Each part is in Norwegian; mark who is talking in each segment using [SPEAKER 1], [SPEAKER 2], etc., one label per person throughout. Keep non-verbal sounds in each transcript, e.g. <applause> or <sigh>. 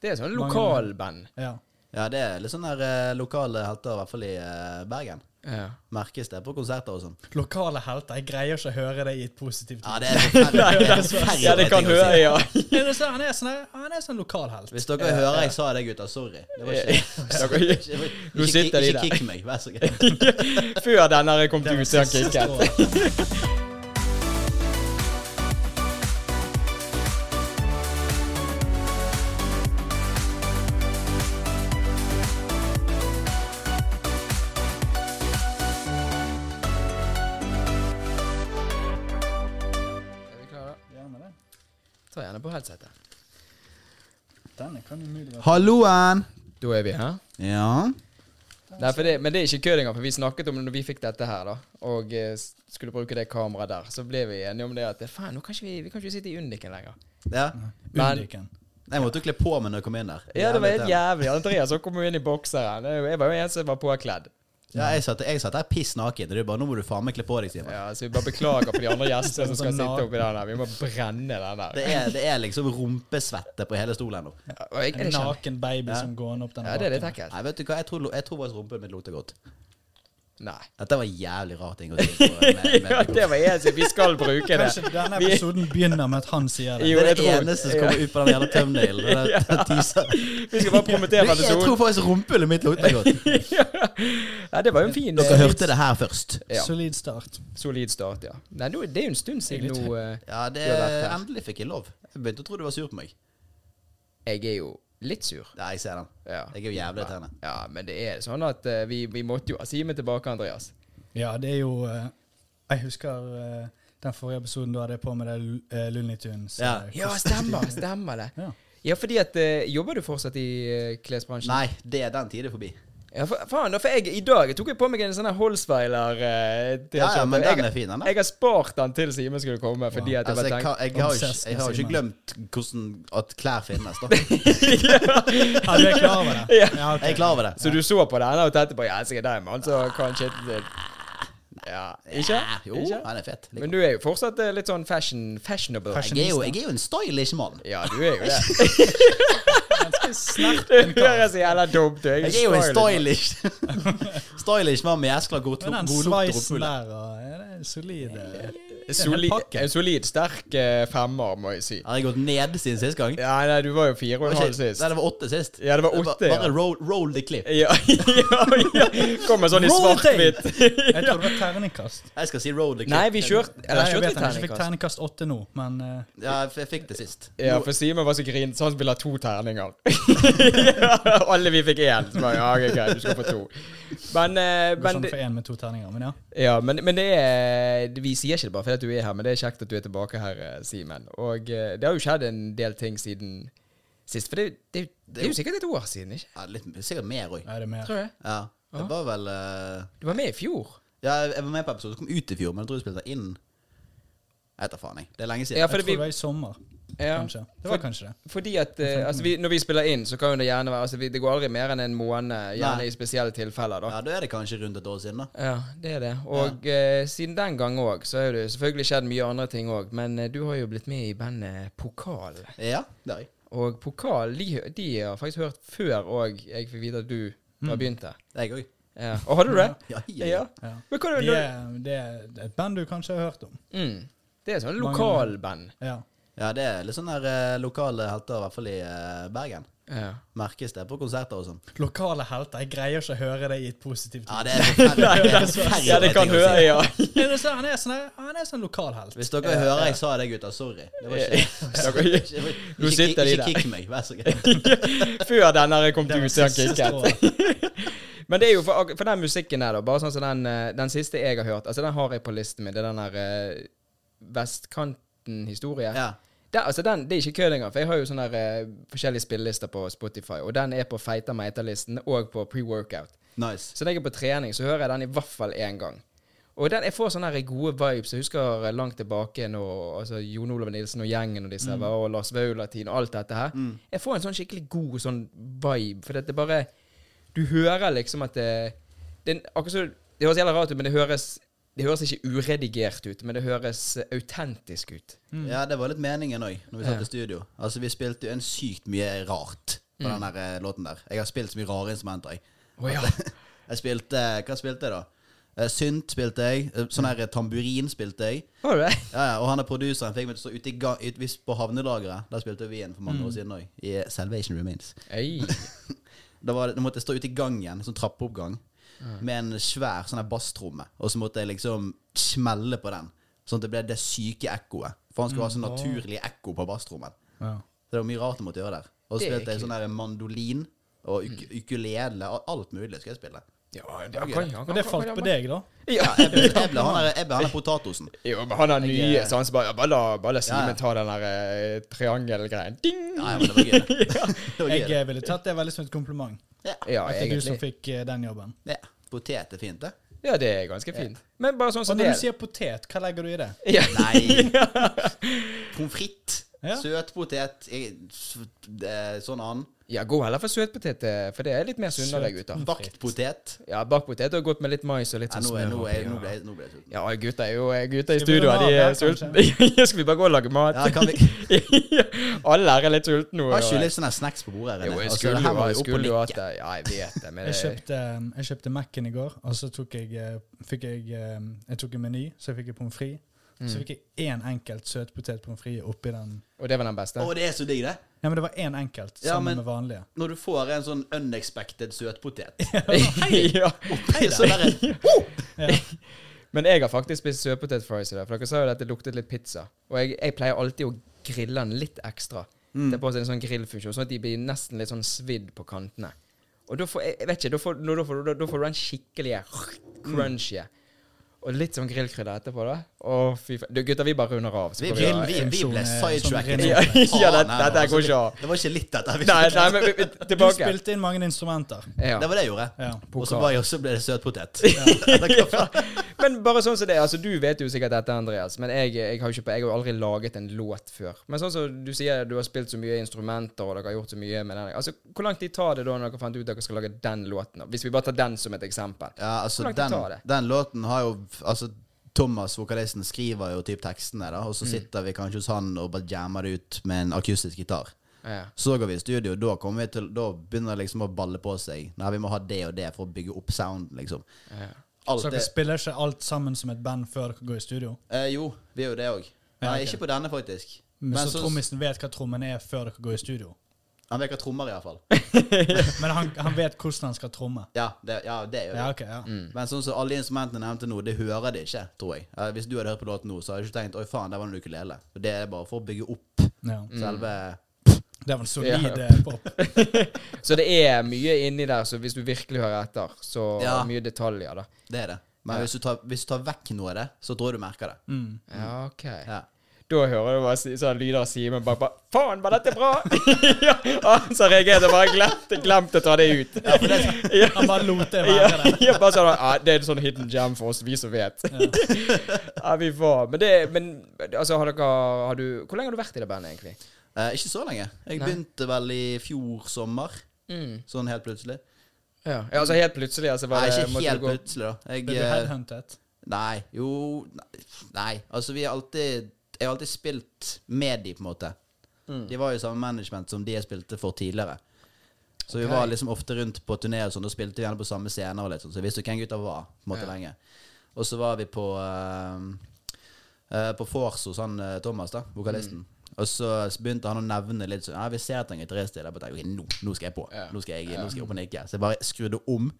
[SPEAKER 1] Det er sånn lokalband.
[SPEAKER 2] Ja.
[SPEAKER 3] Ja, det er litt sånn der eh, lokale helter, i hvert fall i eh, Bergen.
[SPEAKER 1] Ja.
[SPEAKER 3] Merkes det på konserter og sånn.
[SPEAKER 2] Lokale helter. Jeg greier ikke å høre det i et positivt
[SPEAKER 3] Ja, det er
[SPEAKER 1] <laughs>
[SPEAKER 3] forferdelig. Det er forferdelig
[SPEAKER 1] ja, det kan
[SPEAKER 3] ting å si.
[SPEAKER 1] høre, ja.
[SPEAKER 2] Jeg vil si, Han er sånn, han er sånn lokalhelt.
[SPEAKER 3] Hvis dere hører jeg sa det, gutter, sorry. Det
[SPEAKER 1] <laughs>
[SPEAKER 3] var ikke,
[SPEAKER 1] Dere-
[SPEAKER 3] <laughs> ikke, ikke,
[SPEAKER 1] Nå sitter de
[SPEAKER 3] ikke
[SPEAKER 1] der.
[SPEAKER 3] kick meg, vær så grei.
[SPEAKER 1] Før denne her kom
[SPEAKER 2] Det var
[SPEAKER 1] ut, så han
[SPEAKER 2] siste
[SPEAKER 1] kikket. <laughs>
[SPEAKER 2] strået.
[SPEAKER 1] Er vi klare?
[SPEAKER 2] Gjerne det.
[SPEAKER 1] Ta gjerne på headsetet.
[SPEAKER 2] Denne kan umulig være
[SPEAKER 3] Halloen!
[SPEAKER 1] Da er vi her.
[SPEAKER 3] Ja.
[SPEAKER 1] Nei, for det, men det er ikke kødd engang, for vi snakket om det når vi fikk dette her, da, og eh, s- skulle bruke det kameraet der, så ble vi enige om det at eh, faen, nå kan ikke vi, vi kan ikke sitte i Undiken lenger.
[SPEAKER 3] ja.
[SPEAKER 1] Men-
[SPEAKER 2] Undiken.
[SPEAKER 3] Jeg måtte jo kle på meg når jeg kom inn der.
[SPEAKER 1] Ja, det var helt
[SPEAKER 3] Jævlig.
[SPEAKER 1] jævlig. Andreas så kom jo inn i bokseren. Jeg var jo en som var påkledd.
[SPEAKER 3] Ja, jeg satt, jeg satt der piss naken. og Du bare 'Nå må du faen meg kle på deg', Simon.
[SPEAKER 1] Ja, så vi bare beklager for de andre gjestene <laughs> som skal
[SPEAKER 2] Sånn
[SPEAKER 1] sitte
[SPEAKER 2] nag-
[SPEAKER 1] oppi den der. Vi må brenne den der.
[SPEAKER 3] Det er, det er liksom rumpesvette på hele stolen nå.
[SPEAKER 1] Ja, og jeg-
[SPEAKER 2] En
[SPEAKER 1] jeg kjenner-
[SPEAKER 2] naken baby som går opp den
[SPEAKER 1] Ja, det er litt
[SPEAKER 2] baken.
[SPEAKER 1] ekkelt.
[SPEAKER 3] Nei, vet du hva, jeg tror, jeg tror faktisk rumpen min lukter godt.
[SPEAKER 1] Nei.
[SPEAKER 3] Dette var jævlig rart ting å si. på,
[SPEAKER 1] <laughs>
[SPEAKER 3] eh, med-
[SPEAKER 1] Ja,
[SPEAKER 3] med-
[SPEAKER 1] det var jeg som Vi skal bruke
[SPEAKER 2] Kanskje
[SPEAKER 1] det.
[SPEAKER 2] denne
[SPEAKER 1] Vi-
[SPEAKER 2] episoden begynner med at han sier det.
[SPEAKER 1] Jo,
[SPEAKER 3] Det er
[SPEAKER 1] jeg
[SPEAKER 3] det
[SPEAKER 1] tror-
[SPEAKER 3] eneste som kommer ut på den jævla thumbnailen.
[SPEAKER 1] <laughs>
[SPEAKER 3] den der teaseren.
[SPEAKER 1] Vi skal bare promotere
[SPEAKER 3] Jeg tror
[SPEAKER 1] episoden.
[SPEAKER 3] faktisk rumpehullet mitt lukter godt.
[SPEAKER 1] Ja, det var jo en fin
[SPEAKER 3] Dere
[SPEAKER 1] eh,
[SPEAKER 3] hørte det her først.
[SPEAKER 1] Ja.
[SPEAKER 2] Solid start.
[SPEAKER 1] solid start, ja. Nei, nå- det er jo en stund siden nå. eh,
[SPEAKER 3] Ja, det
[SPEAKER 1] Du har vært her.
[SPEAKER 3] endelig fikk jeg lov. Jeg begynte å tro du var sur på meg.
[SPEAKER 1] eh, Jeg er jo litt sur.
[SPEAKER 3] Ja, jeg ser den.
[SPEAKER 1] Ja.
[SPEAKER 3] Jeg er jo jævlig irriterende.
[SPEAKER 1] Ja, men det er sånn at eh, vi, vi måtte jo ha Simen tilbake, Andreas.
[SPEAKER 2] Ja, det er jo eh, Jeg husker eh, den forrige episoden da hadde jeg på med det uh, Looney Tunes.
[SPEAKER 3] Ja.
[SPEAKER 2] eh,
[SPEAKER 1] Ja, stemmer. Stemmer det.
[SPEAKER 2] Ja.
[SPEAKER 1] Ja, fordi at eh, Jobber du fortsatt i eh, klesbransjen?
[SPEAKER 3] Nei, det er den tiden forbi.
[SPEAKER 1] Ja, for, faen, da, for jeg, I dag tok jeg på meg en sånn her Holsweiler eh, T-skjorte.
[SPEAKER 3] Ja, ja, men
[SPEAKER 1] Jeg-
[SPEAKER 3] den er fin, den. da.
[SPEAKER 1] Jeg har spart den til Simen skulle komme, fordi at jeg
[SPEAKER 3] Altså,
[SPEAKER 1] bare tenkte
[SPEAKER 3] jeg, kan, jeg, har jo ikke,
[SPEAKER 2] Obsessed
[SPEAKER 3] jeg har jo ikke
[SPEAKER 2] Simon.
[SPEAKER 3] glemt hvordan at klær finnes,
[SPEAKER 1] <laughs>
[SPEAKER 3] da.
[SPEAKER 2] Ja, du er klar over det?
[SPEAKER 1] Ja.
[SPEAKER 2] ok.
[SPEAKER 3] Jeg er klar over det.
[SPEAKER 1] Så du så på den og tenkte på Ja, sikkert deg, mann, så kan shit Ja, ikke?
[SPEAKER 3] Ja, Jo,
[SPEAKER 1] Ikke?
[SPEAKER 3] han er fet. Liker
[SPEAKER 1] Men du er jo fortsatt eh, litt sånn fashion, fashionable.
[SPEAKER 3] han. Jeg er jo, jeg er jo en stylish mann.
[SPEAKER 1] Ja, du er jo det.
[SPEAKER 2] Ganske snert.
[SPEAKER 1] Det høres jævla dumt ut.
[SPEAKER 3] Jeg er jo en stylish Stylish <laughs> mann med jæskla god
[SPEAKER 2] Men den
[SPEAKER 3] god lukt og
[SPEAKER 2] sånn sveisen
[SPEAKER 3] rumpehull.
[SPEAKER 2] der og ja, det er solid. eh.
[SPEAKER 1] Solid,
[SPEAKER 2] pakke.
[SPEAKER 1] en solid, sterk eh, femmer, må jeg si.
[SPEAKER 3] Har jeg gått ned siden sist gang?
[SPEAKER 1] Ja, nei, du var jo fire og en halv
[SPEAKER 3] Ikke-
[SPEAKER 1] sist.
[SPEAKER 3] Nei, det var åtte sist.
[SPEAKER 1] Ja, det var
[SPEAKER 3] ba-
[SPEAKER 1] åtte, ja.
[SPEAKER 3] Bare roll, roll the clip.
[SPEAKER 1] Ja, <laughs> ja, ja. Kommer sånn i
[SPEAKER 2] Roll tape!
[SPEAKER 1] svart-hvitt.
[SPEAKER 2] Jeg tror det var terningkast.
[SPEAKER 3] Jeg skal si roll the clip.
[SPEAKER 1] Nei, vi kjørte
[SPEAKER 2] Eller,
[SPEAKER 1] Eller
[SPEAKER 2] jeg
[SPEAKER 1] kjørte
[SPEAKER 2] vet
[SPEAKER 1] vi
[SPEAKER 2] han ikke fikk
[SPEAKER 1] terningkast?
[SPEAKER 2] terningkast åtte nå, men eh,
[SPEAKER 3] Ja, jeg f- jeg fikk det sist.
[SPEAKER 1] Ja,
[SPEAKER 3] Nå-
[SPEAKER 1] for Simen var så grinete, så han ville ha to terninger. <laughs> Alle vi fikk én. Så bare, ja, ok, greit, du skal få to. Men, eh,
[SPEAKER 2] det går
[SPEAKER 1] men,
[SPEAKER 2] sånn
[SPEAKER 1] det,
[SPEAKER 2] for én med to terninger. Men ja.
[SPEAKER 1] ja, men, men det er Vi sier ikke det bare fordi at du er her, men det er kjekt at du er tilbake her, eh, Simen. Og eh, det har jo skjedd en del ting siden sist. For det, det, det er jo sikkert et år siden, ikke?
[SPEAKER 3] Ja, litt, sikkert mer òg.
[SPEAKER 2] Er det mer?
[SPEAKER 1] Tror jeg.
[SPEAKER 3] Ja. Det var vel eh,
[SPEAKER 1] Du var med i fjor.
[SPEAKER 3] Ja, jeg jeg var med på episoden som kom ut i fjor, men jeg tror jeg spilte inn Jeg vet da faen, jeg. Det er lenge siden.
[SPEAKER 1] Ja,
[SPEAKER 2] Jeg
[SPEAKER 1] fordi
[SPEAKER 2] tror
[SPEAKER 1] vi
[SPEAKER 2] det var i sommer,
[SPEAKER 1] ja.
[SPEAKER 2] kanskje. Det var kanskje det.
[SPEAKER 1] Fordi at eh, altså vi, Når vi spiller inn, så kan jo det gjerne være altså vi, Det går aldri mer enn en måned, gjerne
[SPEAKER 3] Nei.
[SPEAKER 1] i spesielle tilfeller. da
[SPEAKER 3] Ja, Da er det kanskje rundt et år siden, da.
[SPEAKER 1] Ja, det er det. Og eh, siden den gang òg, så har det jo selvfølgelig skjedd mye andre ting òg. Men eh, du har jo blitt med i bandet Pokal.
[SPEAKER 3] Ja, det har jeg.
[SPEAKER 1] Og Pokal de, hø- de har jeg faktisk hørt før òg jeg fikk vite at du har begynt der.
[SPEAKER 3] Jeg òg.
[SPEAKER 1] Ja. Og hadde du det?
[SPEAKER 3] Ja, ja, ja.
[SPEAKER 2] Ja.
[SPEAKER 1] Men hva er
[SPEAKER 2] Det
[SPEAKER 1] det?
[SPEAKER 2] er, det er et band du kanskje har hørt om.
[SPEAKER 1] Mm. Det er sånn
[SPEAKER 2] Mange-
[SPEAKER 1] lokalband.
[SPEAKER 2] Ja.
[SPEAKER 3] ja, det er litt sånn der eh, lokale helter, i hvert fall i eh, Bergen.
[SPEAKER 1] Ja.
[SPEAKER 3] Merkes det på konserter og sånn.
[SPEAKER 2] Lokale helter. Jeg greier ikke å høre det i et positivt
[SPEAKER 3] Ja,
[SPEAKER 1] <laughs>
[SPEAKER 3] det er forferdelig. Det er forferdelig
[SPEAKER 1] ja, det kan
[SPEAKER 3] ting å si.
[SPEAKER 1] høre, ja.
[SPEAKER 2] Ja, det er sånn- Han er sånn, han er sånn lokalhelt.
[SPEAKER 3] Hvis dere hører jeg sa det, gutter, sorry. Det var ikke,
[SPEAKER 1] <laughs> Dere-
[SPEAKER 3] ikke,
[SPEAKER 1] Nå sitter
[SPEAKER 3] ikke,
[SPEAKER 1] de
[SPEAKER 3] ikke
[SPEAKER 1] der.
[SPEAKER 3] kick meg, vær så grei.
[SPEAKER 1] Før den her kom
[SPEAKER 2] Det var
[SPEAKER 1] til utøya
[SPEAKER 2] siste
[SPEAKER 1] kicket.
[SPEAKER 2] strået.
[SPEAKER 1] Men det er jo for, ak- for den musikken her, da. Bare sånn som den, eh, den siste jeg har hørt. Altså, den har jeg på listen min. Det er den her eh, Vestkanten-historie.
[SPEAKER 3] Ja.
[SPEAKER 1] Der, altså den, det er ikke kødd engang, for jeg har jo sånne der, eh, forskjellige spillelister på Spotify, og den er på Feita Meita-listen og på pre-workout.
[SPEAKER 3] Nice.
[SPEAKER 1] Så når jeg er på trening, så hører jeg den i hvert fall én gang. Og den, jeg får sånne her gode vibes. Jeg husker eh, langt tilbake når altså, Jon Olav Nilsen og gjengen og disse her var, og Lars Vaulatien og alt dette her. Jeg får en sånn skikkelig god sånn vibe, for det er bare Du hører liksom at det, det er akkurat så, Det høres jævla rart ut, men det høres, det høres ikke uredigert ut, men det høres eh, autentisk ut.
[SPEAKER 3] Ja, det var litt meningen òg, når vi satt
[SPEAKER 1] Mm. Ja.
[SPEAKER 3] i studio. Altså, vi spilte jo en sykt mye rart. på den der eh, låten der. Jeg har spilt så mye rare instrumenter, jeg.
[SPEAKER 1] Mm. Å, ja.
[SPEAKER 3] <laughs> Jeg spilte Hva spilte jeg, da? Eh, Synt spilte jeg. eh, Sånn her eh, tamburin spilte jeg.
[SPEAKER 1] Har du det?
[SPEAKER 3] Ja, ja, og han er produseren fikk meg til å stå ute i ga ut, hvis- på havnelageret. Der spilte vi en for
[SPEAKER 1] Mm.
[SPEAKER 3] mange år siden òg, i Salvation Remains.
[SPEAKER 1] Ei.
[SPEAKER 3] Da, var det, da måtte jeg stå ute i gangen, sånn trappeoppgang, med en svær sånn her basstromme. Og så måtte jeg liksom smelle på den, sånn at det ble det syke ekkoet. For han skulle ha sånn naturlig ekko på basstrommen.
[SPEAKER 2] Mm. Ja.
[SPEAKER 3] Så det var mye rart jeg måtte gjøre der. Og så
[SPEAKER 1] Det er
[SPEAKER 3] spilte jeg sånn her mandolin og uk
[SPEAKER 2] Mm.
[SPEAKER 3] ukulele og alt mulig skal jeg
[SPEAKER 2] <laughs>
[SPEAKER 3] spille.
[SPEAKER 1] Ja, det kan jeg.
[SPEAKER 2] Og det falt på deg, da?
[SPEAKER 1] Ja,
[SPEAKER 3] Jeg ble, jeg ble han der- jeg ble han der potatosen.
[SPEAKER 1] jo, men han er nye, så han så bare ja, Bare la, bare la Simen
[SPEAKER 3] Ja, ja.
[SPEAKER 1] ta den der eh, triangelgreien. Ding!
[SPEAKER 3] Ja, ja, men det var
[SPEAKER 2] <laughs>
[SPEAKER 3] gøy. det. <laughs> Det var gøy.
[SPEAKER 2] Jeg
[SPEAKER 3] det.
[SPEAKER 2] eh, ville tatt det veldig som et kompliment.
[SPEAKER 3] Ja.
[SPEAKER 1] Ja,
[SPEAKER 2] At det er du som
[SPEAKER 1] egentlig.
[SPEAKER 2] fikk eh, den jobben.
[SPEAKER 3] Ja. Potet er fint, det.
[SPEAKER 1] Ja, det er ganske fint. Men bare sånn
[SPEAKER 2] Og
[SPEAKER 1] som det
[SPEAKER 2] når
[SPEAKER 1] er.
[SPEAKER 2] du sier potet, hva legger du i det?
[SPEAKER 1] Ja.
[SPEAKER 2] <laughs>
[SPEAKER 3] Nei. Pommes frites.
[SPEAKER 2] Ja.
[SPEAKER 3] Søt potet. eh, s- eh, Sånn annen.
[SPEAKER 1] ja, gå heller for søtpotet, eh, for det er litt mer sunnere,
[SPEAKER 2] Søt.
[SPEAKER 1] gutter.
[SPEAKER 3] Bakt potet.
[SPEAKER 1] Ja, bakpotet og godt med litt mais og litt
[SPEAKER 3] Ja,
[SPEAKER 1] sånn
[SPEAKER 3] nå, er,
[SPEAKER 1] smør.
[SPEAKER 3] nå, er,
[SPEAKER 1] oppi,
[SPEAKER 3] nå
[SPEAKER 1] og-
[SPEAKER 3] ble jeg nå ble jeg sulten.
[SPEAKER 1] Ja, gutta er jo gutta i
[SPEAKER 2] Skal vi
[SPEAKER 1] studio,
[SPEAKER 2] runde
[SPEAKER 1] de
[SPEAKER 2] av
[SPEAKER 1] er
[SPEAKER 2] der,
[SPEAKER 1] sultne. <laughs> Skal vi bare gå og lage mat? <laughs>
[SPEAKER 3] Ja, kan vi
[SPEAKER 1] Alle er litt sultne nå.
[SPEAKER 3] Har ikke
[SPEAKER 1] og-
[SPEAKER 3] litt sånne snacks på bordet? her
[SPEAKER 1] Jo,
[SPEAKER 3] inne?
[SPEAKER 1] jeg
[SPEAKER 3] Altså,
[SPEAKER 1] skulle
[SPEAKER 3] det
[SPEAKER 1] jo
[SPEAKER 3] her må
[SPEAKER 1] ha-
[SPEAKER 3] vi opp og
[SPEAKER 1] skulle jo hatt
[SPEAKER 3] nikke.
[SPEAKER 1] det. Ja, jeg vet det, men
[SPEAKER 2] Jeg
[SPEAKER 1] det
[SPEAKER 2] kjøpte, jeg kjøpte Mac-en i går, og så tok jeg, eh, fikk jeg, eh, jeg tok en meny, så fikk jeg pommes frites. Så fikk jeg én enkelt søtpotet pommes frites oppi den.
[SPEAKER 1] Og det var den beste?
[SPEAKER 3] Å, det er så digg, det.
[SPEAKER 2] Nei, men det var én enkelt,
[SPEAKER 3] Ja,
[SPEAKER 2] sammen
[SPEAKER 3] men-
[SPEAKER 2] med vanlige.
[SPEAKER 3] Når du får en sånn
[SPEAKER 1] <laughs>
[SPEAKER 3] unexpected søtpotet.
[SPEAKER 1] ja.
[SPEAKER 3] Oppi så
[SPEAKER 1] <laughs>
[SPEAKER 3] der
[SPEAKER 1] Men jeg har faktisk spist søtpotet fries i dag, for dere sa jo at det luktet litt pizza. Og jeg, jeg pleier alltid å grille den litt ekstra. Det er på en sånn grillfunksjon, sånn at de blir nesten litt sånn svidd på kantene. Og da får jeg, jeg vet ikke, da får, nå- da får, da, da får du den skikkelige crunchy. Og litt sånn grillkrydder etterpå, da. Å, fy faen. Du, gutter, vi bare runder av. så
[SPEAKER 3] Vi,
[SPEAKER 1] går
[SPEAKER 3] vi,
[SPEAKER 1] vi-
[SPEAKER 3] vi, vi ble
[SPEAKER 2] Funksjon, eh,
[SPEAKER 3] sidetracket.
[SPEAKER 1] sånn
[SPEAKER 2] som
[SPEAKER 1] Ja, <laughs> ja, det-
[SPEAKER 3] Faen,
[SPEAKER 1] dette
[SPEAKER 3] altså,
[SPEAKER 1] går ikke av.
[SPEAKER 3] Det var ikke litt dette. vi-
[SPEAKER 1] Nei, nei, men vi- vi-
[SPEAKER 2] Du
[SPEAKER 1] tilbake.
[SPEAKER 2] spilte inn mange instrumenter.
[SPEAKER 1] Ja.
[SPEAKER 3] Det var det jeg gjorde.
[SPEAKER 2] Ja.
[SPEAKER 3] Og så
[SPEAKER 1] Pokal.
[SPEAKER 3] var jeg også ble det søtpotet. Eller hva faen?
[SPEAKER 1] Men bare sånn som det er, altså Du vet jo sikkert dette, Andreas, men jeg, jeg har jo ikke på, jeg har jo aldri laget en låt før. Men sånn som du sier, du har spilt så mye instrumenter, og dere har gjort så mye med den Altså, Hvor lang tid tar det da når dere fant ut dere skal lage den låten? da? Hvis vi bare tar den som et eksempel.
[SPEAKER 3] Ja,
[SPEAKER 1] Hvor
[SPEAKER 3] altså
[SPEAKER 1] lang tid
[SPEAKER 3] den,
[SPEAKER 1] tar det?
[SPEAKER 3] den låten har jo Altså Thomas, vokalisten, skriver jo typ tekstene, da og så
[SPEAKER 1] Mm.
[SPEAKER 3] sitter vi kanskje hos han og bare jammer det ut med en akustisk gitar.
[SPEAKER 1] Ja.
[SPEAKER 3] Så går vi i studio, da, kommer vi til, da begynner det liksom å balle på seg. Nei, vi må ha det og det for å bygge opp sound, liksom.
[SPEAKER 1] Ja.
[SPEAKER 3] Alt
[SPEAKER 2] Så dere
[SPEAKER 3] det
[SPEAKER 2] spiller ikke alt sammen som et band før dere går i studio?
[SPEAKER 3] eh, Jo, vi er jo det òg. Nei,
[SPEAKER 2] Ja, ok.
[SPEAKER 3] ikke på denne, faktisk.
[SPEAKER 2] Men så
[SPEAKER 3] så-
[SPEAKER 2] trommisen vet hva trommen er før dere går i studio?
[SPEAKER 3] Han virker trommer,
[SPEAKER 2] <laughs>
[SPEAKER 3] iallfall.
[SPEAKER 2] Men han, han vet hvordan han skal tromme?
[SPEAKER 3] Ja, det, ja, det gjør vi.
[SPEAKER 2] Ja, ok, ja.
[SPEAKER 3] Men sånn som alle instrumentene jeg nevnte nå, det hører de ikke, tror jeg. Eh, hvis du hadde hørt på låten nå, så hadde jeg ikke tenkt 'oi, faen, der var en ukulele'. Og Det er bare for å bygge opp
[SPEAKER 2] ja.
[SPEAKER 3] selve
[SPEAKER 2] Det var en solid
[SPEAKER 1] Ja.
[SPEAKER 2] eh, pop.
[SPEAKER 1] Så det er mye inni der, så hvis du virkelig hører etter, så
[SPEAKER 3] Ja.
[SPEAKER 1] mye detaljer, da.
[SPEAKER 3] Det er det. Men hvis, du tar, hvis du tar vekk noe av det, så tror jeg du merker det.
[SPEAKER 2] Mm.
[SPEAKER 1] Ja, OK.
[SPEAKER 3] Ja.
[SPEAKER 1] Da hører du bare si- sånn lyder av Simen bak bare 'Faen, var dette bra?' <laughs> ja, han som reagerte, bare glemte, glemte å ta det ut. <laughs> Ja, for det,
[SPEAKER 2] Han bare lot det være
[SPEAKER 1] Ja,
[SPEAKER 2] der.
[SPEAKER 1] <laughs> ja, bare sånn, ah, det er en sånn hidden jam for oss, vi som vet. <laughs> Ja, vi får. Men, det, men altså, har dere har du, Hvor lenge har du vært i det bandet, egentlig?
[SPEAKER 3] Eh, ikke så lenge. Jeg begynte vel i fjor sommer. Sånn helt plutselig.
[SPEAKER 1] Ja, altså Helt plutselig? Altså,
[SPEAKER 3] Nei,
[SPEAKER 1] bare,
[SPEAKER 3] ikke
[SPEAKER 1] måtte
[SPEAKER 3] helt
[SPEAKER 1] du gå-
[SPEAKER 3] plutselig, da.
[SPEAKER 2] Ble
[SPEAKER 3] Jeg,
[SPEAKER 2] du
[SPEAKER 3] eh,
[SPEAKER 2] headhuntet?
[SPEAKER 3] nei, jo nei, Nei. Altså, vi har alltid Jeg har alltid spilt med de, på en måte.
[SPEAKER 2] Mm.
[SPEAKER 3] De var jo i samme management som de jeg spilte for tidligere. Så vi
[SPEAKER 1] Ok.
[SPEAKER 3] var liksom ofte rundt på turné og sånn, og spilte vi gjerne på samme scener og litt sånn, så jeg visste jo hvem gutta var, på en måte,
[SPEAKER 1] Ja.
[SPEAKER 3] lenge. Og så var vi på eh, eh, På Fors hos han eh, Thomas, da,
[SPEAKER 1] Mm.
[SPEAKER 3] vokalisten. Og så begynte han å nevne litt sånn Ja, vi ser at han er gitarist i det. Jeg bare tenkte, Ok, nå, nå skal jeg på.
[SPEAKER 1] Ja.
[SPEAKER 3] Nå skal jeg, nå skal jeg opp og nikke. Så jeg bare skrudde om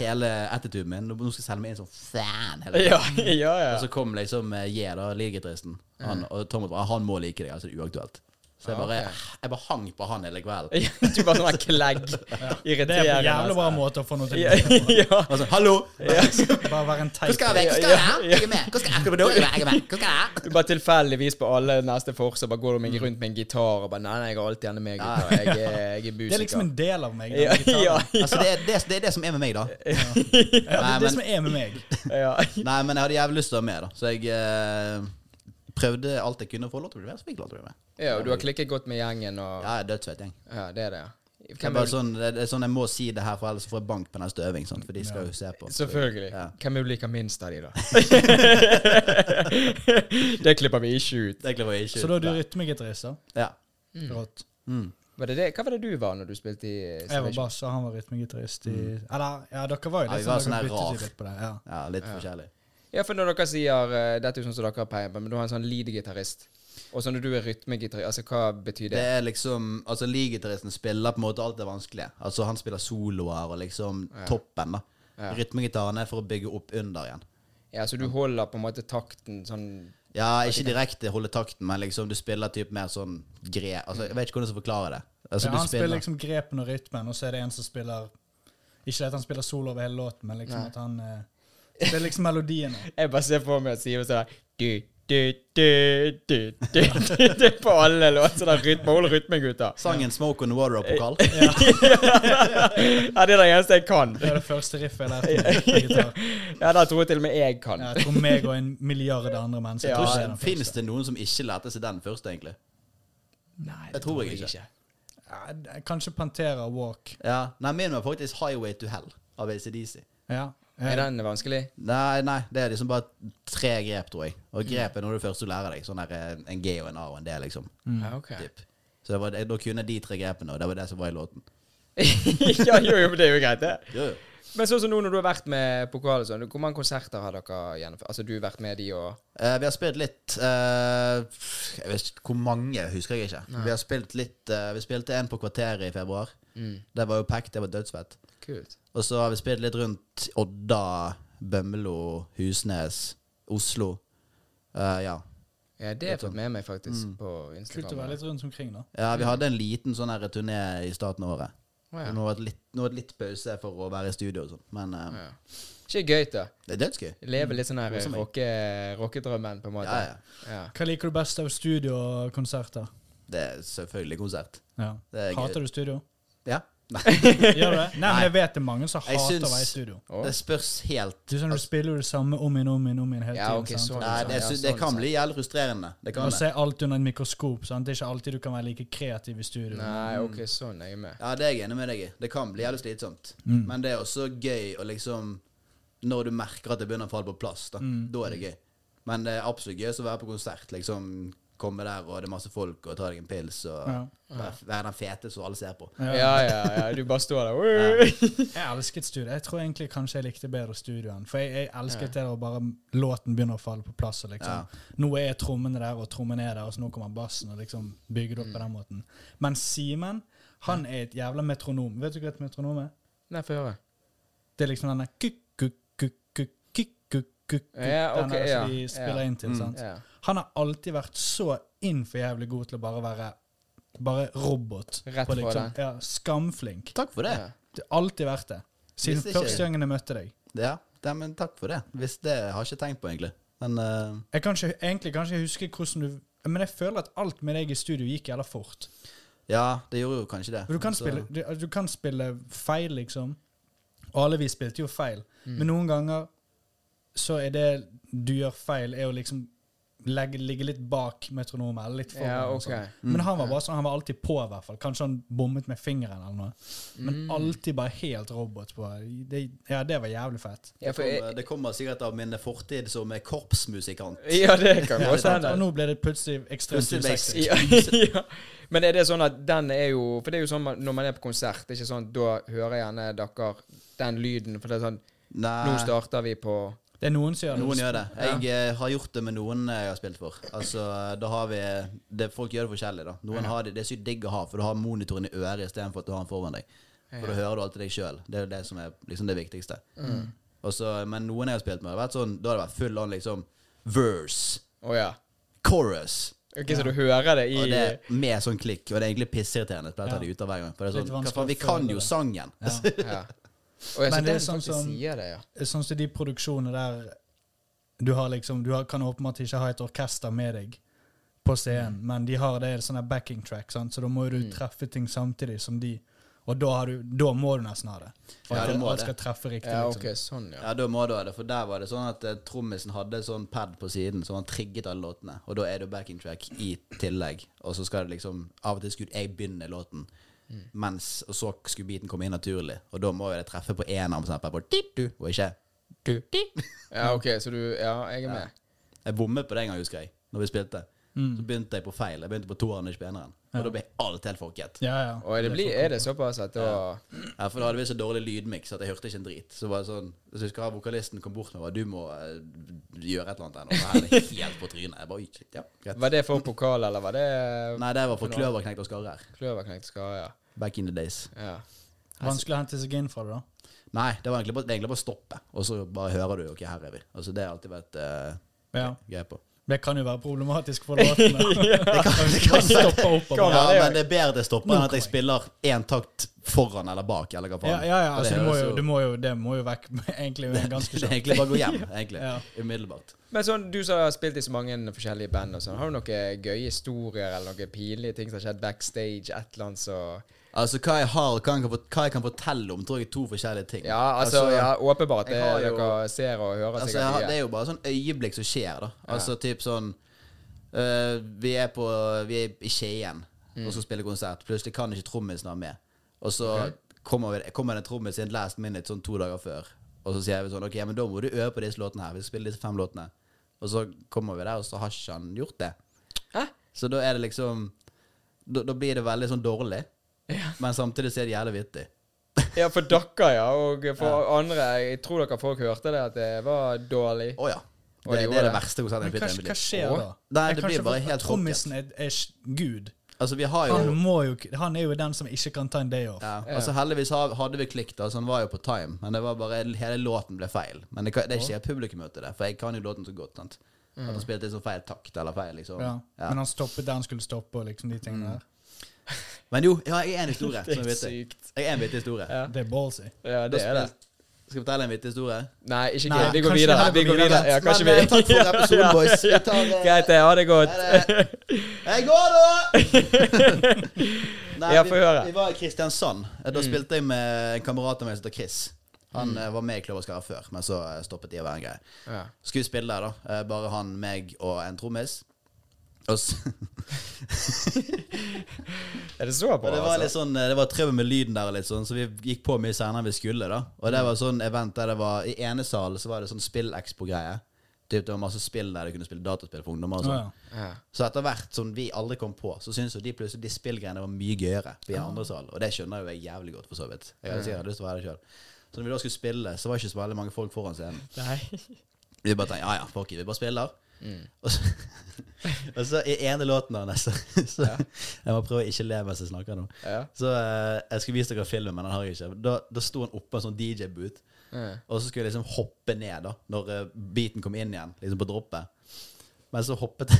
[SPEAKER 3] hele attituden min. Nå nå skal jeg selge meg inn som fan. Hele
[SPEAKER 1] <laughs>
[SPEAKER 3] tiden.
[SPEAKER 1] Ja, ja, ja.
[SPEAKER 3] Og så kom liksom eh, J, da, leadgitaristen. Han, og Thomas bare Han må like deg, altså det er uaktuelt. Så jeg
[SPEAKER 1] Ah,
[SPEAKER 3] bare,
[SPEAKER 1] ok.
[SPEAKER 3] jeg bare hang på han hele kvelden.
[SPEAKER 1] <laughs> du bare sånn her klegg. <laughs>
[SPEAKER 2] Det er
[SPEAKER 1] Irriterende.
[SPEAKER 2] en jævlig bra
[SPEAKER 1] altså. <laughs>
[SPEAKER 2] måte å få noe til.
[SPEAKER 1] Ja, ja.
[SPEAKER 3] Altså, hallo!
[SPEAKER 2] Bare være en
[SPEAKER 3] Hvor
[SPEAKER 2] teit.
[SPEAKER 3] skal jeg? Hvor skal jeg? Jeg er med! Hvor skal jeg? Hvor skal jeg? Jeg er med! Hvor skal jeg? <laughs>
[SPEAKER 1] Du bare tilfeldigvis på alle neste forser bare går du
[SPEAKER 2] Mm.
[SPEAKER 1] med- rundt med en gitar og bare Nei, nei, jeg har alltid gjerne med gitar. Jeg, er- jeg er musiker.
[SPEAKER 2] Det er liksom en del av meg. den
[SPEAKER 1] ja, <laughs>
[SPEAKER 2] gitaren.
[SPEAKER 1] ja,
[SPEAKER 3] Altså, det er det, det er det som er med meg, da.
[SPEAKER 2] Ja, det
[SPEAKER 3] Nei,
[SPEAKER 2] er det
[SPEAKER 3] men-
[SPEAKER 2] som er med meg.
[SPEAKER 1] ja.
[SPEAKER 3] Nei, men jeg hadde jævlig lyst til å være med, da. Så jeg eh, prøvde alt jeg kunne for å få lov til å bli med. Så fikk jeg lov til å bli med.
[SPEAKER 1] ja, og du har klikket godt med gjengen og
[SPEAKER 3] Ja, jeg er dødsfett gjeng.
[SPEAKER 1] Ja, det er det, ja.
[SPEAKER 3] Det er, bare sånn, det er sånn jeg må si det her, for ellers får jeg bank på neste øving. Sant? For de skal jo se på.
[SPEAKER 1] Selvfølgelig.
[SPEAKER 3] Ja.
[SPEAKER 1] Hvem er du liker minst av de,
[SPEAKER 3] <laughs>
[SPEAKER 1] da? det klipper vi ikke ut.
[SPEAKER 3] Det er egentlig bare ikke
[SPEAKER 1] Mm.
[SPEAKER 2] Så da er du rytmegitarist, da?
[SPEAKER 3] Ja.
[SPEAKER 2] Rått.
[SPEAKER 1] Var det det? Hva var det du var når du spilte i eh,
[SPEAKER 2] Jeg var
[SPEAKER 1] Salvation?
[SPEAKER 2] bass, og han var rytmegitarist i
[SPEAKER 1] Mm.
[SPEAKER 2] Eller, ja, dere var jo
[SPEAKER 3] Ja,
[SPEAKER 2] litt
[SPEAKER 3] vi var
[SPEAKER 2] sånn,
[SPEAKER 3] sånn
[SPEAKER 2] dere
[SPEAKER 3] her
[SPEAKER 2] byttet
[SPEAKER 3] rar.
[SPEAKER 2] litt på det. Ja.
[SPEAKER 3] Ja, litt forskjellig.
[SPEAKER 1] Ja, for når dere sier eh, Dette er jo sånn som dere pleier på, men du har en sånn lead-gitarist. Og så når du er rytmegitarist, altså hva betyr
[SPEAKER 3] Det
[SPEAKER 1] det?
[SPEAKER 3] er liksom Altså, leagitaristen spiller på en måte alt det vanskelige. Altså, han spiller soloer og liksom toppen, da. Rytmegitaren er for å bygge opp under igjen.
[SPEAKER 1] Ja, Så du holder på en måte takten sånn
[SPEAKER 3] Ja, ikke direkte holde takten, men liksom du spiller typ mer sånn gre... Altså, jeg vet ikke hvordan jeg skal forklare det. Altså,
[SPEAKER 2] ja,
[SPEAKER 3] du
[SPEAKER 2] han spiller
[SPEAKER 3] spiller
[SPEAKER 2] liksom grepen og rytmen, og så er det en som spiller Ikke at han spiller solo over hele låten, men liksom at han eh, spiller liksom melodiene.
[SPEAKER 3] <laughs>
[SPEAKER 1] Jeg bare ser for meg at Simen sånn der, du, du, du, du, du, du, du, På alle låter. Sånn der rytme. Hold rytmen, gutter.
[SPEAKER 3] sangen 'Smoke on the Water'-pokal.
[SPEAKER 2] Eh,
[SPEAKER 1] Ja, det er det eneste jeg kan.
[SPEAKER 2] Det er det første riffet jeg lærte på gitar.
[SPEAKER 1] Ja, det tror jeg til og med jeg kan.
[SPEAKER 2] Ja, jeg tror meg og en milliard andre mennesker
[SPEAKER 1] Ja,
[SPEAKER 2] tror ikke det er
[SPEAKER 3] Ja,
[SPEAKER 2] den
[SPEAKER 3] Fins
[SPEAKER 2] første.
[SPEAKER 3] det noen som ikke lærte seg den først, egentlig?
[SPEAKER 1] Nei,
[SPEAKER 3] Det tror jeg ikke.
[SPEAKER 2] Ja, det- Kanskje Pantera Walk.
[SPEAKER 3] Ja, Nei, min var faktisk 'Highway to Hell' av ACDC.
[SPEAKER 2] Ja.
[SPEAKER 1] Er
[SPEAKER 2] Eh,
[SPEAKER 1] den vanskelig?
[SPEAKER 3] Nei, nei, det er liksom bare tre grep, tror jeg. Og grep er noe du først du lærer deg. Sånn der eh, en G og en A og en D, liksom.
[SPEAKER 2] Mm.
[SPEAKER 1] Ja, ok.
[SPEAKER 3] Typ. Så det var, da kunne jeg de tre grepene, og det var det som var i låten.
[SPEAKER 1] <laughs> ja, jo, jo, men det er jo greit, det.
[SPEAKER 3] Jo, jo.
[SPEAKER 1] Men sånn som nå når du har vært med pokal og sånn, hvor mange konserter har dere gjennomført? Altså, du har vært med de og
[SPEAKER 3] Eh, vi har spilt litt eh, pff, Jeg vet ikke hvor mange, husker jeg ikke. Vi har spilt litt eh, Vi spilte en på kvarteret i februar.
[SPEAKER 1] Mm.
[SPEAKER 3] Det var jo packed, det var dødsfett.
[SPEAKER 1] Kult.
[SPEAKER 3] Og så har vi spilt litt rundt Odda, Bømlo, Husnes, Oslo. Eh, ja.
[SPEAKER 1] Ja, det har jeg fått med meg
[SPEAKER 3] Mm.
[SPEAKER 1] faktisk på
[SPEAKER 2] Kult å være
[SPEAKER 1] Instagram.
[SPEAKER 2] litt rundt omkring, da.
[SPEAKER 3] ja. Vi hadde en liten sånn her turné i starten av året.
[SPEAKER 1] Å, ja.
[SPEAKER 3] Nå har det vært litt, nå har det litt pause for å være i studio og sånn, men eh,
[SPEAKER 1] Ja. Ikke gøy, da.
[SPEAKER 3] det er dødsgøy.
[SPEAKER 1] Leve litt sånn her
[SPEAKER 3] Koser meg.
[SPEAKER 1] rocke- rockedrømmen, på en måte.
[SPEAKER 3] Ja, ja.
[SPEAKER 1] Ja.
[SPEAKER 2] Hva liker du best av studio og konserter?
[SPEAKER 3] Det er selvfølgelig konsert.
[SPEAKER 2] Ja.
[SPEAKER 3] Det er gøy.
[SPEAKER 2] Hater du
[SPEAKER 3] <laughs>
[SPEAKER 2] studio?
[SPEAKER 3] Ja. Nei,
[SPEAKER 2] Gjør du det? Nei, men jeg vet det er mange som
[SPEAKER 3] Jeg
[SPEAKER 2] hater å
[SPEAKER 3] syns- Altså-
[SPEAKER 2] være i studio.
[SPEAKER 1] Å.
[SPEAKER 3] det spørs helt
[SPEAKER 2] Du, sånn, du spiller jo det samme om igjen, om igjen, om igjen hele
[SPEAKER 1] Ja,
[SPEAKER 2] tiden.
[SPEAKER 1] ok,
[SPEAKER 2] sant?
[SPEAKER 1] sånn.
[SPEAKER 3] Nei, det,
[SPEAKER 1] Ja,
[SPEAKER 3] sy- det
[SPEAKER 1] sånn
[SPEAKER 3] kan
[SPEAKER 1] sett.
[SPEAKER 3] bli jævlig frustrerende. Det
[SPEAKER 2] Og
[SPEAKER 3] kan
[SPEAKER 2] så
[SPEAKER 3] det.
[SPEAKER 2] er alt under et mikroskop. Sant? Det er ikke alltid du kan være like kreativ i studio.
[SPEAKER 1] Nei,
[SPEAKER 3] Mm.
[SPEAKER 1] ok, sånn er jeg med.
[SPEAKER 3] Ja, det er jeg enig med deg i. Det kan bli jævlig slitsomt.
[SPEAKER 2] Mm.
[SPEAKER 3] Men det er også gøy å liksom Når du merker at det begynner å falle på plass, da,
[SPEAKER 2] Mm.
[SPEAKER 3] da er det gøy. Men det er absolutt gøy å være på konsert. Liksom Komme der, og det er masse folk, og ta deg en pils, og
[SPEAKER 2] Ja.
[SPEAKER 3] være- være den fete som alle ser på.
[SPEAKER 1] Ja, ja, ja, du bare står der. «Oi!»
[SPEAKER 2] Jeg elsket studio. Jeg tror egentlig kanskje jeg likte bedre studio enn For jeg, jeg elsket det der å bare låten begynner å falle på plass. Og liksom. Nå er trommene der, og trommene er der, og så nå kommer bassen. og liksom bygger det opp
[SPEAKER 3] Mm.
[SPEAKER 2] på den måten. Men Simen, han er et jævla metronom. Vet du hva et metronom er?
[SPEAKER 1] Nei, få høre.
[SPEAKER 2] Det er liksom denne kukk-kukk-kukk-kukk-kukk.
[SPEAKER 1] Ja, ok,
[SPEAKER 2] den der som de
[SPEAKER 1] ja,
[SPEAKER 2] spiller
[SPEAKER 1] ja. Mm.
[SPEAKER 2] inn til. sant?
[SPEAKER 1] Ja.
[SPEAKER 2] Han har alltid vært så innfor jævlig god til å bare være bare robot.
[SPEAKER 1] Rett
[SPEAKER 2] på
[SPEAKER 1] på
[SPEAKER 2] liksom, ja, Skamflink.
[SPEAKER 3] Takk for det.
[SPEAKER 1] Ja.
[SPEAKER 2] Det har alltid vært det. Siden
[SPEAKER 3] Visste ikke
[SPEAKER 2] første
[SPEAKER 3] jeg.
[SPEAKER 2] gangen jeg møtte deg.
[SPEAKER 3] Ja, ja men takk for det. Hvis det har jeg ikke tenkt på, egentlig. Men eh,
[SPEAKER 2] Jeg kan ikke, egentlig kan ikke huske hvordan du Men jeg føler at alt med deg i studio gikk jævla fort.
[SPEAKER 3] ja, det gjorde jo kanskje det.
[SPEAKER 2] For du kan,
[SPEAKER 3] Så-
[SPEAKER 2] spille, du, du kan spille feil, liksom. Og alle vi spilte jo feil.
[SPEAKER 3] Mm.
[SPEAKER 2] Men noen ganger så er det du gjør feil, er å liksom legge, ligge litt bak metronomen. Eller litt foran.
[SPEAKER 1] Ja,
[SPEAKER 2] og
[SPEAKER 1] ok.
[SPEAKER 2] sånn.
[SPEAKER 3] Mm.
[SPEAKER 2] Men han var bare sånn, han var alltid på, i hvert fall. Kanskje han bommet med fingeren eller noe.
[SPEAKER 1] Mm.
[SPEAKER 2] Men
[SPEAKER 3] Mm.
[SPEAKER 2] alltid bare helt robot på. Det, ja, det var jævlig fett.
[SPEAKER 1] Ja,
[SPEAKER 3] det,
[SPEAKER 1] for jeg,
[SPEAKER 3] kommer, det kommer sikkert av min fortid som korpsmusikant.
[SPEAKER 1] ja, det kan sånn,
[SPEAKER 3] Ja,
[SPEAKER 1] godt
[SPEAKER 3] sant.
[SPEAKER 1] hende.
[SPEAKER 2] Og nå ble det plutselig ekstremt
[SPEAKER 3] Plutselig ble jeg-
[SPEAKER 2] 260.
[SPEAKER 1] Ja, <laughs> ja. Men er det sånn at den er jo For det er jo sånn man- når man er på konsert, det er ikke sånn da hører jeg gjerne dere den lyden, for det er sånn Nå
[SPEAKER 3] Nei.
[SPEAKER 1] starter vi på
[SPEAKER 2] Det er noen som gjør det.
[SPEAKER 3] Noen gjør det. Jeg eh, har gjort det med noen eh, jeg har spilt for. Altså, da har vi det, Folk gjør det forskjellig, da. Noen har det, det er sykt digg å ha, for du har monitoren i øret istedenfor at du har den foran deg. For da hører du alltid deg sjøl. Det er jo det som er liksom det viktigste. Og så- men noen jeg har spilt med, har vært sånn, da har det vært full on liksom verse,
[SPEAKER 1] Å ja.
[SPEAKER 3] chorus.
[SPEAKER 1] Ok, Så du hører det i
[SPEAKER 3] Og det er med sånn klikk. Og det er egentlig pissirriterende. for Jeg tar det ut av hver gang. For det er
[SPEAKER 2] Litt
[SPEAKER 3] sånn, hva
[SPEAKER 2] vanskelig
[SPEAKER 3] faen, vi
[SPEAKER 2] å
[SPEAKER 3] kan
[SPEAKER 2] føle
[SPEAKER 3] jo
[SPEAKER 2] det.
[SPEAKER 3] sangen.
[SPEAKER 1] ja. Og jeg
[SPEAKER 2] Men
[SPEAKER 1] så
[SPEAKER 2] det er
[SPEAKER 1] den
[SPEAKER 2] sånn
[SPEAKER 1] faktisk
[SPEAKER 2] som-
[SPEAKER 1] sier det, ja.
[SPEAKER 2] sånn som de produksjonene der du har liksom, du har, kan åpenbart ikke ha et orkester med deg på scenen,
[SPEAKER 3] Mm.
[SPEAKER 2] men de har det sånn der backing track, sant? så da må jo du treffe ting samtidig som de, og da, har du, da må du nesten ha det. For
[SPEAKER 3] Ja,
[SPEAKER 2] at
[SPEAKER 3] du må
[SPEAKER 2] alt
[SPEAKER 3] det.
[SPEAKER 2] skal treffe riktig.
[SPEAKER 1] Ja,
[SPEAKER 2] liksom.
[SPEAKER 1] ok, sånn, ja.
[SPEAKER 3] Ja, da må du ha det, for der var det sånn at eh, trommisen hadde sånn pad på siden, så han trigget alle låtene. Og da er det backing track i tillegg. Og så skal det liksom Av og til skulle jeg begynne låten, mens Og så skulle beaten komme inn naturlig. Og da må jo det treffe på én arm, for eksempel. På dit-du, og ikke
[SPEAKER 1] Ja, ok, så du Ja, jeg er med.
[SPEAKER 3] Jeg bommet på det en gang, husker jeg, når vi spilte. Så begynte jeg på feil. Jeg begynte på toeren, ikke på eneren. Og da ble alt helt folket.
[SPEAKER 2] Ja, ja.
[SPEAKER 1] Og er det, bli, er det såpass at da
[SPEAKER 3] Ja, for da hadde vi så dårlig lydmiks at jeg hørte ikke en drit. Så var det sånn, så husker jeg vokalisten kom bort med meg, du må eh, gjøre et eller annet her nå. for her er det helt på trynet. Jeg bare, «Oi, shit, ja, greit.
[SPEAKER 1] Var det for pokal, eller var det
[SPEAKER 3] Nei, det var for kløverknekt og skarrer.
[SPEAKER 1] kløverknekt skade?
[SPEAKER 3] Back in the days.
[SPEAKER 1] Ja.
[SPEAKER 2] Vanskelig å hente seg inn for det, da.
[SPEAKER 3] Nei, det var egentlig bare, det er egentlig bare å stoppe, og så bare hører du, ok, her er vi. Altså, det har alltid vært eh,
[SPEAKER 2] Ja.
[SPEAKER 3] greie på.
[SPEAKER 2] Det kan jo være problematisk
[SPEAKER 3] <laughs>
[SPEAKER 2] for låtene.
[SPEAKER 3] Det kan,
[SPEAKER 2] Stoppe opp og
[SPEAKER 1] Kan-
[SPEAKER 2] bare.
[SPEAKER 3] Ja,
[SPEAKER 1] det er-
[SPEAKER 3] men det er bedre det stopper enn at jeg spiller én takt foran eller bak. Eller hva faen.
[SPEAKER 2] Ja, ja, ja
[SPEAKER 3] For det
[SPEAKER 2] altså, du må
[SPEAKER 3] høres
[SPEAKER 2] jo, du må jo, det må jo vekk <laughs> med- egentlig med en ganske
[SPEAKER 3] <laughs> Det er
[SPEAKER 2] kjapt.
[SPEAKER 3] egentlig bare å gå hjem.
[SPEAKER 2] <laughs>
[SPEAKER 3] egentlig,
[SPEAKER 2] Ja.
[SPEAKER 3] Umiddelbart.
[SPEAKER 1] Men sånn, du som har spilt i så mange forskjellige band og sånn, har du noen gøye historier eller noen pinlige ting som har skjedd backstage, et eller annet så
[SPEAKER 3] Altså, hva jeg har, hva jeg kan, fort- hva jeg kan fortelle om, tror jeg er to forskjellige ting.
[SPEAKER 1] Ja, altså, ja, åpenbart. Det
[SPEAKER 3] jeg har jo-
[SPEAKER 1] dere ser og hører
[SPEAKER 3] altså, jeg
[SPEAKER 1] sikkert
[SPEAKER 3] har, det
[SPEAKER 1] mye.
[SPEAKER 3] er jo bare sånn øyeblikk som skjer, da. Altså typ sånn øh, Vi er på Vi er i Skien og skal spille konsert. Plutselig kan ikke trommisen være med. Og så kommer, vi, kommer det en trommis inn last minute sånn to dager før. Og så sier vi sånn Ok, men da må du øve på disse låtene her. Vi skal spille disse fem låtene. Og så kommer vi der, og så har ikke han gjort det.
[SPEAKER 1] Hæ?
[SPEAKER 3] Så da er det liksom Da, da blir det veldig sånn dårlig. Men samtidig så er det jævlig vittig.
[SPEAKER 1] Ja, for dere, ja. Og for andre Jeg tror dere folk hørte det, at det var dårlig.
[SPEAKER 3] Å ja.
[SPEAKER 1] Og
[SPEAKER 3] Det,
[SPEAKER 1] det
[SPEAKER 3] det er
[SPEAKER 1] gjorde
[SPEAKER 3] det
[SPEAKER 1] det.
[SPEAKER 3] verste konsertet jeg
[SPEAKER 2] Men hva,
[SPEAKER 3] har blitt i mitt
[SPEAKER 2] hva
[SPEAKER 3] liv.
[SPEAKER 2] skjer da?
[SPEAKER 3] Nei,
[SPEAKER 2] Jeg
[SPEAKER 3] det
[SPEAKER 2] kan
[SPEAKER 3] blir
[SPEAKER 2] ikke
[SPEAKER 3] bare
[SPEAKER 2] få-
[SPEAKER 3] helt
[SPEAKER 2] Trommisen er, er s- gud.
[SPEAKER 3] Altså, vi har jo
[SPEAKER 2] Han, må jo, k- han er jo den som ikke kan ta en day off.
[SPEAKER 3] Ja.
[SPEAKER 1] Eh.
[SPEAKER 3] Altså Heldigvis ha- hadde vi klikk, da, så han var jo på time. Men det var bare hele låten ble feil. Men det, kan- det skjer publikummøte, det. For jeg kan jo låten så godt. sant?
[SPEAKER 1] Mm.
[SPEAKER 3] At han spilte i sånn feil takt eller feil, liksom.
[SPEAKER 2] Ja.
[SPEAKER 3] Ja.
[SPEAKER 2] Men han stoppet der han skulle stoppe. og liksom de tingene der.
[SPEAKER 3] Men jo, ja, jeg er en historie.
[SPEAKER 1] Det er
[SPEAKER 3] som er vittig.
[SPEAKER 1] sykt.
[SPEAKER 3] Jeg er en vittig historie.
[SPEAKER 1] Ja.
[SPEAKER 2] Det er ballsy.
[SPEAKER 1] Ja,
[SPEAKER 3] Da
[SPEAKER 1] det er det.
[SPEAKER 3] spil- Skal jeg fortelle en vittig historie?
[SPEAKER 1] Nei, ikke
[SPEAKER 2] Nei,
[SPEAKER 1] gøy. Vi går
[SPEAKER 2] kanskje
[SPEAKER 1] videre.
[SPEAKER 2] heller
[SPEAKER 1] Vi går videre. Ja, kanskje vi
[SPEAKER 3] Men, eh, takk for episoden,
[SPEAKER 1] <laughs> Ja,
[SPEAKER 3] boys.
[SPEAKER 1] ja,
[SPEAKER 3] Vi tar, eh,
[SPEAKER 1] Greit, det. Ha det godt.
[SPEAKER 3] Ha det. <laughs> Jeg går, da!
[SPEAKER 1] <laughs>
[SPEAKER 3] Nei,
[SPEAKER 1] Ja,
[SPEAKER 3] vi,
[SPEAKER 1] få høre. Mm.
[SPEAKER 3] vi var i Kristiansand. Da spilte jeg med en kamerat av meg som heter Chris. Han eh, var med i Kløverskara før, men så eh, stoppet de å være en greie.
[SPEAKER 1] Ja.
[SPEAKER 3] Skulle vi spille der, da. Eh, Bare han, meg og en trommis. Og s- <laughs>
[SPEAKER 1] Er det så
[SPEAKER 3] og
[SPEAKER 1] bra,
[SPEAKER 3] det var litt
[SPEAKER 1] altså?
[SPEAKER 3] sånn eh, Det var trøbbel med lyden der, og litt sånn så vi gikk på mye senere enn vi skulle. da Og
[SPEAKER 1] Mm.
[SPEAKER 3] det var sånn event der det var I ene sal så var det sånn spillekspo-greie. Typ, Det var masse spill der de kunne spille dataspill for ungdommer. og sånn
[SPEAKER 2] Å, ja.
[SPEAKER 1] Ja.
[SPEAKER 3] Så etter hvert som vi aldri kom på, så syntes jo de plutselig de spillgreiene var mye gøyere. Vi i andre sal, og det skjønner jo jeg jævlig godt, for så vidt. Jeg hadde sikkert lyst til å være det selv Så når vi da skulle spille, så var det ikke så veldig mange folk foran scenen. <laughs> Vi bare tenkte ja ja, fuck it, vi bare spiller. <laughs> Og, så, og så i ene låten hans så, <laughs> så Jeg må prøve å ikke le mens jeg snakker nå.
[SPEAKER 1] Ja.
[SPEAKER 3] Så eh, jeg skulle vise dere filmen, men den har jeg ikke. Da, da sto han oppe på en sånn DJ-boot, og så skulle jeg liksom hoppe ned da når eh, beaten kom inn igjen, liksom på droppet. Men så hoppet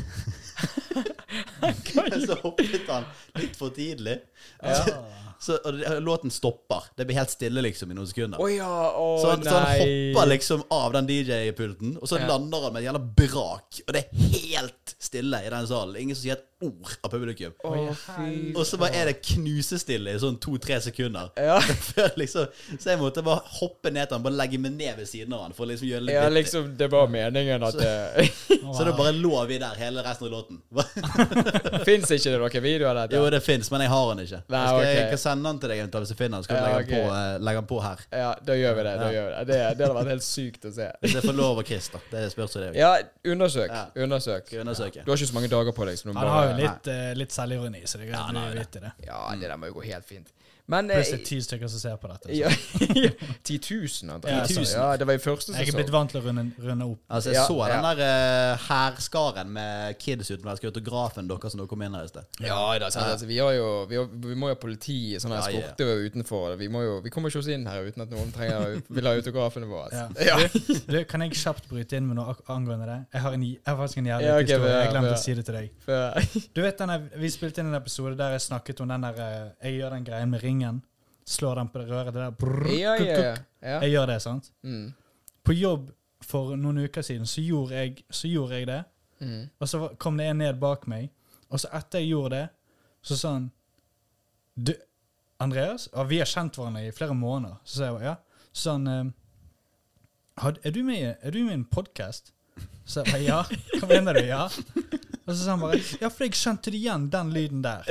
[SPEAKER 3] Men <laughs> så hoppet han litt for tidlig. <laughs> Så, og det- låten stopper. Det blir helt stille liksom i noen sekunder.
[SPEAKER 1] Å ja, å
[SPEAKER 3] Så han, så han hopper
[SPEAKER 1] nei.
[SPEAKER 3] liksom av den DJ-pulten, og så
[SPEAKER 1] Ja.
[SPEAKER 3] lander han med et jævla brak. Og det er helt stille i den salen. Ingen som sier et ord av publikum.
[SPEAKER 1] Å, fy
[SPEAKER 3] Og så bare er det knusestille i sånn to-tre sekunder.
[SPEAKER 1] Ja.
[SPEAKER 3] <laughs> Før liksom, så jeg måtte bare hoppe ned til han, bare legge meg ned ved siden av han. For å liksom gjøre det litt
[SPEAKER 1] Ja,
[SPEAKER 3] vittig.
[SPEAKER 1] liksom, det var meningen at det
[SPEAKER 3] Så da bare lå vi der hele resten av låten.
[SPEAKER 1] Fins ikke det noen video av dette?
[SPEAKER 3] jo, det fins, men jeg har han ikke.
[SPEAKER 1] Nei,
[SPEAKER 3] jeg, skal, jeg
[SPEAKER 1] ok.
[SPEAKER 3] kan sende han til deg eventuelt hvis jeg finner han. Så kan jeg
[SPEAKER 1] Ja,
[SPEAKER 3] legge, han på, eh, legge han på her.
[SPEAKER 1] Ja, da gjør vi det. da gjør vi Det Det, det hadde vært helt sykt å se.
[SPEAKER 3] Hvis jeg får lov av Chris, da. Det spørs jo det.
[SPEAKER 1] Ja, undersøk.
[SPEAKER 3] Ja.
[SPEAKER 1] Undersøk.
[SPEAKER 3] Skal jeg undersøke.
[SPEAKER 1] Du har ikke så mange dager på deg. Så du må,
[SPEAKER 2] Han har jo litt, eh, litt selvironi, så det er greit at vi vet det.
[SPEAKER 1] Ja, det der må jo gå helt fint. Men
[SPEAKER 2] Pluss det er
[SPEAKER 1] eh,
[SPEAKER 2] ti stykker som ser på dette. så.
[SPEAKER 1] <laughs> ja, 10 000,
[SPEAKER 2] Ja,
[SPEAKER 1] antakelig.
[SPEAKER 2] 10 000.
[SPEAKER 1] Ja, det var i første
[SPEAKER 2] Jeg er blitt
[SPEAKER 1] sesong.
[SPEAKER 2] vant til å runde, runde opp.
[SPEAKER 3] Altså, jeg
[SPEAKER 1] Ja,
[SPEAKER 3] så den
[SPEAKER 1] ja.
[SPEAKER 3] der uh, hærskaren med kids utenlandsk, autografen deres som dere kom inn her i sted.
[SPEAKER 1] Ja, da, sant, altså, vi, har jo, vi, har, vi må jo ha politi, sånne her
[SPEAKER 3] Ja, ja.
[SPEAKER 1] eskorter utenfor. Vi, må jo, vi kommer ikke oss inn her uten at noen trenger, vil ha autografene våre.
[SPEAKER 2] Ja.
[SPEAKER 1] Altså. Ja. <laughs>
[SPEAKER 2] Du, kan jeg kjapt bryte inn med noe ak- angående det? Jeg har, en, j- jeg har faktisk en jævlig
[SPEAKER 1] Ja, ok,
[SPEAKER 2] historie.
[SPEAKER 1] bra,
[SPEAKER 2] Jeg glemte
[SPEAKER 1] bra.
[SPEAKER 2] å si det til deg.
[SPEAKER 1] For,
[SPEAKER 2] Du vet denne, Vi spilte inn en episode der jeg snakket om den der eh, Jeg gjør den greien med ringen. Slår den på det røret. Det der brrr,
[SPEAKER 1] ja,
[SPEAKER 2] kuk,
[SPEAKER 1] ja,
[SPEAKER 2] kuk.
[SPEAKER 1] ja. ja.
[SPEAKER 2] Jeg gjør det, sant?
[SPEAKER 1] Mm.
[SPEAKER 2] På jobb for noen uker siden så gjorde jeg, så gjorde jeg det.
[SPEAKER 1] Mm.
[SPEAKER 2] Og så var- kom det en ned bak meg. Og så etter jeg gjorde det, så sa han Du, Andreas? Ja, vi har kjent hverandre i flere måneder. Så sa jeg bare, ja. Så sa han ehm, «Har- Er du med, i- er du med i en podkast? Så jeg bare, ja. Hva mener du? Ja. Og så sa han bare Ja, for jeg kjente det
[SPEAKER 1] <laughs>
[SPEAKER 2] igjen, den lyden der.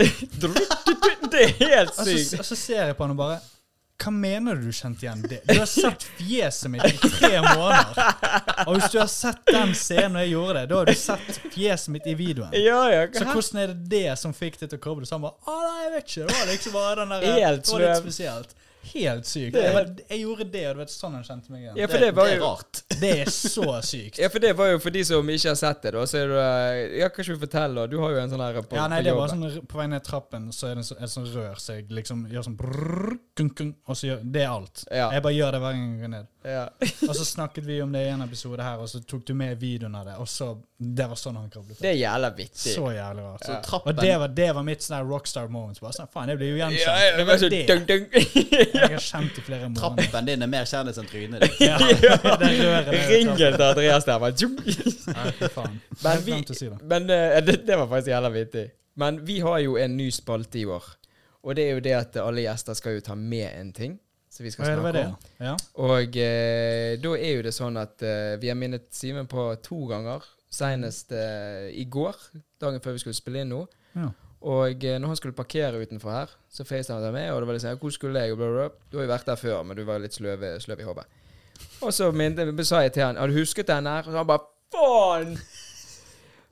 [SPEAKER 1] Det er helt
[SPEAKER 2] Og så,
[SPEAKER 1] sykt!
[SPEAKER 2] og så ser jeg på han og bare Hva mener du du kjente igjen det? Du har sett fjeset mitt i tre måneder. Og hvis du har sett den scenen jeg gjorde det, da har du sett fjeset mitt i videoen.
[SPEAKER 1] Ja, ja,
[SPEAKER 2] Så hvordan er det det som fikk det til å koble sammen? Å nei, jeg vet ikke. Det var liksom bare den der
[SPEAKER 1] Helt
[SPEAKER 2] Det var litt
[SPEAKER 1] sløv.
[SPEAKER 2] spesielt. Helt sykt.
[SPEAKER 1] Det-
[SPEAKER 2] Jeg, var- jeg gjorde det, og det var sånn han kjente meg igjen.
[SPEAKER 1] Ja, for det var
[SPEAKER 3] er
[SPEAKER 1] jo-
[SPEAKER 3] rart.
[SPEAKER 2] Det er så
[SPEAKER 1] <laughs>
[SPEAKER 2] sykt.
[SPEAKER 1] Ja, for det var jo for de som ikke har sett det, da. Så er du eh, Ja, kan ikke du fortelle, da? Du har jo en sånn her på,
[SPEAKER 2] Ja, nei,
[SPEAKER 1] på
[SPEAKER 2] det var
[SPEAKER 1] jobben.
[SPEAKER 2] sånn r- På vei ned trappen så er det en så- et sånt rør, så jeg liksom gjør sånn brrrr, kung, kung, og så gjør Det er alt.
[SPEAKER 1] Ja.
[SPEAKER 2] Jeg bare gjør det hver gang jeg går ned.
[SPEAKER 1] Ja.
[SPEAKER 2] Og så snakket vi om det i en episode her, og så tok du med videoen av det, og så Det var sånn han koblet på.
[SPEAKER 1] Det er jævla vittig.
[SPEAKER 2] Så jævlig rart.
[SPEAKER 3] Så
[SPEAKER 2] Og
[SPEAKER 3] trappen
[SPEAKER 2] det var, det var mitt sånn her rockstar moment. Bare sånn, faen, jeg blir jo gjenkjent.
[SPEAKER 1] ja, ja, det var så
[SPEAKER 2] det.
[SPEAKER 1] dung, dung.
[SPEAKER 2] <laughs> Jeg har kjent i flere
[SPEAKER 1] <laughs>
[SPEAKER 2] måneder.
[SPEAKER 3] Trappen din er mer kjendis enn trynet ditt.
[SPEAKER 2] Ja, <laughs> det røret der.
[SPEAKER 1] Ringen til Andreas der var tjung.
[SPEAKER 2] Nei, fy faen.
[SPEAKER 1] Men,
[SPEAKER 2] Helt
[SPEAKER 1] vi,
[SPEAKER 2] glemt å si det.
[SPEAKER 1] men eh, det, det var faktisk jævla vittig. Men vi har jo en ny spalte i år. Og det er jo det at alle gjester skal jo ta med en ting. Så vi skal
[SPEAKER 2] Ja, det var
[SPEAKER 1] snakke om.
[SPEAKER 2] det. Ja.
[SPEAKER 1] Og eh, da er jo det sånn at eh, vi har minnet Simen på to ganger. Senest eh, i går, dagen før vi skulle spille inn nå.
[SPEAKER 2] Ja.
[SPEAKER 1] Og eh, når han skulle parkere utenfor her, så facetima han meg, og det var liksom 'Hvor skulle jeg?' og bla, bla, bla. Du har jo vært der før, men du var litt sløv, sløv i hodet. Og så minte- sa jeg til han 'Har du husket den her?' Og han bare 'Faen!'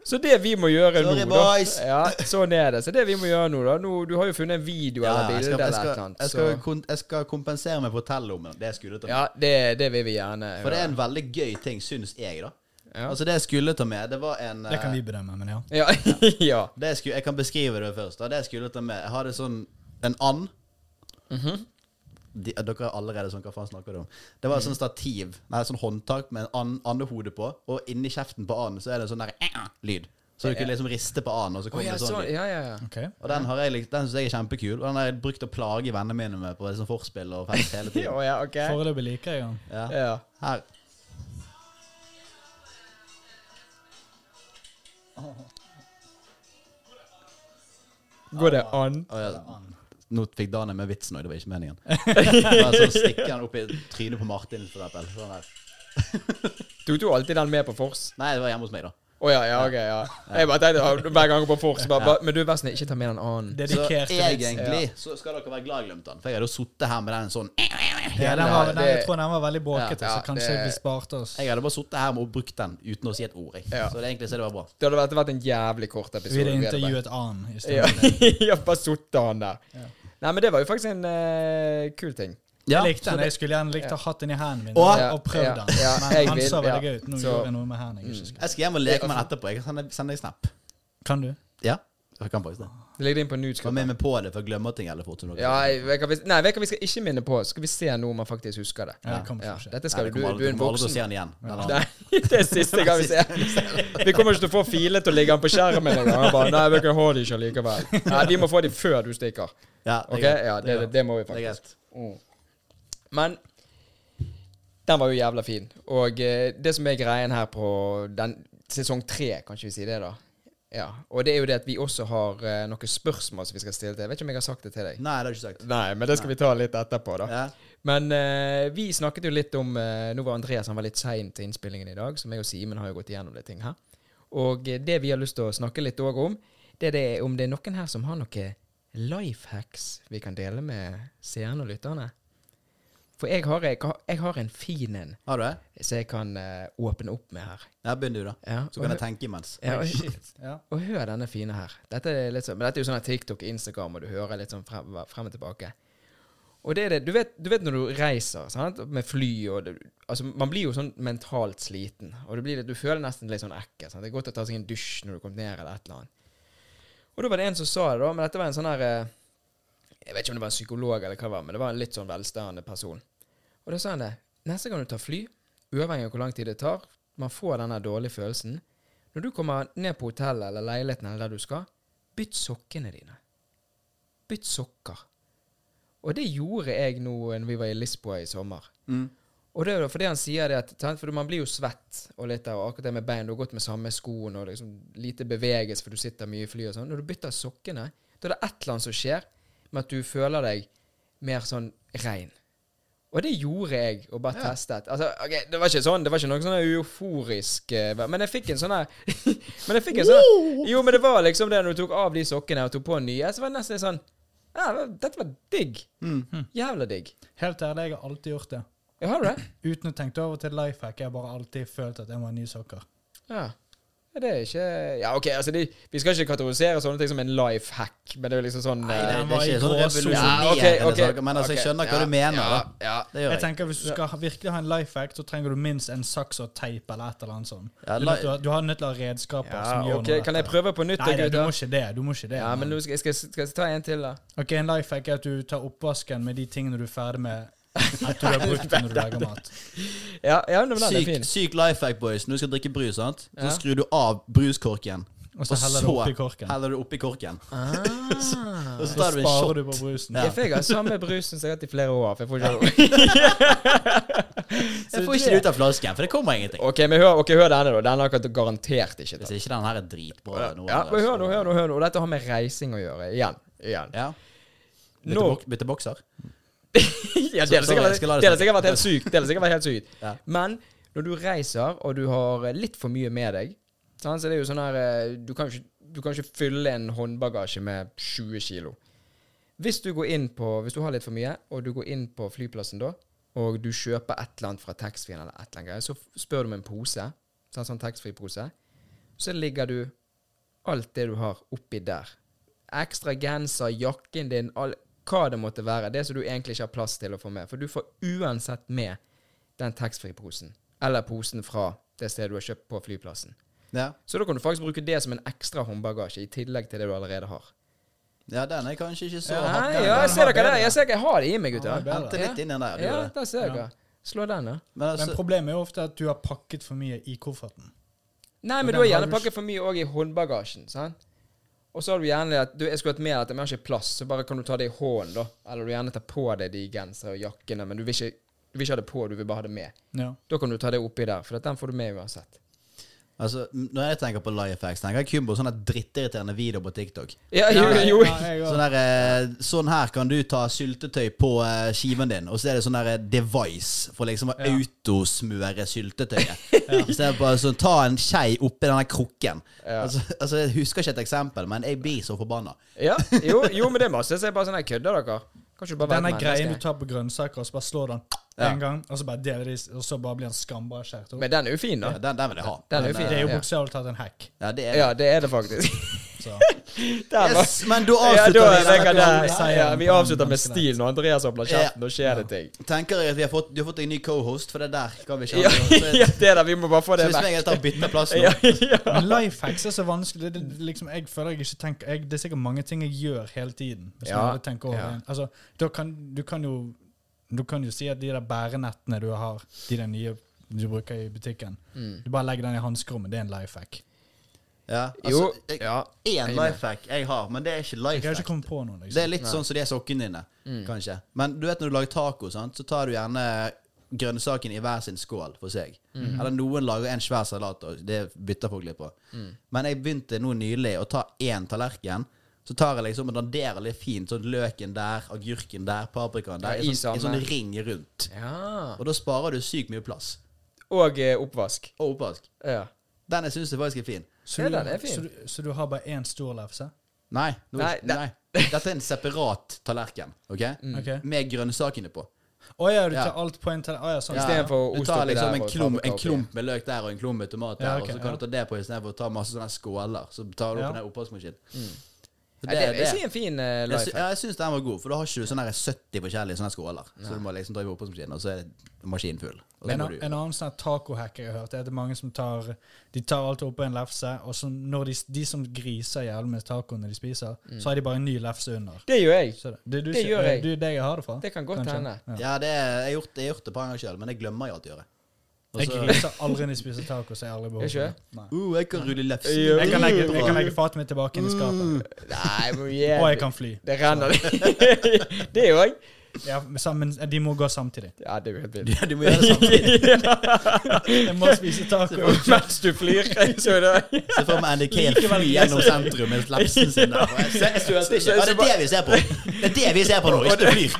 [SPEAKER 1] Så det vi må gjøre
[SPEAKER 3] Sorry,
[SPEAKER 1] nå, da
[SPEAKER 3] boys.
[SPEAKER 1] ja, Sånn er det. Så det vi må gjøre nå, da nå, <laughs> Du har jo funnet en video
[SPEAKER 3] Ja,
[SPEAKER 1] eller
[SPEAKER 3] jeg,
[SPEAKER 1] bilde
[SPEAKER 3] skal,
[SPEAKER 1] eller
[SPEAKER 3] jeg,
[SPEAKER 1] et eller
[SPEAKER 3] skal,
[SPEAKER 1] annet.
[SPEAKER 3] jeg, skal,
[SPEAKER 1] Så,
[SPEAKER 3] kon- jeg skal kompensere meg på hotellrommet. Det skulle jeg ta med.
[SPEAKER 1] ja, det, det vil vi gjerne.
[SPEAKER 3] For det
[SPEAKER 1] høre.
[SPEAKER 3] er en veldig gøy ting, syns jeg, da.
[SPEAKER 1] Ja.
[SPEAKER 3] Altså, det jeg skulle ta med, det var en
[SPEAKER 2] Det kan
[SPEAKER 3] eh,
[SPEAKER 2] vi bedømme, men ja.
[SPEAKER 1] Ja. <laughs> ja.
[SPEAKER 3] det jeg, skulle, jeg kan beskrive det først. Da. Det jeg skulle ta med Jeg hadde sånn en and.
[SPEAKER 1] Mhm.
[SPEAKER 3] De, dere er allerede sånn Hva faen snakker du om? Det var sånn stativ, nei, sånn håndtak med en and, andehode på, og inni kjeften på anden så er det en sånn der eh, lyd. Så du kunne liksom riste på anden, og så
[SPEAKER 1] Å,
[SPEAKER 3] kom
[SPEAKER 1] ja,
[SPEAKER 3] det sånn.
[SPEAKER 1] sånn.
[SPEAKER 3] lyd.
[SPEAKER 1] Ja, ja, ja.
[SPEAKER 2] Ok.
[SPEAKER 3] Og den har jeg likt- Den syns jeg er kjempekul, og den har jeg brukt å plage vennene mine med på sånn forspill og fest hele
[SPEAKER 1] <laughs> Ja,
[SPEAKER 3] tiden.
[SPEAKER 1] ja, ok.
[SPEAKER 2] Foreløpig liker jeg den.
[SPEAKER 3] Ja.
[SPEAKER 1] Ja.
[SPEAKER 3] Her.
[SPEAKER 1] Går det an?
[SPEAKER 3] Å, ja. Nå fikk Daniel med vitsen òg, det var
[SPEAKER 1] <laughs>
[SPEAKER 3] ikke meningen. Bare så stikker han opp i trynet på Martin, for eksempel. Sånn der.
[SPEAKER 1] Tok du alltid den med på Fors?
[SPEAKER 3] Nei, det var hjemme hos meg, da.
[SPEAKER 1] Å ja, ja, ok, ja. Jeg bare tenkte ah, hver gang jeg går på Fors bare, bare, Men du, vær snill, ikke ta med den annen.
[SPEAKER 3] Så
[SPEAKER 2] Dedikerte vitsen.
[SPEAKER 3] egentlig så skal dere være glad jeg glemte den, for jeg hadde jo sittet her med den sånn
[SPEAKER 2] Ja, den
[SPEAKER 1] Ja,
[SPEAKER 2] var, den, jeg
[SPEAKER 1] det-
[SPEAKER 2] tror den var veldig bråkete,
[SPEAKER 1] Ja, ja,
[SPEAKER 2] så kanskje
[SPEAKER 1] det-
[SPEAKER 2] vi sparte oss.
[SPEAKER 3] Jeg hadde bare sittet her med og brukt den uten å si et ord. Jeg.
[SPEAKER 1] Ja.
[SPEAKER 3] Så det egentlig så det var bra.
[SPEAKER 1] Det hadde vært, vært en jævlig kort episode.
[SPEAKER 2] Vi
[SPEAKER 1] hadde
[SPEAKER 2] hadde
[SPEAKER 1] bare-
[SPEAKER 2] intervjuet Ann i stedet.
[SPEAKER 1] Ja, ja <laughs> bare sutta han der. Nei, men det var jo faktisk en eh, kul ting.
[SPEAKER 3] Ja,
[SPEAKER 2] <laughs> Jeg likte
[SPEAKER 3] så
[SPEAKER 2] den.
[SPEAKER 3] det-
[SPEAKER 2] Jeg skulle gjerne likt å ha hatt den i hendene mine
[SPEAKER 3] Åh!
[SPEAKER 2] og- og prøvd
[SPEAKER 1] Ja,
[SPEAKER 2] den.
[SPEAKER 1] ja, jeg
[SPEAKER 2] Men han
[SPEAKER 1] vil,
[SPEAKER 2] sa veldig
[SPEAKER 1] ja.
[SPEAKER 2] gøy ut. Nå
[SPEAKER 1] Så- Mm.
[SPEAKER 2] gjorde jeg noe med hendene jeg ikke husker.
[SPEAKER 3] jeg skal hjem og leke med den etterpå. Jeg kan sende- sende deg snap.
[SPEAKER 2] Kan du?
[SPEAKER 3] Ja, jeg kan faktisk det.
[SPEAKER 1] Det ligger inn på
[SPEAKER 3] Var
[SPEAKER 1] Nudes-gruppen.
[SPEAKER 3] med meg på det, for jeg glemmer ting jævlig fort. Som dere
[SPEAKER 1] Ja, jeg- vet du hva vi- nei, vet du hva vi skal ikke minne på? Skal vi se nå om han faktisk husker det?
[SPEAKER 2] Ja, det kommer
[SPEAKER 1] Ja,
[SPEAKER 2] til å skje.
[SPEAKER 1] dette
[SPEAKER 3] Nei,
[SPEAKER 1] skal
[SPEAKER 3] det
[SPEAKER 1] jo du,
[SPEAKER 3] kommer
[SPEAKER 1] du
[SPEAKER 3] aldri-
[SPEAKER 1] er en
[SPEAKER 3] kommer aldri til å se
[SPEAKER 1] voksen.
[SPEAKER 3] den igjen. Den andre.
[SPEAKER 1] Nei, <laughs> det er siste gang vi ser
[SPEAKER 3] <laughs>
[SPEAKER 1] Vi kommer ikke til å få filet til å ligge den på skjermen en gang. Han bare, Nei, vi kan ha de ikke likevel.
[SPEAKER 3] <laughs>
[SPEAKER 1] Nei, vi må få de før du stikker.
[SPEAKER 3] Ja, det er
[SPEAKER 1] Ok,
[SPEAKER 3] greit.
[SPEAKER 1] ja, det, det, det må vi
[SPEAKER 3] Det er
[SPEAKER 1] faktisk.
[SPEAKER 3] greit.
[SPEAKER 1] Mm. Men den var jo jævla fin. Og eh, det som er greien her på den, sesong tre, kan ikke vi si det, da? Ja. Og det er jo det at vi også har eh, noen spørsmål som vi skal stille til. Jeg vet ikke om jeg har sagt det til deg.
[SPEAKER 3] Nei, det har du ikke sagt.
[SPEAKER 1] Nei, men det skal vi ta litt etterpå, da.
[SPEAKER 3] Ja.
[SPEAKER 1] Men eh, vi snakket jo litt om eh, Nå var Andreas han var litt sein til innspillingen i dag, så meg og Simen har jo gått igjennom litt ting her. Og eh, det vi har lyst til å snakke litt òg om, det er det, om det er noen her som har noen life hacks vi kan dele med seerne og lytterne. For jeg har, jeg, har- jeg har en fin en
[SPEAKER 3] Har du det?
[SPEAKER 1] som jeg kan eh, åpne opp med her.
[SPEAKER 3] Ja, begynn du, da.
[SPEAKER 1] Ja,
[SPEAKER 3] Så kan jeg tenke imens.
[SPEAKER 1] ja, og,
[SPEAKER 2] Ja.
[SPEAKER 1] og hør denne fine her. Dette er, litt sånn, men dette er jo sånn her TikTok, Instagram, og du hører litt sånn frem, frem og tilbake. Og det er det, du vet, du vet når du reiser sant? med fly og det, altså, Man blir jo sånn mentalt sliten. Og det blir, litt- du føler nesten litt sånn ekkel. Sant? Det er godt å ta seg en dusj når du kommer ned, eller et eller annet. Og da var det en som sa det, da. Men dette var en sånn her eh, Jeg vet ikke om det var en psykolog, eller hva det var, men det var en litt sånn velstående person. Og da sa han det. Neste gang du tar fly, uavhengig av hvor lang tid det tar, man får denne dårlige følelsen. Når du kommer ned på hotellet eller leiligheten eller der du skal, bytt sokkene dine. Bytt sokker. Og det gjorde jeg nå når vi var i Lisboa i sommer.
[SPEAKER 3] Mm.
[SPEAKER 1] Og det er jo fordi han sier det at sant, For man blir jo svett og litt av og akkurat det med bein. Du har gått med samme skoen og liksom lite bevegelse, for du sitter mye i fly og sånn. Når du bytter sokkene, da er det et eller annet som skjer med at du føler deg mer sånn rein. Og det gjorde jeg, og bare testet. Altså, ok, Det var ikke sånn, det var ikke noe sånn euforisk eh, Men jeg fikk en sånn her <laughs> Men jeg fikk en sånn Jo, men det var liksom det når du tok av de sokkene og tok på nye, så var det nesten litt sånn Ja, men dette var digg.
[SPEAKER 3] Mm.
[SPEAKER 1] Jævla digg.
[SPEAKER 2] Helt ærlig, jeg har alltid gjort det.
[SPEAKER 1] Ja, har du det?
[SPEAKER 2] Uten å tenke over til life hack. Jeg har bare alltid følt at jeg må ha nye sokker.
[SPEAKER 1] Ja. Ja, Det er ikke Ja, OK, altså, de, vi skal ikke kategorisere sånne ting som en life hack, men det er jo liksom sånn
[SPEAKER 3] Nei,
[SPEAKER 1] eh,
[SPEAKER 3] det
[SPEAKER 2] den
[SPEAKER 3] er
[SPEAKER 2] var i
[SPEAKER 3] ikke sånn
[SPEAKER 2] gråsonen.
[SPEAKER 1] Ja,
[SPEAKER 3] revolusjonerende
[SPEAKER 1] ok, ok,
[SPEAKER 3] saker, men altså, jeg
[SPEAKER 1] ok.
[SPEAKER 3] skjønner
[SPEAKER 1] Ja,
[SPEAKER 3] hva du mener.
[SPEAKER 1] ja,
[SPEAKER 3] da.
[SPEAKER 1] ja.
[SPEAKER 3] Det gjør
[SPEAKER 2] Jeg
[SPEAKER 3] jeg.
[SPEAKER 2] tenker Hvis du skal ha- virkelig ha en life hack, så trenger du minst en saks og teip eller et eller annet sånt.
[SPEAKER 3] Ja,
[SPEAKER 2] Du,
[SPEAKER 3] li-
[SPEAKER 2] vet, du, har- du har nødt til å ha redskaper
[SPEAKER 1] Ja,
[SPEAKER 2] som gjør
[SPEAKER 1] ok,
[SPEAKER 2] noe.
[SPEAKER 1] Kan jeg prøve på nytt, da,
[SPEAKER 2] Nei, nei, du må
[SPEAKER 1] gutter?
[SPEAKER 2] ikke det. du må ikke det.
[SPEAKER 1] Ja, men nå skal jeg, skal, skal jeg ta en til, da.
[SPEAKER 2] Ok, En life hack er at du tar oppvasken med de tingene du er ferdig
[SPEAKER 3] <laughs>
[SPEAKER 2] med at du har brukt når du lager mat.
[SPEAKER 1] Ja, ja men den er
[SPEAKER 3] Syk,
[SPEAKER 1] fin.
[SPEAKER 3] syk life hack, boys. Når du skal drikke brus, sant? så
[SPEAKER 1] Ja.
[SPEAKER 3] skrur du av bruskorken.
[SPEAKER 2] Og så heller du
[SPEAKER 3] så
[SPEAKER 2] oppi korken.
[SPEAKER 3] heller du oppi korken.
[SPEAKER 1] Ah.
[SPEAKER 3] Og så
[SPEAKER 2] Så
[SPEAKER 3] tar du en shot.
[SPEAKER 2] sparer du på brusen.
[SPEAKER 1] <laughs> Jeg fikk ha samme brusen som jeg har hatt i flere år. For jeg får ikke
[SPEAKER 3] Jeg får ikke det ut av flasken, for det kommer ingenting.
[SPEAKER 1] <laughs> Ok, men hør, ok, hør denne, da. Denne har jeg garantert ikke
[SPEAKER 3] Hvis
[SPEAKER 1] tatt.
[SPEAKER 3] ikke den her er dritbra
[SPEAKER 1] Ja,
[SPEAKER 3] nå,
[SPEAKER 1] men hør nå, hør nå. hør nå. Og dette har med reising å gjøre. Igjen. Igjen.
[SPEAKER 3] Ja. Bytte,
[SPEAKER 1] Nå-
[SPEAKER 3] bok, bytte bokser?
[SPEAKER 1] <laughs> ja,
[SPEAKER 3] Så-
[SPEAKER 1] det har
[SPEAKER 3] sorry,
[SPEAKER 1] sikkert,
[SPEAKER 3] jeg skal la det
[SPEAKER 1] det har
[SPEAKER 3] snakke.
[SPEAKER 1] sikkert vært helt sykt. Det har sikkert vært helt sykt.
[SPEAKER 3] <laughs> Ja.
[SPEAKER 1] Men når du reiser, og du har eh, litt for mye med deg sant, Så det er jo sånn her eh, Du kan jo ikke, du kan ikke fylle en håndbagasje med 20 kilo. Hvis du går inn på Hvis du har litt for mye, og du går inn på flyplassen da, og du kjøper et eller annet fra taxfree-en eller et eller annet greier, så f- spør du om en pose, sant, sånn taxfree-pose, så ligger du alt det du har oppi der. Ekstra genser, jakken din, all, hva det måtte være. Det som du egentlig ikke har plass til å få med. For du får uansett med den taxfree-posen. Eller posen fra det stedet du har kjøpt på flyplassen.
[SPEAKER 3] Ja.
[SPEAKER 1] Så da kan du faktisk bruke det som en ekstra håndbagasje, i tillegg til det du allerede har.
[SPEAKER 3] ja, den er kanskje ikke så
[SPEAKER 1] Nei,
[SPEAKER 3] hakka.
[SPEAKER 1] ja, jeg
[SPEAKER 2] den
[SPEAKER 1] ser
[SPEAKER 2] var
[SPEAKER 1] dere der.
[SPEAKER 2] bedre.
[SPEAKER 1] Jeg ser dere jeg har det i meg,
[SPEAKER 2] Ja,
[SPEAKER 1] gutter.
[SPEAKER 2] den var
[SPEAKER 3] Hente litt inn den der.
[SPEAKER 1] Ja,
[SPEAKER 3] gjorde det.
[SPEAKER 1] der ser dere. Slå den, da.
[SPEAKER 3] Men
[SPEAKER 2] Men
[SPEAKER 3] altså,
[SPEAKER 2] problemet er jo ofte at du har pakket for mye i kofferten.
[SPEAKER 1] Nei, men du
[SPEAKER 2] Og den
[SPEAKER 1] har
[SPEAKER 2] har
[SPEAKER 1] gjerne
[SPEAKER 2] du-
[SPEAKER 1] pakket for mye òg i håndbagasjen. sant? Og så har du gjerne det at du, jeg skulle hatt med dette, men jeg har ikke plass, så bare kan du ta det i hånden, da. Eller du gjerne tar på deg de genserne og jakkene, men du vil, ikke, du vil ikke ha det på, du vil bare ha det med.
[SPEAKER 2] Ja.
[SPEAKER 1] Da kan du ta det oppi der, for at den får du med uansett.
[SPEAKER 3] altså, når jeg tenker på Lifehacks, tenker jeg kun på sånne drittirriterende videoer på TikTok.
[SPEAKER 1] Ja, <laughs> jo,
[SPEAKER 2] Ja,
[SPEAKER 1] jo.
[SPEAKER 2] ja, jeg
[SPEAKER 3] Sånn,
[SPEAKER 2] også.
[SPEAKER 3] der, eh, sånn her kan du ta syltetøy på eh, skiven din, og så er det sånn der eh, device for liksom å autosmøre
[SPEAKER 1] <laughs>
[SPEAKER 3] syltetøyet. Istedenfor å sånn, ta en skei oppi denne krukken. Altså, altså, jeg husker ikke et eksempel, men jeg blir så forbanna.
[SPEAKER 1] Ja, jo, jo, men det er masse. Så jeg bare sånn her kødder dere. Kan ikke du bare være
[SPEAKER 2] Denne
[SPEAKER 1] et
[SPEAKER 2] greien du
[SPEAKER 1] menneske?
[SPEAKER 2] tar på grønnsaker, og så bare slår den
[SPEAKER 3] Ja.
[SPEAKER 2] en gang, og så bare deler de, og så bare blir den skambra skåret opp.
[SPEAKER 1] Men den er jo fin,
[SPEAKER 3] Ja,
[SPEAKER 1] da.
[SPEAKER 3] den, den vil jeg ha.
[SPEAKER 1] Den er jo
[SPEAKER 3] Men,
[SPEAKER 1] fin.
[SPEAKER 2] Det er jo
[SPEAKER 1] Ja.
[SPEAKER 2] bokstavelig talt en hack.
[SPEAKER 3] eh, Ja, det er
[SPEAKER 1] Ja, det er det faktisk.
[SPEAKER 2] Så.
[SPEAKER 1] Der var
[SPEAKER 3] Yes, men da
[SPEAKER 1] ja,
[SPEAKER 3] avslutter
[SPEAKER 1] da,
[SPEAKER 3] vi.
[SPEAKER 1] jeg,
[SPEAKER 3] denne
[SPEAKER 1] ja,
[SPEAKER 2] kan-
[SPEAKER 1] ja, vi avslutter med stil når Andreas åpner kjeften. Da skjer det ting.
[SPEAKER 3] episoden. Tenker jeg at vi har fått, Du har fått deg ny cohost, for det der kan vi ikke
[SPEAKER 1] Ja,
[SPEAKER 3] ha. Så,
[SPEAKER 1] <laughs> ja, det der, vi må bare få
[SPEAKER 3] så
[SPEAKER 1] det
[SPEAKER 3] hvis
[SPEAKER 1] vekk. <laughs>
[SPEAKER 3] jeg tar bytter plass nå
[SPEAKER 1] Ja, ja.
[SPEAKER 2] Men lifehacks er så vanskelig. Det, det, liksom, jeg føler jeg ikke tenker jeg, Det er sikkert mange ting jeg gjør hele tiden. Hvis
[SPEAKER 1] Ja,
[SPEAKER 2] man hadde tenkt over
[SPEAKER 1] ja.
[SPEAKER 2] det. altså, da kan, du, kan jo, du kan jo si at de der bærenettene du har, de der nye du bruker i butikken
[SPEAKER 1] Mm.
[SPEAKER 2] Du bare legger den i hanskerommet. Det er en lifehack
[SPEAKER 3] Ja,
[SPEAKER 1] Jo,
[SPEAKER 3] altså, jeg-
[SPEAKER 1] ja.
[SPEAKER 3] Én
[SPEAKER 1] er med.
[SPEAKER 3] lifehack jeg har, men det er ikke
[SPEAKER 2] Jeg har
[SPEAKER 3] lifehack.
[SPEAKER 2] ikke kommet på noe.
[SPEAKER 3] Det er
[SPEAKER 2] Liksom.
[SPEAKER 3] litt sånn som de sokkene dine,
[SPEAKER 1] Mm.
[SPEAKER 3] kanskje. Men du vet når du lager taco, sant? så tar du gjerne grønnsaken i hver sin skål for seg.
[SPEAKER 1] Mm.
[SPEAKER 3] Eller noen lager en svær salat, og det bytter folk litt på.
[SPEAKER 1] Mm.
[SPEAKER 3] Men jeg begynte nå nylig å ta én tallerken. Så tar jeg liksom og danderer litt fint sånn løken der, agurken der, paprikaen der.
[SPEAKER 1] Ja,
[SPEAKER 3] I
[SPEAKER 1] i
[SPEAKER 3] sånn,
[SPEAKER 1] samme.
[SPEAKER 3] i sånn ring rundt.
[SPEAKER 1] Ja.
[SPEAKER 3] Og da sparer du sykt mye plass.
[SPEAKER 1] Og eh, oppvask.
[SPEAKER 3] Og oppvask.
[SPEAKER 1] Ja.
[SPEAKER 3] Den jeg syns faktisk er fin.
[SPEAKER 2] Så,
[SPEAKER 1] Ja,
[SPEAKER 2] du,
[SPEAKER 1] den er fin.
[SPEAKER 2] så, du, så du har bare én stor lefse?
[SPEAKER 3] Nei, nå,
[SPEAKER 1] Nei,
[SPEAKER 3] nei,
[SPEAKER 1] nei.
[SPEAKER 3] Dette er en separat tallerken, OK?
[SPEAKER 1] Mm.
[SPEAKER 2] Ok. Å
[SPEAKER 3] Med grønnsakene på.
[SPEAKER 2] ja, du tar
[SPEAKER 3] Ja.
[SPEAKER 2] alt på en tele... Å ja, sånn.
[SPEAKER 1] I stedet for
[SPEAKER 3] Du
[SPEAKER 1] ost
[SPEAKER 3] tar
[SPEAKER 1] oppi
[SPEAKER 3] liksom
[SPEAKER 1] der
[SPEAKER 3] en
[SPEAKER 1] og
[SPEAKER 3] klump,
[SPEAKER 1] paprika
[SPEAKER 3] en
[SPEAKER 1] oppi.
[SPEAKER 3] klump med løk der og en klump med tomat der,
[SPEAKER 2] Ja, ok,
[SPEAKER 3] og så kan
[SPEAKER 2] ja.
[SPEAKER 3] du ta det på istedenfor å ta masse sånne skåler. Så tar du
[SPEAKER 2] Ja.
[SPEAKER 3] på den oppvaskmaskinen. Så
[SPEAKER 1] Ja, Mm. det
[SPEAKER 3] det,
[SPEAKER 1] vil jeg si
[SPEAKER 3] det.
[SPEAKER 1] en fin uh,
[SPEAKER 3] Jeg, sy
[SPEAKER 1] life.
[SPEAKER 3] ja, jeg syns den var god, for da har ikke du sånn her 70 forskjellige sånne skåler. Så du må liksom ta i oppvaskmaskinen, og så er maskinen full. Og så
[SPEAKER 2] En,
[SPEAKER 3] må
[SPEAKER 2] an-
[SPEAKER 3] du
[SPEAKER 2] en annen sånn her tacohack jeg har hørt, er at det er mange som tar De tar alt oppå en lefse, og så når de, de som griser jævlig med tacoen når de spiser, så har de bare en ny lefse under.
[SPEAKER 1] Det gjør jeg.
[SPEAKER 2] Så det, det, du,
[SPEAKER 1] Mm. Det
[SPEAKER 2] ikke-
[SPEAKER 1] gjør jeg.
[SPEAKER 2] Det er det jeg har det fra.
[SPEAKER 1] Det kan godt
[SPEAKER 2] kanskje.
[SPEAKER 1] hende.
[SPEAKER 2] Ja.
[SPEAKER 3] Ja, det er, jeg, har gjort, jeg har gjort det på en gang sjøl, men jeg glemmer jo alt å gjøre. Og
[SPEAKER 2] Jeg
[SPEAKER 3] så
[SPEAKER 2] griser aldri når jeg spiser taco, så jeg har aldri behov
[SPEAKER 1] Ikke?
[SPEAKER 2] det. Nei.
[SPEAKER 3] uh, jeg kan rulle lefse.
[SPEAKER 1] Jeg
[SPEAKER 2] Jeg kan, legge, jeg kan
[SPEAKER 3] Bra.
[SPEAKER 2] legge fatet mitt tilbake inn i skapet,
[SPEAKER 1] Mm. <laughs> Nei, men
[SPEAKER 2] og jeg
[SPEAKER 1] jævlig.
[SPEAKER 2] kan fly.
[SPEAKER 1] Det renner <laughs> Det er jo jeg.
[SPEAKER 2] Ja, men sammen, de må gå samtidig.
[SPEAKER 1] Ja, det er jo helt vilt.
[SPEAKER 3] <laughs> Ja, du må gjøre det samtidig.
[SPEAKER 2] Jeg må spise
[SPEAKER 1] <laughs>
[SPEAKER 2] taco.
[SPEAKER 1] Mens du flyr. <laughs> Så da
[SPEAKER 3] Se for meg Andy Kane fly gjennom sentrum med lefsen sin
[SPEAKER 1] <laughs>
[SPEAKER 3] der. og jeg ser- jeg støter ikke. Ja, det er det vi ser på. Det er det vi ser på nå. Ikke du flyr.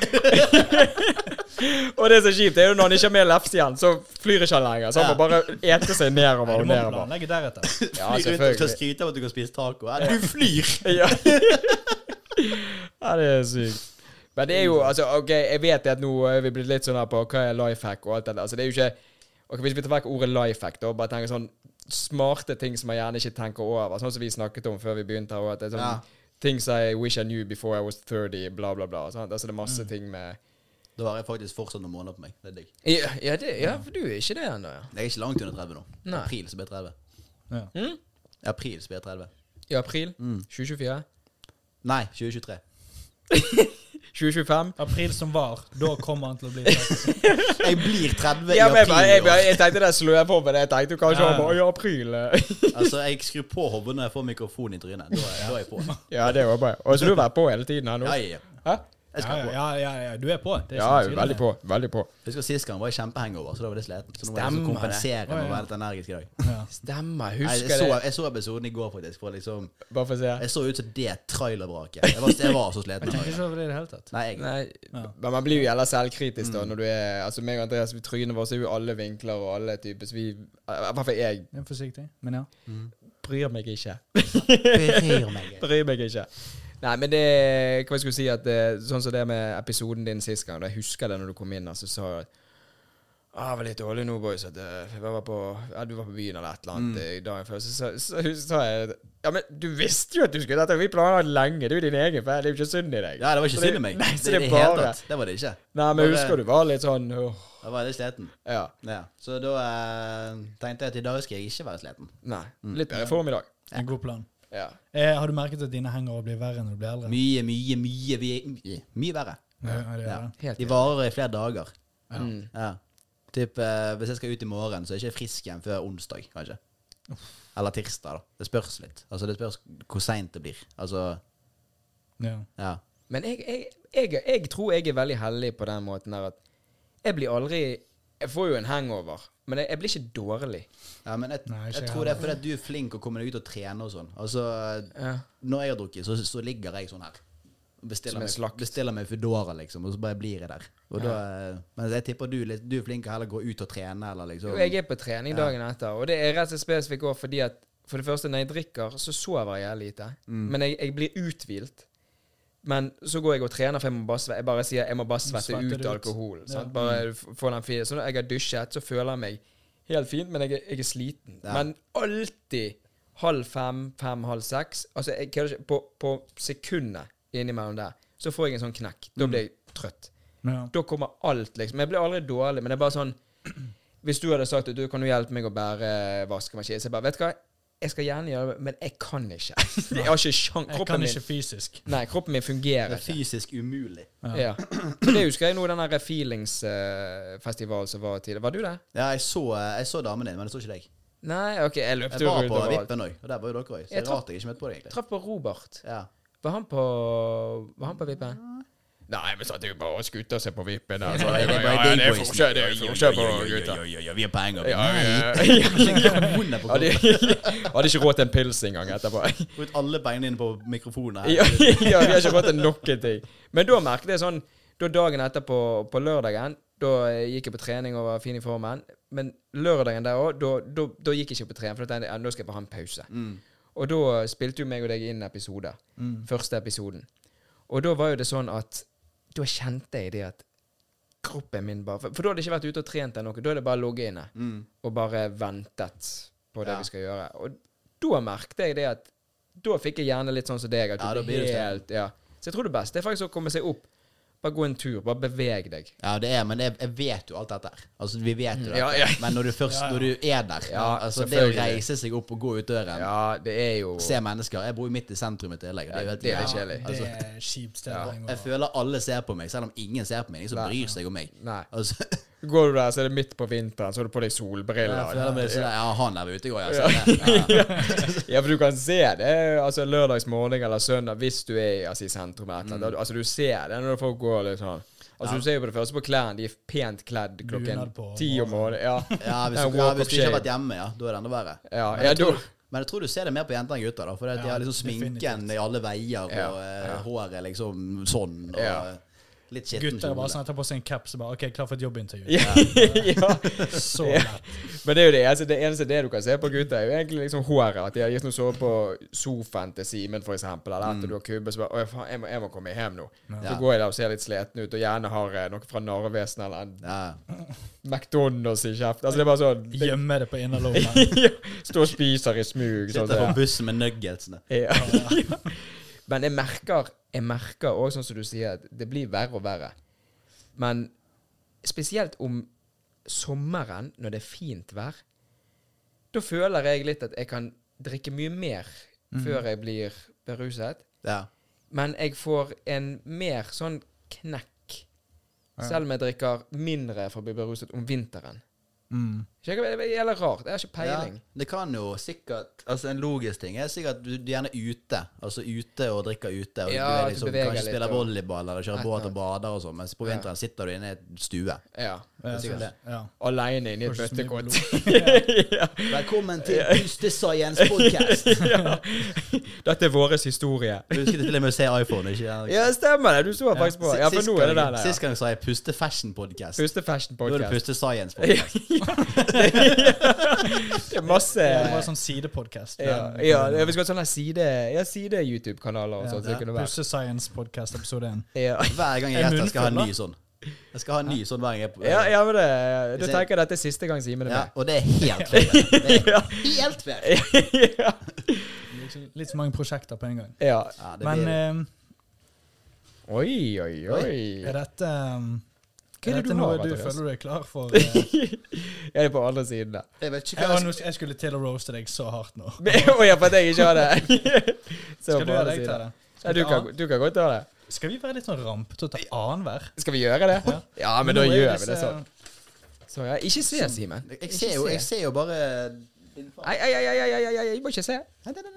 [SPEAKER 1] Og det som er kjipt, det er jo når han ikke har mer lefse igjen, så flyr ikke han lenger. Så han må bare ete seg nedover
[SPEAKER 2] Du
[SPEAKER 1] og
[SPEAKER 2] må
[SPEAKER 1] nedover.
[SPEAKER 2] planlegge deretter.
[SPEAKER 1] Ja,
[SPEAKER 3] Fly rundt og skal
[SPEAKER 1] selvfølgelig.
[SPEAKER 3] skryte av at du kan spise taco. Ja, du flyr!
[SPEAKER 1] Ja. <laughs> Ja, det er sykt. Men det er jo altså, ok, Jeg vet det at nå er vi blitt litt sånn her på hva er life hack og alt det der. Altså, det er jo ikke ok, Hvis vi tar vekk ordet life hack, da, og bare tenker sånn smarte ting som man gjerne ikke tenker over, sånn som vi snakket om før vi begynte her, og at det er sånn
[SPEAKER 3] Ja.
[SPEAKER 1] things I wish I knew before I was 30, bla, bla, bla. Sant? Altså, det er
[SPEAKER 3] Mm.
[SPEAKER 1] masse ting med
[SPEAKER 3] Da har jeg faktisk fortsatt noen måneder på meg. Det er digg.
[SPEAKER 1] Ja, ja, det, ja for du er ikke det ennå, ja.
[SPEAKER 3] Jeg er ikke langt under 30 nå.
[SPEAKER 1] Nei.
[SPEAKER 3] April så blir jeg 30.
[SPEAKER 2] Ja.
[SPEAKER 1] Mm?
[SPEAKER 3] I april så blir jeg 30.
[SPEAKER 1] I april
[SPEAKER 3] Mm.
[SPEAKER 1] 2024?
[SPEAKER 3] Nei, 2023.
[SPEAKER 1] 2025?
[SPEAKER 2] April som var, da kommer han til å
[SPEAKER 1] <laughs>
[SPEAKER 2] bli tatt.
[SPEAKER 3] Jeg blir 30 i
[SPEAKER 1] Ja, men jeg,
[SPEAKER 3] april.
[SPEAKER 1] bare- jeg,
[SPEAKER 3] i år.
[SPEAKER 1] bare- jeg tenkte det slo jeg på med det. Jeg tenkte jo kanskje
[SPEAKER 2] Ja,
[SPEAKER 1] ja.
[SPEAKER 2] ja.
[SPEAKER 1] bare, «Å, i april. eh».
[SPEAKER 3] Altså, jeg skrur på hodet når jeg får mikrofon i trynet. Da er, da er jeg på.
[SPEAKER 1] ja, det håper jeg. Og så du har vært på hele tiden her nå?
[SPEAKER 3] Ja, ja, ja.
[SPEAKER 1] Hæ?
[SPEAKER 3] Jeg
[SPEAKER 2] Ja,
[SPEAKER 3] skal på.
[SPEAKER 2] ja, ja, ja, du er på. Det er
[SPEAKER 1] Ja, jeg er
[SPEAKER 2] ikke noe tvil om
[SPEAKER 1] veldig
[SPEAKER 2] det.
[SPEAKER 1] på. Veldig på.
[SPEAKER 3] Husker sist gang var jeg kjempehangover, så da var det sliten. Så nå må jeg
[SPEAKER 1] Stemmer
[SPEAKER 3] liksom
[SPEAKER 1] det.
[SPEAKER 3] kompensere med å
[SPEAKER 2] Å, ja.
[SPEAKER 3] være litt energisk i dag.
[SPEAKER 2] Ja.
[SPEAKER 1] Stemmer.
[SPEAKER 3] Nei,
[SPEAKER 1] Husker
[SPEAKER 3] jeg, så,
[SPEAKER 1] det.
[SPEAKER 3] jeg så episoden i går, faktisk. For liksom,
[SPEAKER 1] Bare for å se.
[SPEAKER 3] jeg så ut som det trailervraket. Jeg, var- jeg var så sliten.
[SPEAKER 2] Jeg tenker
[SPEAKER 3] den dagen.
[SPEAKER 2] ikke over det i det hele tatt.
[SPEAKER 3] Nei, jeg,
[SPEAKER 1] Nei, men man blir jo jævla selvkritisk da når du er Altså, meg og Andreas, vi trynet vårt er jo i alle vinkler og alle typer, så vi I hvert fall jeg
[SPEAKER 2] Jeg er forsiktig, men ja.
[SPEAKER 1] bryr meg ikke.
[SPEAKER 3] bryr meg ikke.
[SPEAKER 1] <laughs> Bryr meg ikke. Nei, men det Hva jeg skulle si at eh, Sånn som det med episoden din sist gang. da Jeg husker det når du kom inn og så sa jeg at ah, det var litt dårlig nå, boys. At eh, jeg var på, ja, du var på byen eller et eller
[SPEAKER 3] Mm.
[SPEAKER 1] annet eh, dagen før. Så sa så, så, sa jeg at, Ja, men du visste jo at du skulle dette! Vi planla det lenge! Det er jo din egen feil. Det er jo ikke synd i deg.
[SPEAKER 3] Ja, det var ikke
[SPEAKER 1] Så
[SPEAKER 3] synd i
[SPEAKER 1] <laughs>
[SPEAKER 3] meg.
[SPEAKER 1] Nei,
[SPEAKER 3] Det,
[SPEAKER 1] så det
[SPEAKER 3] i
[SPEAKER 1] er
[SPEAKER 3] det hele
[SPEAKER 1] bare
[SPEAKER 3] tatt. det var det ikke.
[SPEAKER 1] Nei, men
[SPEAKER 3] Bare-
[SPEAKER 1] husker du var litt sånn åh,
[SPEAKER 3] Jeg var litt sliten.
[SPEAKER 1] Ja.
[SPEAKER 3] Ja. Så da eh, tenkte jeg at i dag skal jeg ikke være sliten.
[SPEAKER 1] Nei.
[SPEAKER 3] Mm.
[SPEAKER 1] Litt bedre form i dag.
[SPEAKER 2] En god plan.
[SPEAKER 1] Ja.
[SPEAKER 2] Eh, har du merket at dine hengere blir verre når du blir eldre?
[SPEAKER 3] Mye, mye, mye vi- mye, mye verre.
[SPEAKER 2] Ja, det gjør
[SPEAKER 3] Ja.
[SPEAKER 2] det.
[SPEAKER 1] Helt
[SPEAKER 3] De
[SPEAKER 1] enig.
[SPEAKER 3] varer i flere dager.
[SPEAKER 1] Mm.
[SPEAKER 3] Ja. Typ, eh, hvis jeg skal ut i morgen, så er jeg ikke frisk igjen før onsdag, kanskje. Eller tirsdag, da. Det spørs litt. Altså, det spørs hvor seint det blir. Altså,
[SPEAKER 2] Ja.
[SPEAKER 3] ja.
[SPEAKER 1] Men jeg, jeg, jeg, jeg tror jeg er veldig heldig på den måten der at jeg blir aldri Jeg får jo en hangover, men jeg, jeg blir ikke dårlig.
[SPEAKER 3] ja men jeg,
[SPEAKER 2] Nei, ikke
[SPEAKER 3] jeg
[SPEAKER 2] jeg
[SPEAKER 3] tror det er fordi at du er flink og kommer deg ut og trener og sånn. Altså,
[SPEAKER 1] Ja.
[SPEAKER 3] når jeg har drukket, så, så ligger jeg sånn her.
[SPEAKER 1] Som
[SPEAKER 3] Bestiller
[SPEAKER 1] en
[SPEAKER 3] meg,
[SPEAKER 1] slakt.
[SPEAKER 3] bestiller meg Foodora, liksom, og så bare blir jeg der. Og da, men jeg tipper du, er litt- du er flink til heller å gå ut og trene, eller liksom
[SPEAKER 1] Jo, jeg er på trening dagen etter, og det er rett og slett spesifikt også fordi at for det første, når jeg drikker, så sover jeg jævlig lite.
[SPEAKER 2] Mm.
[SPEAKER 1] Men jeg, jeg blir uthvilt. Men så går jeg og trener, for jeg må bare, sve- jeg bare sier jeg må bare svette
[SPEAKER 2] Svetter
[SPEAKER 1] ut
[SPEAKER 2] det ut.
[SPEAKER 1] alkohol.
[SPEAKER 2] Ja. Mm.
[SPEAKER 1] Sant? Bare f- få den fine. Så når jeg har dusjet, så føler jeg meg helt fint, men jeg, er- jeg er sliten.
[SPEAKER 3] Ja.
[SPEAKER 1] Men alltid halv fem, fem, halv seks. Altså, jeg kødder ikke. På, på sekundet innimellom der, så får jeg en sånn knekk.
[SPEAKER 2] Mm.
[SPEAKER 1] Da blir jeg trøtt.
[SPEAKER 2] Ja.
[SPEAKER 1] Da kommer alt, liksom. Jeg blir aldri dårlig, men det er bare sånn Hvis du hadde sagt at du kan jo hjelpe meg å bære vaskemaskinen, så jeg bare Vet du hva, jeg skal gjerne gjøre det, men jeg kan ikke. <laughs> Jeg har ikke sjans...
[SPEAKER 2] Jeg
[SPEAKER 1] Kroppen
[SPEAKER 2] kan ikke
[SPEAKER 1] min
[SPEAKER 2] fysisk.
[SPEAKER 1] Nei, kroppen min
[SPEAKER 3] Det
[SPEAKER 1] fungerer
[SPEAKER 3] er
[SPEAKER 1] ikke.
[SPEAKER 3] fysisk umulig.
[SPEAKER 1] Ja. Så det husker jeg nå, den der feelingsfestivalen som var tidligere. Var du der?
[SPEAKER 3] Ja, jeg så, jeg så damen din, men jeg så ikke deg.
[SPEAKER 1] Nei, OK, jeg løpte
[SPEAKER 3] Jeg
[SPEAKER 1] jo
[SPEAKER 3] var
[SPEAKER 1] rundt
[SPEAKER 3] på
[SPEAKER 1] overalt.
[SPEAKER 3] Vippen òg, og der var jo dere òg. Så
[SPEAKER 1] Jeg
[SPEAKER 3] jeg
[SPEAKER 1] traff-
[SPEAKER 3] rart jeg ikke møtte på deg, egentlig.
[SPEAKER 1] Traff på Robert.
[SPEAKER 3] Ja.
[SPEAKER 1] Var han på Var han på vippen? Nei, men satt jo bare og skuta seg på vippen. Altså.
[SPEAKER 3] Ja, det er bare deg, boys. Ja, ja, ja, Vi er på England.
[SPEAKER 1] Ja,
[SPEAKER 3] Nei,
[SPEAKER 1] ja, ja.
[SPEAKER 3] kroner på
[SPEAKER 1] Hadde, <laughs>
[SPEAKER 3] kroppen.
[SPEAKER 1] hadde ikke råd til en pils engang etterpå.
[SPEAKER 3] Brukt alle beina dine på mikrofonen
[SPEAKER 1] <laughs> ja,
[SPEAKER 3] her.
[SPEAKER 1] ja, vi har ikke råd til noen ting. Men da merket jeg sånn Da dagen etterpå, på lørdagen, da eh, gikk jeg på trening og var fin i formen. Men lørdagen der òg, da, da, da gikk jeg ikke på trening, for da tenkte jeg ja, nå skal jeg bare ha en pause. Og da eh, spilte jo meg og deg inn episoder. Første episoden. Og da var jo det sånn at Da kjente jeg det at kroppen min bare For, for da hadde jeg ikke vært ute og trent eller noe. Da hadde jeg bare ligget inne og bare ventet på det
[SPEAKER 3] Ja.
[SPEAKER 1] vi skal gjøre. Og da merket jeg det at Da fikk jeg gjerne litt sånn som deg. At
[SPEAKER 3] Ja,
[SPEAKER 1] du
[SPEAKER 3] da
[SPEAKER 1] blir
[SPEAKER 3] blir du
[SPEAKER 1] helt ja. Så jeg tror det beste er faktisk å komme seg opp. Bare gå en tur. Bare beveg deg.
[SPEAKER 3] Ja, det er, men jeg, jeg vet jo alt dette her. Altså, vi vet jo dette.
[SPEAKER 1] Mm. Ja, ja.
[SPEAKER 3] Men når du først når du er der
[SPEAKER 1] Ja,
[SPEAKER 3] altså, Det å
[SPEAKER 1] selvfølgelig.
[SPEAKER 3] reise seg opp og gå ut døren,
[SPEAKER 1] Ja, det er jo
[SPEAKER 3] se mennesker Jeg bor jo midt i sentrum i tillegg. Det er jo helt
[SPEAKER 1] det er
[SPEAKER 3] jævlig.
[SPEAKER 1] litt kjedelig. altså.
[SPEAKER 2] Det er kjipt sted. å henge
[SPEAKER 3] Altså- Jeg
[SPEAKER 2] over.
[SPEAKER 3] føler alle ser på meg, selv om ingen ser på meg. Ingen som
[SPEAKER 1] Nei.
[SPEAKER 3] bryr seg om meg.
[SPEAKER 1] Nei.
[SPEAKER 3] Altså, <laughs>
[SPEAKER 1] Går du der, så er det midt på vinteren, så har du på deg
[SPEAKER 3] jeg
[SPEAKER 1] solbriller.
[SPEAKER 3] føler meg sånn der, Ja, han der ute går, jeg ser det. Ja.
[SPEAKER 1] Ja, for du kan se det altså lørdagsmorgen eller søndag hvis du er altså, i sentrum. eller et eller annet. Altså, du ser det når folk går litt sånn. Altså, Du ser jo på det første på klærne. De er pent kledd klokken
[SPEAKER 2] Bunad på
[SPEAKER 1] ti om morgenen. Ja,
[SPEAKER 3] Ja, hvis,
[SPEAKER 1] Ja,
[SPEAKER 3] du, ja,
[SPEAKER 1] walk
[SPEAKER 3] hvis
[SPEAKER 1] of
[SPEAKER 3] du ikke har
[SPEAKER 1] shame.
[SPEAKER 3] vært hjemme, ja, da er det enda verre.
[SPEAKER 1] Ja,
[SPEAKER 3] <laughs> men,
[SPEAKER 1] ja,
[SPEAKER 3] jeg
[SPEAKER 1] da-
[SPEAKER 3] tror, men jeg tror du ser det mer på jenter enn gutter, da. For at de
[SPEAKER 2] Ja,
[SPEAKER 3] har liksom sminken
[SPEAKER 2] definitivt.
[SPEAKER 3] i alle veier, og
[SPEAKER 1] Ja,
[SPEAKER 3] eh, håret liksom sånn. Og,
[SPEAKER 1] Ja.
[SPEAKER 3] Litt skitten
[SPEAKER 2] Gutter er bare
[SPEAKER 3] kjole.
[SPEAKER 2] sånn tar på seg en caps og bare OK, klar for et jobbintervju.
[SPEAKER 1] <laughs> Ja. <laughs> ja.
[SPEAKER 2] Så lett.
[SPEAKER 1] Men det er jo det, altså, det eneste det du kan se på gutter, er jo egentlig liksom håret. At de har gitt noe sove på sofaen til Simen, for eksempel. Eller at du har kubbe, så bare Å, faen, jeg må, jeg må komme hjem nå. Så går jeg der og ser litt sliten ut, og gjerne har eh, noe fra Narvesen eller en
[SPEAKER 2] sånn-
[SPEAKER 3] Ja.
[SPEAKER 1] McDonald's i kjeften. Altså, det er bare sånn det,
[SPEAKER 2] Gjemme det på innerlommen.
[SPEAKER 1] <laughs> ja. Stå og spiser i smug. Sånn,
[SPEAKER 3] Sitter på
[SPEAKER 1] som det.
[SPEAKER 3] bussen med nuggetsene.
[SPEAKER 1] ja. Ja. <laughs> Men jeg merker Jeg merker òg, sånn som du sier, at det blir verre og verre. Men spesielt om sommeren, når det er fint vær, da føler jeg litt at jeg kan drikke mye mer før jeg blir beruset.
[SPEAKER 3] Ja.
[SPEAKER 1] Men jeg får en mer sånn knekk, selv om jeg drikker mindre for å bli beruset om vinteren.
[SPEAKER 2] Mm.
[SPEAKER 1] Ikke- Det er jævlig rart. Jeg har ikke peiling.
[SPEAKER 3] Ja, det kan jo sikkert Altså En logisk ting er sikkert du du er gjerne ute. Altså ute og drikker ute. Og
[SPEAKER 1] Ja,
[SPEAKER 3] du
[SPEAKER 1] at
[SPEAKER 3] er
[SPEAKER 1] du
[SPEAKER 3] liksom,
[SPEAKER 1] beveger
[SPEAKER 3] kanskje
[SPEAKER 1] litt,
[SPEAKER 3] spiller
[SPEAKER 1] og-
[SPEAKER 3] volleyball eller kjører båt og bader og sånn, mens på
[SPEAKER 1] Ja.
[SPEAKER 3] vinteren sitter du inne i et stue.
[SPEAKER 1] Ja.
[SPEAKER 2] Ja,
[SPEAKER 3] Det er sikkert det.
[SPEAKER 2] Ja.
[SPEAKER 1] Aleine inni et
[SPEAKER 2] Kanskje så mye
[SPEAKER 1] <laughs> bøttekott.
[SPEAKER 3] <laughs> Velkommen til Pustescience podcast!
[SPEAKER 1] ja. Dette er vår historie.
[SPEAKER 3] <laughs> Du husket til og med å se iPhone, ikke sant?
[SPEAKER 1] <laughs> Ja, stemmer det. Du så faktisk på. Ja, for nå er det der.
[SPEAKER 3] Sist
[SPEAKER 1] der ja.
[SPEAKER 3] gang sa jeg Puste Fashion Podcast.
[SPEAKER 1] Puste fashion
[SPEAKER 3] Nå er det
[SPEAKER 1] podcast.
[SPEAKER 3] Puste
[SPEAKER 1] <laughs>
[SPEAKER 3] Science Podcast.
[SPEAKER 1] Det er masse
[SPEAKER 2] Ja, det var en sånn sidepodkast.
[SPEAKER 1] Eh, ja, ja, det- vi skal ha sånne side- ja, side-YouTube-kanaler og sånt. så det kunne vært-
[SPEAKER 2] Pusse Science Podcast episode 1.
[SPEAKER 1] Ja. <laughs>
[SPEAKER 3] Hver gang jeg
[SPEAKER 2] En
[SPEAKER 3] gjester, skal jeg ha en ny
[SPEAKER 2] munnfull,
[SPEAKER 3] sånn. Jeg skal ha en ny sånn hver gang jeg er på
[SPEAKER 1] Ja, ja, men det, du
[SPEAKER 3] Hvis jeg-
[SPEAKER 1] tenker dette er siste gang Simen er
[SPEAKER 3] Ja,
[SPEAKER 1] med?
[SPEAKER 3] og det er helt
[SPEAKER 1] <laughs>
[SPEAKER 3] fair. Det er helt fair.
[SPEAKER 1] ja.
[SPEAKER 2] Liksom Litt så mange prosjekter på en gang.
[SPEAKER 1] ja.
[SPEAKER 3] Ja, det
[SPEAKER 2] Men
[SPEAKER 3] blir-
[SPEAKER 2] eh,
[SPEAKER 1] Oi, oi, oi.
[SPEAKER 2] er dette um,
[SPEAKER 1] Hva er det
[SPEAKER 2] dette
[SPEAKER 1] du har,
[SPEAKER 2] noe du
[SPEAKER 1] Andreas?
[SPEAKER 2] føler du er
[SPEAKER 1] <laughs>
[SPEAKER 2] klar for? eh?
[SPEAKER 1] <laughs> Jeg er på andre siden der. <laughs>
[SPEAKER 3] jeg vet ikke
[SPEAKER 2] Jeg,
[SPEAKER 3] hva
[SPEAKER 2] var
[SPEAKER 3] jeg skal
[SPEAKER 2] nå- jeg skulle til å roaste deg så hardt nå.
[SPEAKER 1] Å ja, for at jeg ikke har det. Så
[SPEAKER 2] Skal du
[SPEAKER 1] på
[SPEAKER 2] ha
[SPEAKER 1] andre
[SPEAKER 2] deg
[SPEAKER 1] siden.
[SPEAKER 2] til det?
[SPEAKER 1] Ja,
[SPEAKER 2] Skal,
[SPEAKER 1] du,
[SPEAKER 2] vi ta-
[SPEAKER 1] kan, du kan godt ta det.
[SPEAKER 2] skal vi være litt sånn rampete og ta annenhver?
[SPEAKER 1] Skal vi gjøre det?
[SPEAKER 2] Ja.
[SPEAKER 1] Ja, men da
[SPEAKER 2] Nå er jo
[SPEAKER 1] gjør vi
[SPEAKER 2] disse-
[SPEAKER 1] det sånn. Så, ja. Ikke se, Simen.
[SPEAKER 3] Jeg ser jo, jeg ser jo bare
[SPEAKER 1] Nei, ei, ei, ei, ei, ei, ei, jeg må ikke se.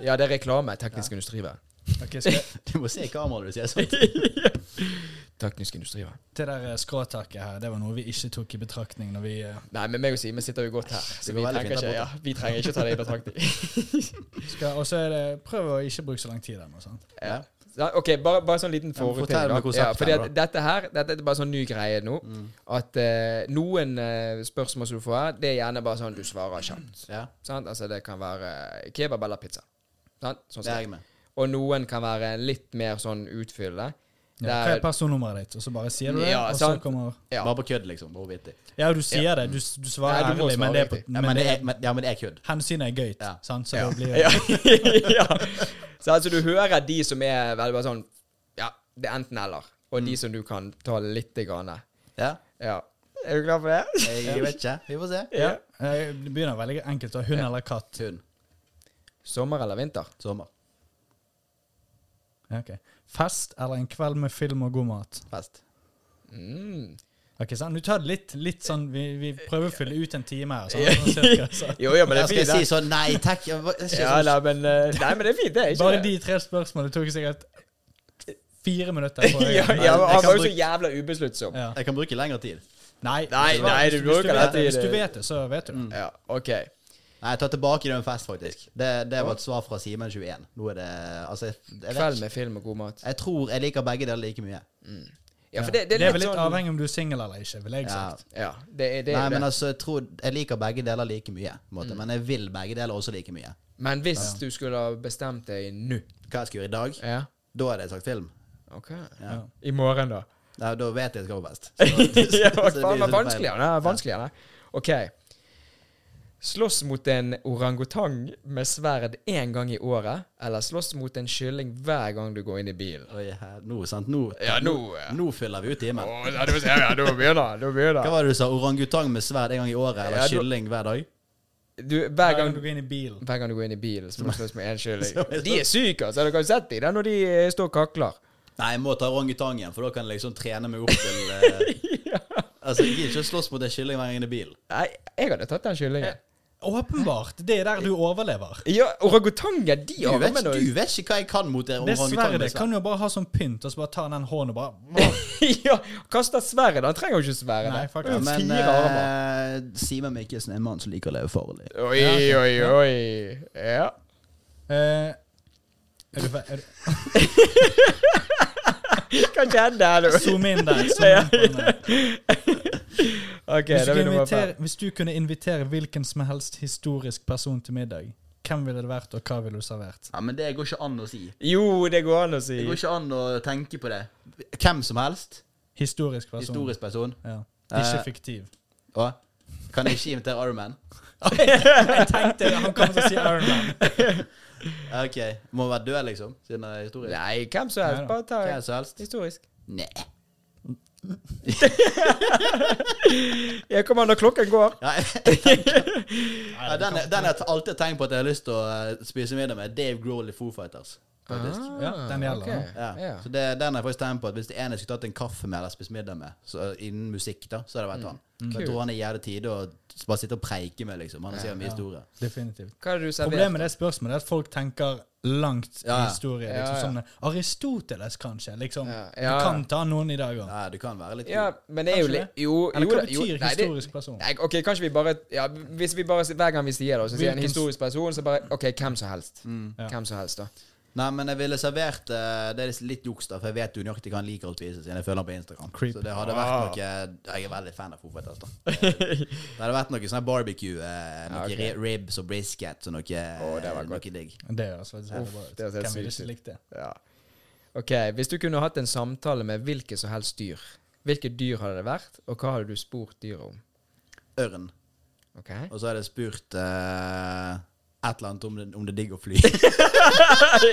[SPEAKER 1] Ja, det er reklame. Teknisk industrivær.
[SPEAKER 2] Ok, skal jeg,
[SPEAKER 3] <laughs> Du må se i kameraet du sier sånn.
[SPEAKER 1] <laughs>
[SPEAKER 3] sånt.
[SPEAKER 1] Teknisk industrivær.
[SPEAKER 2] det der eh, skråtaket her, det var noe vi ikke tok i betraktning når vi eh,
[SPEAKER 1] Nei, men meg og Simen sitter jo godt her, så
[SPEAKER 3] går
[SPEAKER 1] vi
[SPEAKER 3] veldig
[SPEAKER 1] trenger,
[SPEAKER 3] fint der
[SPEAKER 1] ikke, ja, vi trenger ikke ta det i betraktning.
[SPEAKER 2] skal Og så er det Prøv å ikke bruke så lang tid ennå. sant?
[SPEAKER 1] <laughs> Ja. Ja, OK, bare, bare sånn liten
[SPEAKER 3] Ja, men
[SPEAKER 1] forutting.
[SPEAKER 3] fortell
[SPEAKER 1] da.
[SPEAKER 3] meg konseptet
[SPEAKER 1] Ja, fordi
[SPEAKER 3] her,
[SPEAKER 1] at dette her Dette er bare sånn ny greie nå. At eh, noen eh, spørsmål som du får her, det er gjerne bare sånn du svarer kjapt.
[SPEAKER 3] Ja,
[SPEAKER 1] Sant? Altså, det kan være eh, kebab eller pizza. Sant? Sånn
[SPEAKER 3] det er
[SPEAKER 1] sett.
[SPEAKER 3] jeg med.
[SPEAKER 1] Og noen kan være litt mer sånn utfyllende.
[SPEAKER 2] Ja, hva er personnummeret ditt? Og så bare sier du det,
[SPEAKER 1] Ja,
[SPEAKER 2] og så
[SPEAKER 1] sant.
[SPEAKER 2] kommer
[SPEAKER 1] Ja.
[SPEAKER 3] Bare på kødd, liksom. Bare vittig.
[SPEAKER 2] Ja, du sier det. Du, s- du svarer
[SPEAKER 1] Ja, du må
[SPEAKER 2] ærlig, men
[SPEAKER 1] svare
[SPEAKER 2] det er på
[SPEAKER 1] riktig.
[SPEAKER 3] Ja, men det er, men, ja, men det er kødd.
[SPEAKER 2] Hensynet er gøyt,
[SPEAKER 3] Ja.
[SPEAKER 2] sant? så
[SPEAKER 1] Ja.
[SPEAKER 2] det
[SPEAKER 1] <laughs>
[SPEAKER 2] blir
[SPEAKER 1] ja. ja. <laughs> Så altså, du hører de som er veldig bare sånn Ja, det er enten-eller. Og de som du kan ta lite grann.
[SPEAKER 3] Ja,
[SPEAKER 1] Ja. Er du klar for det?
[SPEAKER 3] jeg vet ikke. Vi får se.
[SPEAKER 2] Ja. Eh, Det begynner veldig enkelt. da. Hund eller katt?
[SPEAKER 3] Hund.
[SPEAKER 1] Sommer eller vinter?
[SPEAKER 3] Sommer.
[SPEAKER 2] Ja, ok. Fest eller en kveld med film og god mat?
[SPEAKER 3] Fest.
[SPEAKER 1] Mm.
[SPEAKER 2] Ok, sant? Du tar det litt, litt sånn vi, vi prøver å fylle ut en
[SPEAKER 1] <laughs>
[SPEAKER 2] time her. Sånn, sånn, cirka, så.
[SPEAKER 1] Jo, ja, men det
[SPEAKER 3] Jeg
[SPEAKER 1] er
[SPEAKER 3] skal
[SPEAKER 1] fint.
[SPEAKER 3] si
[SPEAKER 1] det.
[SPEAKER 3] sånn nei takk. Jeg var- jeg skal
[SPEAKER 1] Ja,
[SPEAKER 3] sånn-
[SPEAKER 1] nei, men, eh, nei, men det er fint, det. er Ikke det.
[SPEAKER 2] Bare de tre spørsmålene tok sikkert fire
[SPEAKER 1] <laughs>
[SPEAKER 2] minutter. på
[SPEAKER 1] <laughs>
[SPEAKER 2] å
[SPEAKER 1] ja,
[SPEAKER 2] gjøre.
[SPEAKER 1] ja, men
[SPEAKER 3] Jeg
[SPEAKER 1] han
[SPEAKER 3] kan
[SPEAKER 1] var jo så
[SPEAKER 3] bruke-
[SPEAKER 1] jævla ubesluttsom.
[SPEAKER 2] Ja.
[SPEAKER 3] sånn- Jeg kan bruke lengre tid.
[SPEAKER 2] Nei,
[SPEAKER 1] Nei,
[SPEAKER 2] hvis
[SPEAKER 1] nei,
[SPEAKER 2] hvis
[SPEAKER 1] du
[SPEAKER 2] hvis
[SPEAKER 1] bruker det
[SPEAKER 2] vet det.
[SPEAKER 1] til- Mm.
[SPEAKER 2] Hvis du vet det, så vet du det.
[SPEAKER 1] Ja, OK.
[SPEAKER 3] Nei, jeg tar tilbake det med fest, faktisk. Det, det var et svar fra Simen21. Nå er det Altså, jeg, jeg
[SPEAKER 1] Kveld
[SPEAKER 3] vet ikke.
[SPEAKER 1] med film og god mat.
[SPEAKER 3] Jeg tror jeg liker begge deler like mye.
[SPEAKER 1] Ja, for det, det
[SPEAKER 2] Det
[SPEAKER 1] er
[SPEAKER 2] er vel litt
[SPEAKER 1] sånn
[SPEAKER 2] avhengig om du er singel eller ikke, vil jeg
[SPEAKER 3] Ja.
[SPEAKER 2] sagt.
[SPEAKER 1] Ja, det er det. er
[SPEAKER 3] Nei,
[SPEAKER 1] det. Mm.
[SPEAKER 3] men altså, jeg tror Jeg liker begge deler like mye, på en måte. Men jeg vil begge deler også like mye.
[SPEAKER 1] Men hvis du skulle ha bestemt deg nå
[SPEAKER 3] Hva jeg skal gjøre i dag?
[SPEAKER 1] Ja,
[SPEAKER 3] Da hadde jeg sagt film.
[SPEAKER 1] OK.
[SPEAKER 3] Ja.
[SPEAKER 1] I morgen, da?
[SPEAKER 3] Nei, da vet jeg at jeg skal på <laughs> fest.
[SPEAKER 1] <laughs> ja,
[SPEAKER 3] <laughs> så det blir sånn
[SPEAKER 1] faen, men
[SPEAKER 3] så
[SPEAKER 1] vanskeligere. nei, vanskeligere. OK. Slåss mot en orangutang med sverd én gang i året, eller slåss mot en kylling hver gang du går inn i bilen?
[SPEAKER 3] Oi, her, nå, sant? Nå,
[SPEAKER 1] Ja, nå, ja.
[SPEAKER 3] nå fyller vi ut timen.
[SPEAKER 1] Å, ja, du ser, ja, da begynner da begynner
[SPEAKER 3] Hva var det du sa? Orangutang med sverd en gang i året? Eller
[SPEAKER 1] Ja, du-
[SPEAKER 3] kylling hver dag?
[SPEAKER 1] Du, hver
[SPEAKER 2] Hver
[SPEAKER 1] gang
[SPEAKER 2] gang du går inn i bilen.
[SPEAKER 1] Hver gang du går inn i bilen, så må du slåss med én
[SPEAKER 3] <laughs> Så må
[SPEAKER 1] kylling.
[SPEAKER 3] jeg
[SPEAKER 1] De er syke, altså. Dere har jo sett dem der når de eh, står og
[SPEAKER 3] <laughs>
[SPEAKER 1] kakler.
[SPEAKER 3] Nei, jeg må ta orangutangen, for da kan jeg liksom trene meg opp til <laughs> eh, Altså, jeg gidder ikke å slåss mot en kylling hver gang jeg er i bil.
[SPEAKER 1] Nei, jeg hadde tatt den kyllingen.
[SPEAKER 2] Åpenbart! Det er der du overlever.
[SPEAKER 1] Ja, orangutanger, de
[SPEAKER 3] Du
[SPEAKER 1] har
[SPEAKER 3] vet,
[SPEAKER 1] men
[SPEAKER 3] du vet ikke hva jeg kan mot en
[SPEAKER 2] Det
[SPEAKER 3] orangutang med
[SPEAKER 2] sverdet
[SPEAKER 3] sverd.
[SPEAKER 2] kan du jo bare ha som pynt, og så bare ta den hånden og bare
[SPEAKER 1] <laughs> Ja, kaster sverdet. Han trenger jo ikke sverdet.
[SPEAKER 2] Nei,
[SPEAKER 1] Det er
[SPEAKER 2] faktisk.
[SPEAKER 1] jo
[SPEAKER 3] Men
[SPEAKER 1] fire armer.
[SPEAKER 3] eh, Simen Mikkelsen er en mann som liker å leve farlig.
[SPEAKER 1] Oi, oi, oi. Ja. <laughs>
[SPEAKER 2] Eh, er du, fe- er du,
[SPEAKER 1] Hva skjedde her nå?
[SPEAKER 2] Zoom inn der. Zoom inn på den der.
[SPEAKER 1] OK,
[SPEAKER 2] Hvis
[SPEAKER 1] da
[SPEAKER 2] du,
[SPEAKER 1] blir
[SPEAKER 2] kunne
[SPEAKER 1] nummer fem.
[SPEAKER 2] invitere, hvis du kunne invitere hvilken som helst historisk person til middag, hvem ville det vært, og hva ville du servert?
[SPEAKER 3] Ja, men det går ikke an å si.
[SPEAKER 1] Jo, det går an å si.
[SPEAKER 3] Det
[SPEAKER 1] <laughs>
[SPEAKER 3] går ikke an å tenke på det. Hvem som helst.
[SPEAKER 2] Historisk person.
[SPEAKER 3] Historisk person.
[SPEAKER 2] Ja.
[SPEAKER 3] Eh.
[SPEAKER 2] Ikke
[SPEAKER 1] <laughs>
[SPEAKER 2] fiktiv.
[SPEAKER 3] Å, kan jeg ikke invitere Iron Man?
[SPEAKER 2] Jeg tenkte han kom til å si Iron Man.
[SPEAKER 3] Ok, Må være død, liksom? Siden det er historie?
[SPEAKER 1] Nei, hvem som helst.
[SPEAKER 2] Neida.
[SPEAKER 1] Bare ta
[SPEAKER 3] Hvem som helst?
[SPEAKER 1] historisk.
[SPEAKER 3] Nei.
[SPEAKER 1] Ja, kom an, når klokken går. <laughs>
[SPEAKER 3] <laughs> Ja, jeg tenker- ja, den er- den har jeg alltid tenkt på at jeg har lyst til å eh, spise middag med. Dave Grohl i Foo Fighters. Faktisk.
[SPEAKER 2] Ja, den gjelder,
[SPEAKER 1] ok.
[SPEAKER 3] Ah, Ja.
[SPEAKER 1] Ah. Ja.
[SPEAKER 3] Så det, den har jeg faktisk tenkt på at hvis det er en jeg skulle tatt en kaffe med eller spist middag med, så, innen musikk, da, så
[SPEAKER 1] Mm.
[SPEAKER 3] hadde det vært han. Jeg tror han er jævlig tidlig å bare sitte og preike med, liksom. Han sier mye historie.
[SPEAKER 2] Definitivt.
[SPEAKER 1] Hva hadde du
[SPEAKER 2] Problemet
[SPEAKER 1] servert?
[SPEAKER 2] med det spørsmålet er at folk tenker langt
[SPEAKER 3] Ja, ja.
[SPEAKER 2] historie.
[SPEAKER 1] Ja,
[SPEAKER 2] Liksom,
[SPEAKER 1] ja.
[SPEAKER 2] sånn, Aristoteles, kanskje. Liksom.
[SPEAKER 1] Ja, ja,
[SPEAKER 2] Du
[SPEAKER 1] ja.
[SPEAKER 2] kan ta noen i dag òg.
[SPEAKER 3] Nei, du kan være litt
[SPEAKER 1] Ja, men det er jo
[SPEAKER 2] Kanskje
[SPEAKER 1] litt
[SPEAKER 2] det?
[SPEAKER 1] Jo,
[SPEAKER 2] Eller
[SPEAKER 1] jo
[SPEAKER 2] hva
[SPEAKER 1] da- jo,
[SPEAKER 2] betyr
[SPEAKER 1] nei, det-
[SPEAKER 2] historisk person?
[SPEAKER 1] Nei, ok, kanskje vi bare ja, Hvis vi bare Hver gang vi sier det, så sier en
[SPEAKER 2] Hvilken-
[SPEAKER 1] historisk person, så bare OK, hvem som helst.
[SPEAKER 3] Mm.
[SPEAKER 2] Ja.
[SPEAKER 1] Hvem som helst, da.
[SPEAKER 3] Nei, men jeg ville servert eh, Det er litt juks, da, for jeg vet jo nøyaktig hva han liker å spise, siden jeg følger han på Instagram.
[SPEAKER 2] Creep.
[SPEAKER 3] Så det hadde
[SPEAKER 1] Ah.
[SPEAKER 3] vært noe Jeg er veldig fan av Foo
[SPEAKER 1] <laughs>
[SPEAKER 3] Fighters, da. Eh, Det hadde vært noe sånn her barbecue, eh, noe
[SPEAKER 1] Ja,
[SPEAKER 3] ri- ribs og brisket og noe,
[SPEAKER 1] Ah, Å, det var
[SPEAKER 3] noe
[SPEAKER 1] godt.
[SPEAKER 3] digg.
[SPEAKER 2] Det høres
[SPEAKER 1] Uff,
[SPEAKER 2] faktisk veldig bra ut.
[SPEAKER 1] det ser
[SPEAKER 2] Hvem ville
[SPEAKER 1] sykt ut.
[SPEAKER 2] ikke likt det?
[SPEAKER 1] Ja. OK, hvis du kunne hatt en samtale med hvilket som helst dyr, hvilket dyr hadde det vært, og hva hadde du spurt dyret om?
[SPEAKER 3] Ørn.
[SPEAKER 1] OK?
[SPEAKER 3] Og så hadde jeg spurt eh, et eller annet om det, om det er digg
[SPEAKER 1] <laughs>
[SPEAKER 3] å fly.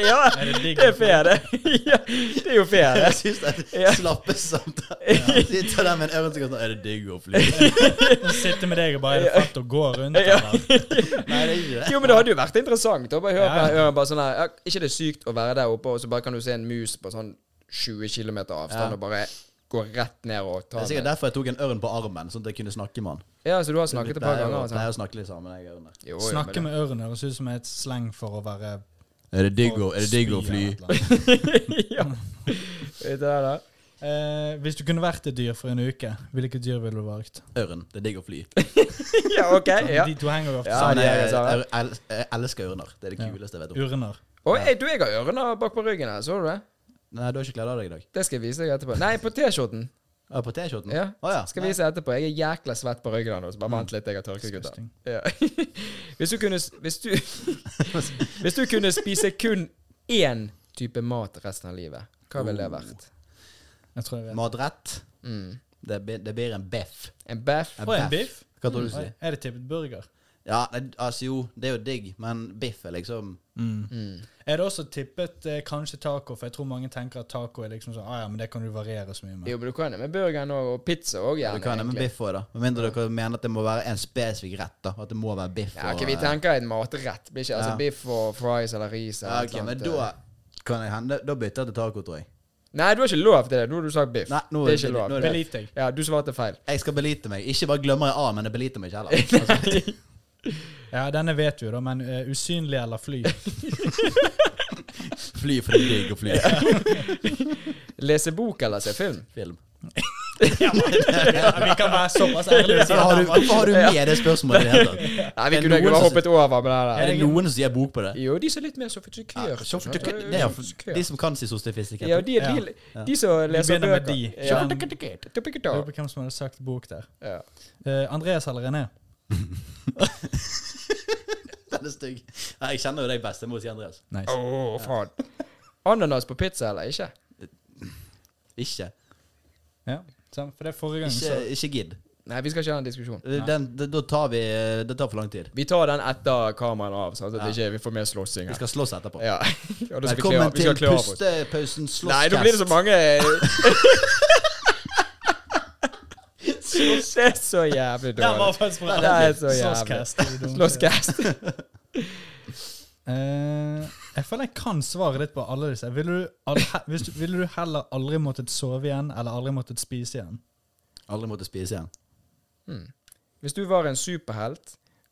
[SPEAKER 1] ja,
[SPEAKER 2] digg
[SPEAKER 1] det er fair, det. <laughs> ja, det er jo fair, det.
[SPEAKER 3] Jeg syns det er
[SPEAKER 1] Ja. <laughs>
[SPEAKER 3] slappe samtaler. Sitter der med en ørn som kan sånn Er det digg å fly?
[SPEAKER 2] Sitte med deg og bare Er det fett å gå rundt?
[SPEAKER 1] Ja.
[SPEAKER 2] Eller?
[SPEAKER 3] Nei, det er ikke det.
[SPEAKER 1] Jo, men det hadde jo vært interessant. å bare høre på
[SPEAKER 2] Ja, ja.
[SPEAKER 1] den øren, bare sånn her, ja, Ikke det er sykt å være der oppe, og så bare kan du se en mus på sånn 20 km avstand
[SPEAKER 3] Ja.
[SPEAKER 1] og bare gå rett ned og
[SPEAKER 3] Det
[SPEAKER 1] ta
[SPEAKER 3] er
[SPEAKER 1] den.
[SPEAKER 3] sikkert derfor jeg tok en ørn på armen, sånn at jeg kunne snakke med han.
[SPEAKER 1] Ja, så du har snakket et par ganger? og
[SPEAKER 3] Jeg pleier
[SPEAKER 1] Sånn.
[SPEAKER 3] å snakke litt sammen, jeg ørner.
[SPEAKER 1] Jo, jo,
[SPEAKER 2] Snakke
[SPEAKER 1] men
[SPEAKER 2] med ørn høres ut som et sleng for å være
[SPEAKER 3] Er det
[SPEAKER 2] spy eller et eller annet.
[SPEAKER 1] ja. Vet du det, da?
[SPEAKER 2] Eh, hvis du kunne vært et dyr for en uke, hvilket dyr ville du valgt?
[SPEAKER 3] Ørn. Det er digg å fly.
[SPEAKER 1] Ja, OK. Eh, Ja.
[SPEAKER 2] De to henger jo ofte
[SPEAKER 1] Ja,
[SPEAKER 3] Sånn,
[SPEAKER 1] det er det
[SPEAKER 3] jeg,
[SPEAKER 1] samme.
[SPEAKER 3] jeg, el- jeg elsker ørner. Det er det
[SPEAKER 2] Ja.
[SPEAKER 3] kuleste jeg vet om.
[SPEAKER 2] sammen. Urner.
[SPEAKER 1] Og jeg, du, jeg har ørene bak på ryggen her, så du det?
[SPEAKER 3] Nei, du har ikke kledd av deg i dag.
[SPEAKER 1] Det skal jeg vise deg etterpå. Nei, på T-skjorten.
[SPEAKER 3] Ja, på T-skjorten?
[SPEAKER 1] Ja.
[SPEAKER 3] Å ja.
[SPEAKER 1] Skal
[SPEAKER 3] Nei.
[SPEAKER 1] vise etterpå. Jeg er jækla svett på ryggen nå, så bare vent litt, jeg har tørket, gutter.
[SPEAKER 2] Disgusting.
[SPEAKER 1] Ja. <laughs> Hvis du kunne s- Hvis
[SPEAKER 3] <laughs>
[SPEAKER 1] du Hvis du kunne spise kun én type mat resten av livet, hva ville det vært?
[SPEAKER 2] Jeg tror jeg vet.
[SPEAKER 3] Matrett.
[SPEAKER 1] Mm.
[SPEAKER 3] Det, blir- det blir en biff.
[SPEAKER 1] En baff?
[SPEAKER 2] Og en biff?
[SPEAKER 3] Hva tror du du
[SPEAKER 2] Oi,
[SPEAKER 3] sier?
[SPEAKER 2] Er det tippet burger?
[SPEAKER 3] Ja, nei, altså jo, det er jo digg, men biff er liksom
[SPEAKER 1] Mm.
[SPEAKER 2] Er det også tippet eh, kanskje taco? For jeg tror mange tenker at taco er liksom sånn ah, ja, men det kan du variere så mye med.
[SPEAKER 1] Jo, men du kan det med burgeren og, og pizza òg,
[SPEAKER 3] Du
[SPEAKER 1] gjerne.
[SPEAKER 3] kan det med
[SPEAKER 1] egentlig.
[SPEAKER 3] biff òg, da. Med mindre dere mener at det må være en spesifikk rett. da At det må være biff.
[SPEAKER 1] Ja, ok,
[SPEAKER 3] og-
[SPEAKER 1] vi tenker en matrett. Blir ikke altså
[SPEAKER 3] Ja.
[SPEAKER 1] biff og fries eller ris eller
[SPEAKER 3] Ja,
[SPEAKER 1] et
[SPEAKER 3] ok,
[SPEAKER 1] eller
[SPEAKER 3] men
[SPEAKER 1] annet,
[SPEAKER 3] da
[SPEAKER 1] eh.
[SPEAKER 3] kan jeg hende Da bytter jeg til taco, tror jeg.
[SPEAKER 1] Nei, du har ikke lov til det. Nå har du sagt biff.
[SPEAKER 3] Nei, nå
[SPEAKER 1] det
[SPEAKER 3] er
[SPEAKER 1] er ikke
[SPEAKER 3] det-
[SPEAKER 1] lov.
[SPEAKER 3] nå er det-
[SPEAKER 2] Beliter jeg.
[SPEAKER 1] Ja, du svarte feil.
[SPEAKER 3] Jeg skal belite meg. Ikke bare glemmer jeg A, men jeg beliter meg
[SPEAKER 1] <laughs>
[SPEAKER 3] ikke heller. Altså,
[SPEAKER 2] Ja, denne vet du jo, da, men eh, usynlig eller fly?
[SPEAKER 3] fly for det er digg å fly.
[SPEAKER 1] Lese bok eller se
[SPEAKER 3] <laughs>
[SPEAKER 1] film?
[SPEAKER 3] Film.
[SPEAKER 2] ja, vi kan være såpass ærlige. og si
[SPEAKER 3] <laughs> Hvorfor har du,
[SPEAKER 2] at
[SPEAKER 3] hvorfor har du med det spørsmålet i det hele tatt?
[SPEAKER 1] Nei, vi
[SPEAKER 3] Er
[SPEAKER 1] kunne
[SPEAKER 3] noen
[SPEAKER 1] ikke bare
[SPEAKER 3] som-
[SPEAKER 1] hoppet over med det
[SPEAKER 3] Er
[SPEAKER 1] der.
[SPEAKER 3] det noen som sier bok på det?
[SPEAKER 1] Jo, de som er litt mer sofistikert.
[SPEAKER 3] Så-
[SPEAKER 1] sånn.
[SPEAKER 3] det er jo- De som kan si sofistikert.
[SPEAKER 1] Ja, de, de, de, som leser
[SPEAKER 2] begynner med
[SPEAKER 1] bøker.
[SPEAKER 2] de.
[SPEAKER 1] Ja.
[SPEAKER 2] Sånn. Jeg lurer på hvem som hadde sagt bok der.
[SPEAKER 1] Ja.
[SPEAKER 2] Eh, Andreas eller René?
[SPEAKER 3] <laughs> Den er stygg. Nei, Jeg kjenner jo deg best. Jeg må si Andreas.
[SPEAKER 2] Nice.
[SPEAKER 1] Åh, faen. <laughs> Ananas på pizza eller ikke?
[SPEAKER 3] Ikke.
[SPEAKER 2] Ja, sant, for det er forrige gang så
[SPEAKER 3] Ikke, ikke gidd.
[SPEAKER 1] Nei, vi skal ikke ha en diskusjon.
[SPEAKER 3] Den, da- da tar vi Det tar for lang tid.
[SPEAKER 1] Vi tar den etter kameraet er av, sånn at
[SPEAKER 3] Ja.
[SPEAKER 1] ikke vi får mer slåssing
[SPEAKER 3] Vi
[SPEAKER 1] her.
[SPEAKER 3] skal slåss etterpå.
[SPEAKER 1] Ja. <laughs> Og da skal vi kle
[SPEAKER 3] Velkommen
[SPEAKER 1] av- vi skal
[SPEAKER 3] til
[SPEAKER 1] kle av oss.
[SPEAKER 3] pustepausen
[SPEAKER 1] Nei, nå blir det så
[SPEAKER 3] slåsskast.
[SPEAKER 1] mange <laughs> Det er så jævlig
[SPEAKER 2] Den var
[SPEAKER 1] dårlig.
[SPEAKER 2] faktisk bra.
[SPEAKER 1] Den er så jævlig.
[SPEAKER 2] Slåsscast. er det dumt.
[SPEAKER 1] Slåsscast.
[SPEAKER 2] Eh, jeg føler jeg kan svaret ditt på alle disse. Ville du, al hvis du, ville du heller aldri måttet sove igjen, eller aldri måttet spise igjen?
[SPEAKER 3] Aldri måtte spise igjen.
[SPEAKER 1] Hvis du var en superhelt,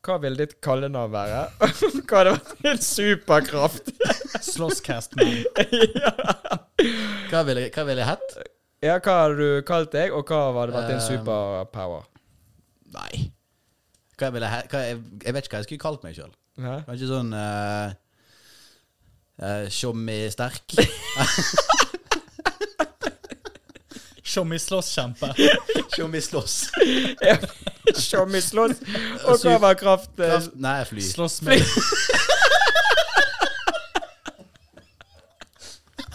[SPEAKER 1] hva ville ditt kallenavn være? <laughs> Hva hadde vært din superkraft?
[SPEAKER 2] Slåsscast, man.
[SPEAKER 3] Hva ville hva ville jeg hett?
[SPEAKER 1] Ja, hva hadde du kalt deg, og hva hadde vært din
[SPEAKER 3] Um,
[SPEAKER 1] superpower?
[SPEAKER 3] Nei. Hva jeg, ville he hva jeg, jeg vet ikke hva jeg skulle kalt meg sjøl.
[SPEAKER 1] Hæ? <laughs>
[SPEAKER 3] Kanskje sånn eh,
[SPEAKER 1] <laughs>
[SPEAKER 3] uh, Tjommi sterk.
[SPEAKER 2] Tjommi slåsskjempe.
[SPEAKER 3] Som vi slåss.
[SPEAKER 1] Tjommi slåss og hva var kraft... eh,
[SPEAKER 3] Kraft- Nei, fly.
[SPEAKER 2] Slåss med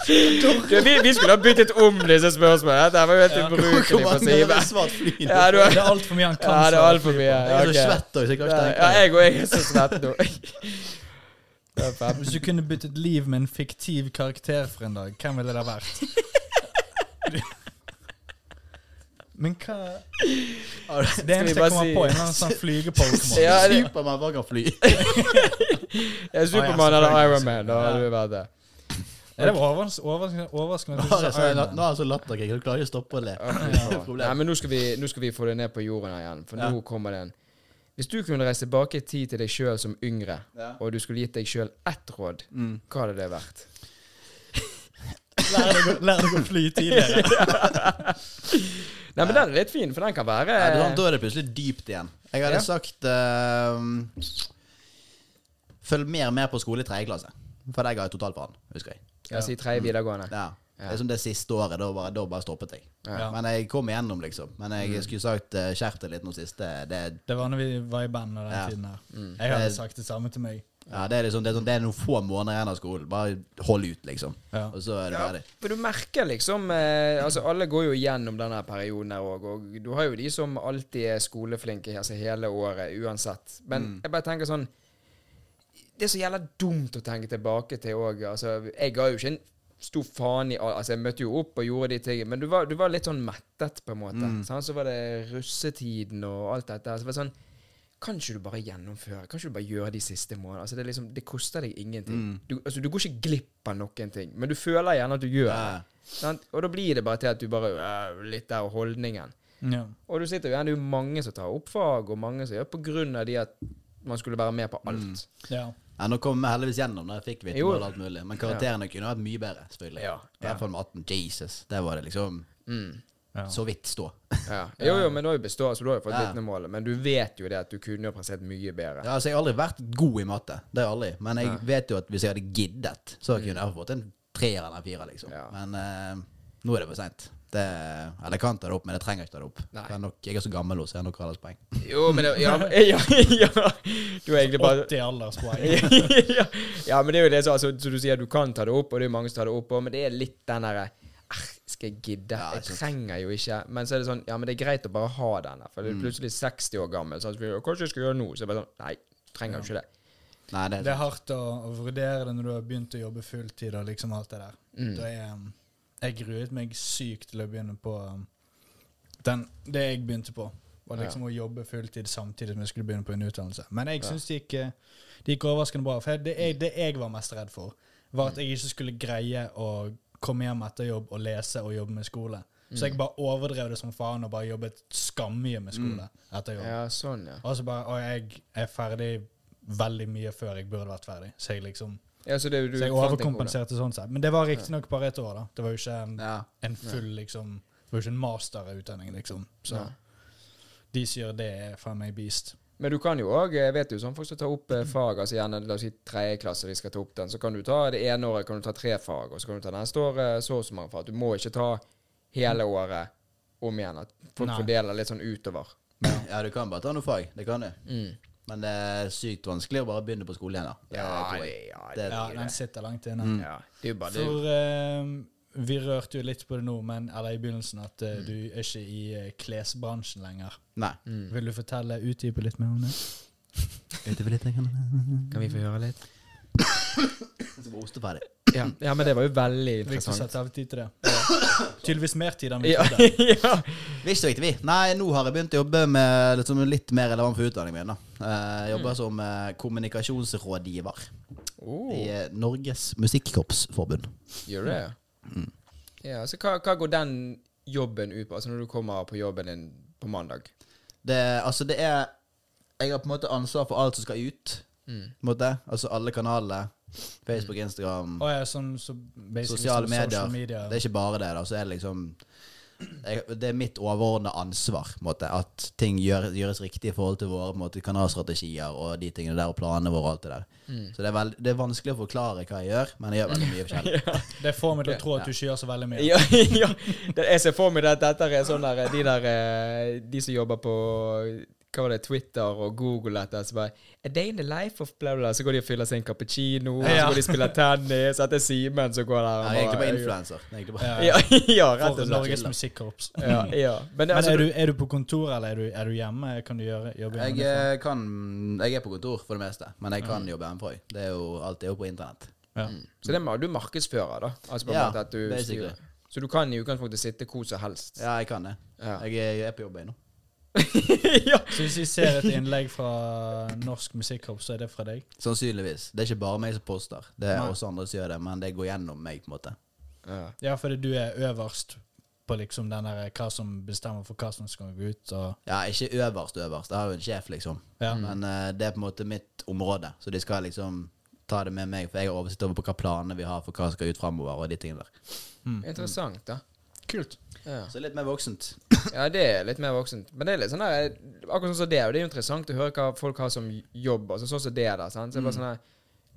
[SPEAKER 1] Du, vi, vi skulle ha byttet om disse spørsmålene. Dette var jo helt ubrukelig for Sive.
[SPEAKER 3] svart fly nå?
[SPEAKER 1] Ja, du
[SPEAKER 2] Det
[SPEAKER 1] er,
[SPEAKER 2] er altfor mye han
[SPEAKER 1] <laughs>
[SPEAKER 2] kan.
[SPEAKER 1] ja, det er
[SPEAKER 2] svare
[SPEAKER 1] altfor mye.
[SPEAKER 3] Jeg er så
[SPEAKER 1] Ja, ok.
[SPEAKER 3] svett også, så jeg klarer ikke å
[SPEAKER 1] Ja,
[SPEAKER 3] tenke.
[SPEAKER 1] jeg og jeg er så svett nå. Det er
[SPEAKER 2] på.
[SPEAKER 1] fem.
[SPEAKER 2] Hvis du kunne byttet liv med en fiktiv karakter for en dag, hvem ville det vært? Men hva Det eneste
[SPEAKER 1] bare
[SPEAKER 2] jeg kommer
[SPEAKER 1] si-
[SPEAKER 2] på, er en eller annen sånn
[SPEAKER 3] <laughs>
[SPEAKER 2] flygepokémon.
[SPEAKER 1] Ja, det-
[SPEAKER 3] Supermann bare kan
[SPEAKER 1] <laughs>
[SPEAKER 3] fly.
[SPEAKER 1] Ja, Supermann eller Iron Man, da hadde du vært det.
[SPEAKER 2] Ja, Det var overs- overraskende overraskende
[SPEAKER 3] Nå
[SPEAKER 2] at
[SPEAKER 3] har
[SPEAKER 2] du
[SPEAKER 3] jeg
[SPEAKER 2] sa Iron
[SPEAKER 3] sånn-
[SPEAKER 2] Man.
[SPEAKER 3] nå har jeg så latterkrig, jeg klarer ikke å stoppe å le.
[SPEAKER 1] <laughs>
[SPEAKER 3] Problem.
[SPEAKER 1] Nei, men nå skal, vi, nå skal vi få det ned på jorden her igjen, for
[SPEAKER 3] Ja.
[SPEAKER 1] nå kommer den. Hvis du kunne reise tilbake i tid til deg sjøl som yngre,
[SPEAKER 3] Ja.
[SPEAKER 1] og du skulle gitt deg sjøl ett råd, hva hadde det vært?
[SPEAKER 2] Lær deg å- Lær deg å fly tidligere.
[SPEAKER 1] Nei, men den er litt fin, for den kan være
[SPEAKER 3] Nei, da- da er det plutselig dypt igjen. Jeg hadde
[SPEAKER 1] Ja.
[SPEAKER 3] sagt eh, Følg mer med på skole i tredje klasse. For der ga jeg totalt faen, husker jeg.
[SPEAKER 1] Jeg sier tredje videregående.
[SPEAKER 3] Ja. Det er som det siste året. Da bare, da bare stoppet jeg.
[SPEAKER 2] Ja.
[SPEAKER 3] Men jeg kom igjennom, liksom. Men jeg
[SPEAKER 1] Mm.
[SPEAKER 3] skulle sagt eh, skjerp deg litt nå siste. Det,
[SPEAKER 2] Det var når vi var i band og den
[SPEAKER 3] Ja.
[SPEAKER 2] tiden her. Jeg hadde sagt det samme til meg.
[SPEAKER 3] ja, det, er liksom, det, er sånn, det er noen få måneder igjen av skolen. Bare hold ut, liksom.
[SPEAKER 2] Ja.
[SPEAKER 3] Og så er du ferdig.
[SPEAKER 1] For du merker liksom eh, Altså, alle går jo gjennom denne perioden her òg, og du har jo de som alltid er skoleflinke altså hele året, uansett. Men jeg bare tenker sånn Det er så jævla dumt å tenke tilbake til òg. Altså, jeg ga jo ikke en stor faen i al- Altså, jeg møtte jo opp og gjorde de tingene, men du var, du var litt sånn mettet, på en måte. sant? så var det russetiden og alt dette. her, Så det var sånn kan ikke du bare gjennomføre? Kan ikke du bare gjøre de siste månedene? Altså, det, er liksom, det koster deg ingenting. Du, altså, du går ikke glipp av noen ting, men du føler gjerne at du gjør
[SPEAKER 3] Ja.
[SPEAKER 1] det. Sant? Og da blir det bare til at du bare øh, Litt der og holdningen.
[SPEAKER 2] Ja.
[SPEAKER 1] Og du sitter jo igjen, det er jo mange som tar opp fag, og mange som gjør på grunn av de at man skulle være med på alt.
[SPEAKER 2] Ja.
[SPEAKER 3] Ja, nå kom jeg heldigvis gjennom da jeg fikk
[SPEAKER 1] Jo.
[SPEAKER 3] vitnemål og alt mulig. Men karakterene kunne vært mye bedre, selvfølgelig.
[SPEAKER 1] Ja.
[SPEAKER 3] I hvert fall med 18. Jesus. Der var det liksom
[SPEAKER 1] Mm.
[SPEAKER 2] Ja.
[SPEAKER 3] så vidt stå.
[SPEAKER 1] Ja. Jo, jo, men du har jo bestått, så du har jo fått
[SPEAKER 3] Ja.
[SPEAKER 1] vitnemålet. Men du vet jo det at du kunne jo prestert mye bedre.
[SPEAKER 3] Ja, altså, jeg har aldri vært god i matte. Det har jeg aldri. Men jeg vet jo at hvis jeg hadde giddet, så kunne jeg fått en treer eller en firer, liksom.
[SPEAKER 1] Mm. Ja.
[SPEAKER 3] Men eh, nå er det for seint. Det, eller jeg kan ta det opp, men jeg trenger ikke ta det opp.
[SPEAKER 1] Nei.
[SPEAKER 3] Jeg, er nok, jeg er så gammel nå, så jeg har nok halvdagspoeng.
[SPEAKER 1] Jo, men det, ja, men- <laughs> ja, ja, Du er egentlig bare
[SPEAKER 2] 80 alderspoeng.
[SPEAKER 1] <laughs> ja. ja, men det er jo det som altså, som du sier, du kan ta det opp, og det er mange som tar det opp òg, men det er litt den derre «Ah, Skal jeg gidde?
[SPEAKER 3] Ja,
[SPEAKER 1] jeg
[SPEAKER 3] sant.
[SPEAKER 1] trenger jo ikke Men så er det sånn Ja, men det er greit å bare ha denne, for du er plutselig 60 år gammel. Så altså, kanskje jeg skal gjøre det nå? Så er det bare sånn Nei, trenger jo ikke det.
[SPEAKER 3] Nei, det,
[SPEAKER 2] Det er hardt å, å vurdere det når du har begynt å jobbe fulltid og liksom alt det der. Da er, um, jeg gruet meg sykt til å begynne på um, den, det jeg begynte på. Var liksom å jobbe fulltid samtidig som jeg skulle begynne på en utdannelse. Men jeg syns det, gikk, eh, det gikk overraskende bra. For jeg, det, jeg, det jeg var mest redd for, var at jeg ikke skulle greie å komme hjem etter jobb og lese og jobbe med skole. Så jeg bare overdrev det som faen og bare jobbet skammye med skole etter jobb.
[SPEAKER 1] Ja, sånn, ja.
[SPEAKER 2] Og så bare Og jeg er ferdig veldig mye før jeg burde vært ferdig. Så jeg liksom
[SPEAKER 1] ja så, det, er jo- du,
[SPEAKER 2] Så jeg
[SPEAKER 1] fant en kode.
[SPEAKER 2] overkompenserte sånn sett. Men det var riktignok bare et år, da. Det var jo ikke en,
[SPEAKER 3] ja.
[SPEAKER 2] en full liksom Det var jo ikke en masterutdanning, liksom. Så
[SPEAKER 1] Nei.
[SPEAKER 2] de som gjør det, er faen meg beast.
[SPEAKER 1] Men du kan jo òg, jeg vet jo sånn folk som tar opp eh, fag, altså gjerne la oss si tredje klasse, de skal ta opp den, så kan du ta det ene året kan du ta tre fag, og så kan du ta neste år eh, så og så mange fag. Du må ikke ta hele året om igjen. At folk
[SPEAKER 2] Nei.
[SPEAKER 1] fordeler litt sånn utover.
[SPEAKER 3] ja, du kan bare ta noe fag. Det kan du.
[SPEAKER 1] Mm.
[SPEAKER 3] Men det er sykt vanskelig å bare begynne på skolen igjen, da. Det
[SPEAKER 1] Eh,
[SPEAKER 3] tror jeg.
[SPEAKER 1] ja,
[SPEAKER 3] det-
[SPEAKER 2] Ja, den sitter langt inne.
[SPEAKER 1] Mm. ja. Det er jo bare det.
[SPEAKER 2] For eh, vi rørte jo litt på det nå, men, eller i begynnelsen, at
[SPEAKER 1] Mm.
[SPEAKER 2] eh, du er ikke i eh, klesbransjen lenger.
[SPEAKER 3] Nei.
[SPEAKER 1] Mm.
[SPEAKER 2] Vil du fortelle, utdype litt mer om det?
[SPEAKER 1] Kan vi få høre litt?
[SPEAKER 3] Så var osteferdig.
[SPEAKER 1] Ja, ja men det var jo veldig
[SPEAKER 2] Viktig å
[SPEAKER 1] interessant.
[SPEAKER 2] sette av
[SPEAKER 1] <coughs>
[SPEAKER 2] tid til det. Tydeligvis mer tid enn vi <laughs>
[SPEAKER 1] Ja,
[SPEAKER 2] trodde.
[SPEAKER 1] ja.
[SPEAKER 3] Visst og riktig, vi. Nei, nå har jeg begynt å jobbe med liksom, litt mer relevant for utdanningen min. da. Eh, Jeg jobber som eh, kommunikasjonsrådgiver
[SPEAKER 1] Oh,
[SPEAKER 3] i eh, Norges Musikkorpsforbund.
[SPEAKER 1] gjør du det? Mm. Ja, så hva, hva går den jobben ut på? Altså når du kommer på jobben din på mandag?
[SPEAKER 3] Det, altså, det er Jeg har på en måte ansvar for alt som skal ut. På en måte. Altså alle kanalene. Facebook, Instagram,
[SPEAKER 2] Å ja, sånn så basically
[SPEAKER 3] sosiale
[SPEAKER 2] sånn
[SPEAKER 3] medier.
[SPEAKER 2] Social media.
[SPEAKER 3] Det er ikke bare det, da. Så er det liksom jeg, det er mitt overordnede ansvar på en måte, at ting gjør, gjøres riktig i forhold til våre på en måte, kanalstrategier og de tingene der, og planene våre og alt det der.
[SPEAKER 2] Mm.
[SPEAKER 3] Så det er, veld, det er vanskelig å forklare hva jeg gjør, men jeg gjør veldig mye forskjellig.
[SPEAKER 2] <laughs> Det får meg til å tro at du ikke gjør så veldig mye.
[SPEAKER 1] Ja, <laughs> ja. Det, jeg ser for meg at dette er sånn der De der eh, De som jobber på hva var det, Twitter og Google etter, så bare A day in the life of bla, bla, bla. Så går de og fyller seg en cappuccino, og så
[SPEAKER 2] Ja.
[SPEAKER 1] går de og spiller tennis, og etter Simen som går der og
[SPEAKER 3] Jeg er egentlig
[SPEAKER 1] bare-
[SPEAKER 3] bare influenser. Jeg er egentlig bare-
[SPEAKER 2] Ja,
[SPEAKER 1] Ja, <laughs> ja, rett
[SPEAKER 2] For
[SPEAKER 1] og slett.
[SPEAKER 2] Norges Musikkorps.
[SPEAKER 1] <laughs> Ja, ja. Men, det,
[SPEAKER 2] Men
[SPEAKER 1] altså, du,
[SPEAKER 2] er du, er du på kontor, eller er du, er du hjemme? Kan du gjøre, jobbe
[SPEAKER 3] Jeg,
[SPEAKER 2] hjemme?
[SPEAKER 3] eh, kan, jeg er på kontor for det meste, men jeg
[SPEAKER 2] Mm.
[SPEAKER 3] kan jobbe hjemmefra. Det er jo, alt er jo på internett.
[SPEAKER 2] Ja.
[SPEAKER 1] så det er, du er markedsfører, da? Altså på en
[SPEAKER 3] Ja,
[SPEAKER 1] måte at du
[SPEAKER 3] basically.
[SPEAKER 1] styrer. Så du kan i utgangspunktet sitte hvor som helst?
[SPEAKER 3] Ja, jeg kan det.
[SPEAKER 1] Ja.
[SPEAKER 3] Jeg er, jeg er på jobb ennå.
[SPEAKER 1] ja.
[SPEAKER 2] Så hvis vi ser et innlegg fra Norsk Musikkorps, så er det fra deg?
[SPEAKER 3] Sannsynligvis. Det er ikke bare meg som poster, det er
[SPEAKER 2] Nei.
[SPEAKER 3] også andre som gjør det, men det går gjennom meg, på en måte.
[SPEAKER 1] ja.
[SPEAKER 2] Ja, fordi du er øverst på liksom den der hva som bestemmer for hva som skal gå ut, og
[SPEAKER 3] Ja, ikke øverst øverst. Jeg har jo en sjef, liksom.
[SPEAKER 2] Ja.
[SPEAKER 3] Men eh, det er på en måte mitt område, så de skal liksom ta det med meg. For jeg har oversikt over på hva planene vi har for hva som skal ut framover, og de tingene der.
[SPEAKER 1] Interessant, da.
[SPEAKER 2] Kult.
[SPEAKER 1] Ja.
[SPEAKER 3] Så litt mer voksent.
[SPEAKER 1] Ja, det er litt mer voksent. Men det er litt sånn der, akkurat sånn som det, og det er jo interessant å høre hva folk har som jobb. Altså sånn som det der, sant? Så det er bare
[SPEAKER 3] Mm.
[SPEAKER 1] sånn her,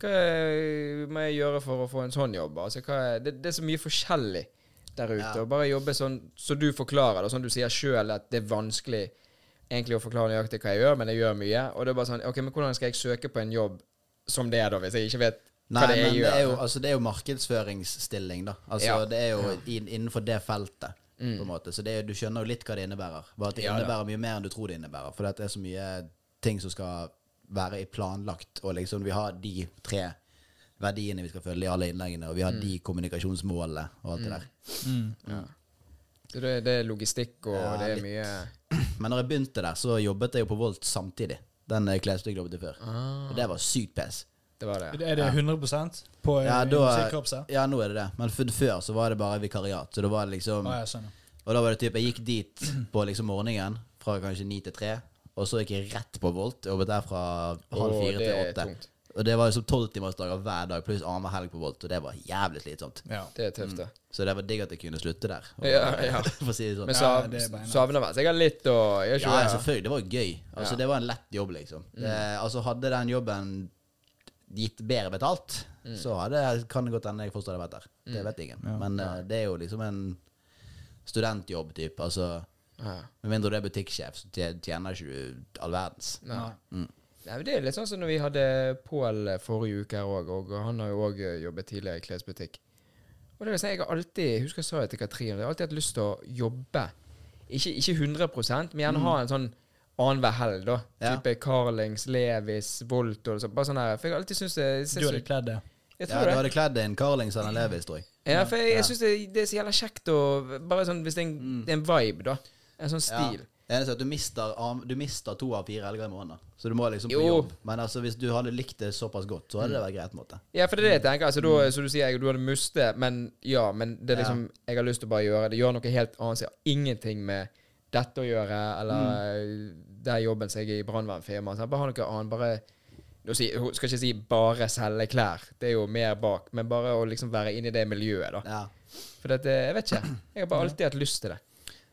[SPEAKER 1] hva eh, må jeg gjøre for å få en sånn jobb? Altså, hva er, det, det er så mye forskjellig der ute.
[SPEAKER 3] Ja.
[SPEAKER 1] Og bare jobbe sånn som du forklarer det, og sånn du sier sjøl at det er vanskelig egentlig å forklare nøyaktig hva jeg gjør, men jeg gjør mye. Og det er bare sånn, ok, men hvordan skal jeg søke på en jobb som det, da, hvis jeg ikke vet hva
[SPEAKER 3] Nei,
[SPEAKER 1] det er
[SPEAKER 3] men
[SPEAKER 1] jeg
[SPEAKER 3] det
[SPEAKER 1] gjør?
[SPEAKER 3] er, jo, altså, det er jo markedsføringsstilling, da. Altså,
[SPEAKER 1] Ja. Mm.
[SPEAKER 3] Det er jo inn- innenfor det feltet. På en måte. Så det er, du skjønner jo litt hva det innebærer. Bare at det
[SPEAKER 1] Ja, da.
[SPEAKER 3] innebærer mye mer enn du tror det innebærer. For det er så mye ting som skal være i planlagt, og liksom vi har de tre verdiene vi skal følge i alle innleggene, og vi
[SPEAKER 1] Mm.
[SPEAKER 3] har de kommunikasjonsmålene og alt det der.
[SPEAKER 1] Så det, det er logistikk og
[SPEAKER 3] Ja,
[SPEAKER 1] det er
[SPEAKER 3] litt.
[SPEAKER 1] mye
[SPEAKER 3] Men når jeg begynte der, så jobbet jeg jo på Volt samtidig. Den eh, klesbutikken jeg jobbet i før.
[SPEAKER 1] Ah.
[SPEAKER 3] Og det var sykt pes.
[SPEAKER 1] Det var det.
[SPEAKER 2] Er det 100 på eh,
[SPEAKER 3] Ja, da,
[SPEAKER 2] Musikkorpset?
[SPEAKER 3] ja, nå er det det. Men f- før så var det bare vikariat. Så det var liksom
[SPEAKER 2] Å, sånn, jeg skjønner.
[SPEAKER 3] Og da var det typ, jeg gikk dit på liksom morgenen fra kanskje ni til tre, og så gikk jeg rett på Volt. Jobbet der fra halv
[SPEAKER 1] Åh,
[SPEAKER 3] fire
[SPEAKER 1] det
[SPEAKER 3] til
[SPEAKER 1] er
[SPEAKER 3] åtte.
[SPEAKER 1] tungt.
[SPEAKER 3] Og det var liksom tolvtimersdager hver dag, pluss annenhver helg på Volt, og det var jævlig slitsomt.
[SPEAKER 2] Ja.
[SPEAKER 1] Det er tøft, det.
[SPEAKER 3] Så det var digg at jeg kunne slutte der. Og,
[SPEAKER 1] Ja, ja.
[SPEAKER 3] for å si det sånn.
[SPEAKER 1] Men
[SPEAKER 3] Ja,
[SPEAKER 1] så
[SPEAKER 2] Ja, det er beinhardt.
[SPEAKER 1] savner man sikkert litt og gjør ikke
[SPEAKER 3] ja,
[SPEAKER 1] det? Mm.
[SPEAKER 3] selvfølgelig. Det var jo gøy. Altså, Det var en lett jobb, liksom. Det, altså, Hadde den jobben gitt bedre betalt,
[SPEAKER 1] Mm.
[SPEAKER 3] så hadde, kan det godt hende jeg forstår det vært der. Det vet ingen. Men eh, det er jo liksom en studentjobb, typ. Altså
[SPEAKER 1] Ja.
[SPEAKER 3] Med mindre du er butikksjef, så tje- tjener ikke du all verdens.
[SPEAKER 1] Nei. Nei, men Det er litt sånn som når vi hadde Pål forrige uke her òg, og han har jo òg jobbet tidligere i klesbutikk. Og det er sånn, Jeg har alltid jeg husker jeg sa det til Katrin, jeg har alltid hatt lyst til å jobbe. Ikke, ikke 100 men gjerne ha en sånn annenhver helg, da.
[SPEAKER 3] Mm. Ja.
[SPEAKER 1] Type Carlings, Levis, Volt og sånn. Bare sånn her. For jeg har alltid syntes det
[SPEAKER 2] Du
[SPEAKER 1] ser så
[SPEAKER 2] hadde kledd det.
[SPEAKER 1] Jeg
[SPEAKER 3] Ja,
[SPEAKER 1] tror
[SPEAKER 3] du
[SPEAKER 1] det.
[SPEAKER 3] hadde kledd en Carlings eller en Levis, tror jeg.
[SPEAKER 1] Ja, for jeg, jeg syns det, det er så jævla kjekt å Bare sånn hvis det er en, det er en vibe, da. En sånn
[SPEAKER 3] Mm. Ja.
[SPEAKER 1] stil.
[SPEAKER 3] Det eneste er at du mister, arm- du mister to av fire helger i måneden. Så du må liksom på
[SPEAKER 1] Jo. Mm.
[SPEAKER 3] jobb. Men altså, hvis du hadde likt det såpass godt, så hadde det vært greit. på en måte.
[SPEAKER 1] Ja, for det er det jeg tenker. Altså, da, så du sier jeg, du hadde mustet, men ja, men det er liksom Jeg har lyst til å bare gjøre det. Gjøre noe helt annet. Så jeg har ingenting med dette å gjøre, eller der jobben som jeg er i brannvernfirmaet. Bare ha noe annet. Bare nå si- Hun skal ikke si 'bare selge klær', det er jo mer bak, men bare å liksom være inne i det miljøet, da.
[SPEAKER 3] Ja.
[SPEAKER 1] For dette, jeg vet ikke. Jeg har bare alltid hatt lyst til det.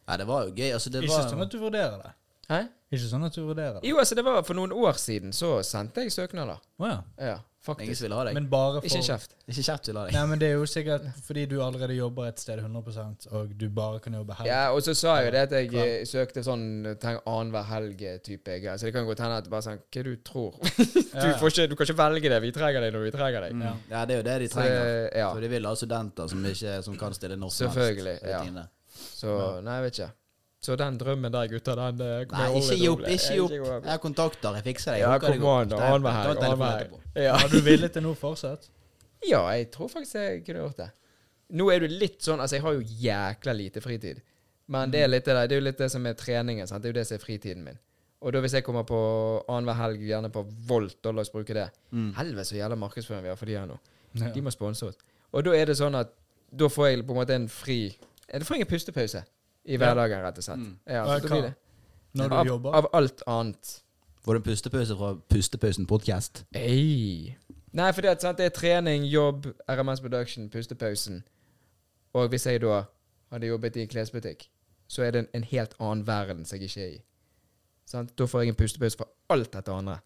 [SPEAKER 3] ja, det var jo gøy. Altså, det
[SPEAKER 2] Ikke
[SPEAKER 3] var
[SPEAKER 2] sånn at du vurderer det.
[SPEAKER 1] Hæ?
[SPEAKER 2] Ikke sånn at du vurderer det.
[SPEAKER 1] Jo, altså, det var for noen år siden så sendte jeg søknader.
[SPEAKER 2] Å, ja.
[SPEAKER 1] Ja,
[SPEAKER 3] Ingen
[SPEAKER 1] faktisk.
[SPEAKER 3] som ville ha deg.
[SPEAKER 2] Men bare for
[SPEAKER 1] Ikke kjeft.
[SPEAKER 3] ikke kjeft vil ha deg.
[SPEAKER 2] Nei, men det er jo sikkert fordi du allerede jobber et sted 100 og du bare kan jobbe her.
[SPEAKER 1] Ja, og så sa jeg jo det at jeg eh, søkte sånn tenk, annenhver helg-type greier. Så det kan godt hende at bare sånn Hva du tror? <laughs> du,
[SPEAKER 2] Ja.
[SPEAKER 1] får ikke, du kan ikke velge det. Vi trenger deg når vi trenger deg.
[SPEAKER 2] Ja.
[SPEAKER 3] Ja, det er jo det de
[SPEAKER 1] Så,
[SPEAKER 3] trenger.
[SPEAKER 1] ja.
[SPEAKER 3] Så de vil ha studenter som, ikke, som kan stille når som helst.
[SPEAKER 1] Selvfølgelig,
[SPEAKER 3] Det er
[SPEAKER 1] ja.
[SPEAKER 3] tingene.
[SPEAKER 1] Så nei, jeg vet ikke. Så den drømmen der, gutter, den eh, kommer jeg
[SPEAKER 3] Nei, ikke
[SPEAKER 1] aldri
[SPEAKER 3] gi
[SPEAKER 1] til å
[SPEAKER 3] opp.
[SPEAKER 1] bli.
[SPEAKER 3] Ikke gi opp. Jeg har kontakter, jeg fikser deg.
[SPEAKER 1] Ja, kom an. da. Annenhver
[SPEAKER 3] Ta en
[SPEAKER 1] helg.
[SPEAKER 3] telefon
[SPEAKER 1] Annenhver
[SPEAKER 3] etterpå.
[SPEAKER 1] helg. Ja.
[SPEAKER 2] Har du villet til nå fortsatt?
[SPEAKER 1] ja, jeg tror faktisk jeg kunne gjort det. Nå er du litt sånn Altså, jeg har jo jækla lite fritid. Men
[SPEAKER 2] Mm.
[SPEAKER 1] det er, litt det, der, det er jo litt det som er treningen. Sant? Det er jo det som er fritiden min. Og da hvis jeg kommer på annenhver helg, gjerne på Volt, da la oss bruke det. Helvete så jævla markedsføring vi har for de her nå.
[SPEAKER 2] Mm. Ja.
[SPEAKER 1] De må sponse oss. Og da er det sånn at da får jeg på en måte en fri eh, Da får jeg en pustepause i hverdagen, rett og slett. Ja,
[SPEAKER 2] Av
[SPEAKER 1] så da blir det.
[SPEAKER 2] Når du
[SPEAKER 1] Av,
[SPEAKER 2] jobber?
[SPEAKER 1] av alt annet.
[SPEAKER 3] Får du en pustepause fra Pustepausen podcast?
[SPEAKER 1] Ei. Nei, for det, sant, det er trening, jobb, RMS Production, pustepausen. Og hvis jeg da hadde jobbet i en klesbutikk, så er det en, en helt annen verden som jeg ikke er i. Sant? Da får jeg en pustepause fra alt dette andre.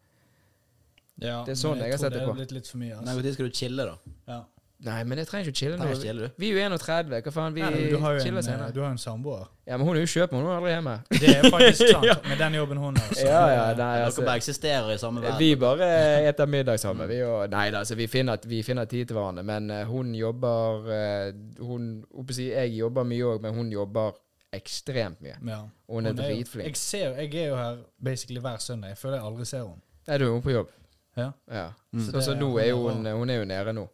[SPEAKER 2] Ja,
[SPEAKER 1] Det er sånn
[SPEAKER 2] men
[SPEAKER 1] jeg har sett
[SPEAKER 2] tror
[SPEAKER 1] det
[SPEAKER 2] det
[SPEAKER 1] på.
[SPEAKER 2] er blitt litt for mye.
[SPEAKER 3] Nei,
[SPEAKER 2] Altså.
[SPEAKER 3] Når skal du chille, da?
[SPEAKER 2] Ja.
[SPEAKER 1] Nei, men jeg trenger ikke å chille
[SPEAKER 3] Trenger ikke
[SPEAKER 1] nå.
[SPEAKER 3] chille, du.
[SPEAKER 1] Vi er jo 31, hva faen? Vi
[SPEAKER 2] Nei, men du har jo en,
[SPEAKER 1] chiller
[SPEAKER 2] eh,
[SPEAKER 1] senere.
[SPEAKER 2] du har jo en
[SPEAKER 1] <laughs>
[SPEAKER 2] samboer.
[SPEAKER 1] Ja, men hun er jo i Kjøpmann, hun er aldri hjemme.
[SPEAKER 2] Det er faktisk sant, med den jobben hun har. så-
[SPEAKER 1] Ja, ja, <laughs> nei,
[SPEAKER 3] Dere
[SPEAKER 1] altså.
[SPEAKER 3] bare eksisterer i samme verden.
[SPEAKER 1] Vi bare eter middag sammen. Vi og, nei da, altså, vi finner, vi finner tid til hverandre. Men eh, hun jobber eh, Hun, oppe å si, Jeg jobber mye òg, men hun jobber ekstremt mye.
[SPEAKER 2] Ja.
[SPEAKER 1] Hun er
[SPEAKER 2] jo-
[SPEAKER 1] dritflink.
[SPEAKER 2] Jeg, ser, jeg er jo her basically hver søndag. Jeg føler jeg aldri ser henne.
[SPEAKER 1] Nei, du er hun på jobb.
[SPEAKER 2] Ja.
[SPEAKER 1] Ja.
[SPEAKER 2] Mm.
[SPEAKER 1] Så, så nå er jo hun, hun er jo nede nå.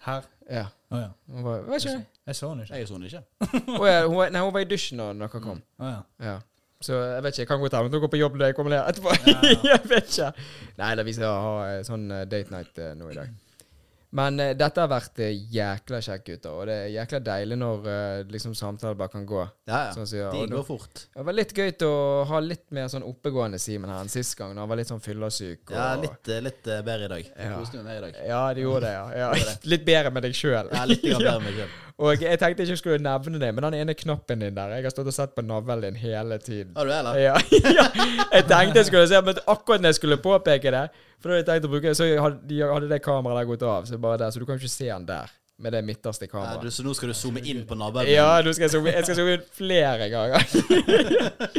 [SPEAKER 2] Her?
[SPEAKER 1] Ja.
[SPEAKER 2] Å ja.
[SPEAKER 1] Hun var, hva skjer?
[SPEAKER 2] Jeg så henne ikke.
[SPEAKER 3] Jeg er sånn ikke.
[SPEAKER 1] Å ja, hun, var- nei, hun var i dusjen da dere kom.
[SPEAKER 2] Å ja.
[SPEAKER 1] Ja. Så jeg vet ikke, jeg kan godt hende hun går på jobb når jeg kommer ned etterpå. <laughs> jeg vet ikke. Nei da, vi skal ha eh, sånn eh, date night eh, nå i dag. Men eh, dette har vært eh, jækla kjekt, gutter. Og det er jækla deilig når eh, liksom samtaler bare kan gå.
[SPEAKER 3] Ja, ja.
[SPEAKER 1] Sånn som jeg,
[SPEAKER 3] De
[SPEAKER 1] og
[SPEAKER 3] går
[SPEAKER 1] nå,
[SPEAKER 3] fort.
[SPEAKER 1] det var litt gøy å ha litt mer sånn oppegående Simen her enn sist gang, da han var litt sånn fyllesyk. Og,
[SPEAKER 3] Ja, litt, eh, litt eh, bedre i dag.
[SPEAKER 1] Ja.
[SPEAKER 3] Koste meg
[SPEAKER 1] <laughs>
[SPEAKER 3] mer i dag.
[SPEAKER 1] Ja, det gjorde det, ja. ja. <laughs> Litt bedre med deg sjøl.
[SPEAKER 3] Ja, litt grann bedre enn meg selv.
[SPEAKER 1] Og jeg tenkte ikke jeg skulle nevne det, men den ene knappen din der Jeg har stått og sett på navlen din hele tiden.
[SPEAKER 3] Har du det, eller?
[SPEAKER 1] Ja, <laughs> ja. Jeg tenkte jeg skulle se, men akkurat når jeg skulle påpeke det For da hadde jeg tenkt å bruke Så jeg hadde, jeg hadde det kameraet der gått av, så bare der Så du kan ikke se den der, med det midterste
[SPEAKER 3] Ja, du,
[SPEAKER 1] kameraet.
[SPEAKER 3] så nå skal du zoome inn på naboen?
[SPEAKER 1] Ja, nå skal jeg zoome jeg skal zoome inn flere <laughs> ganger.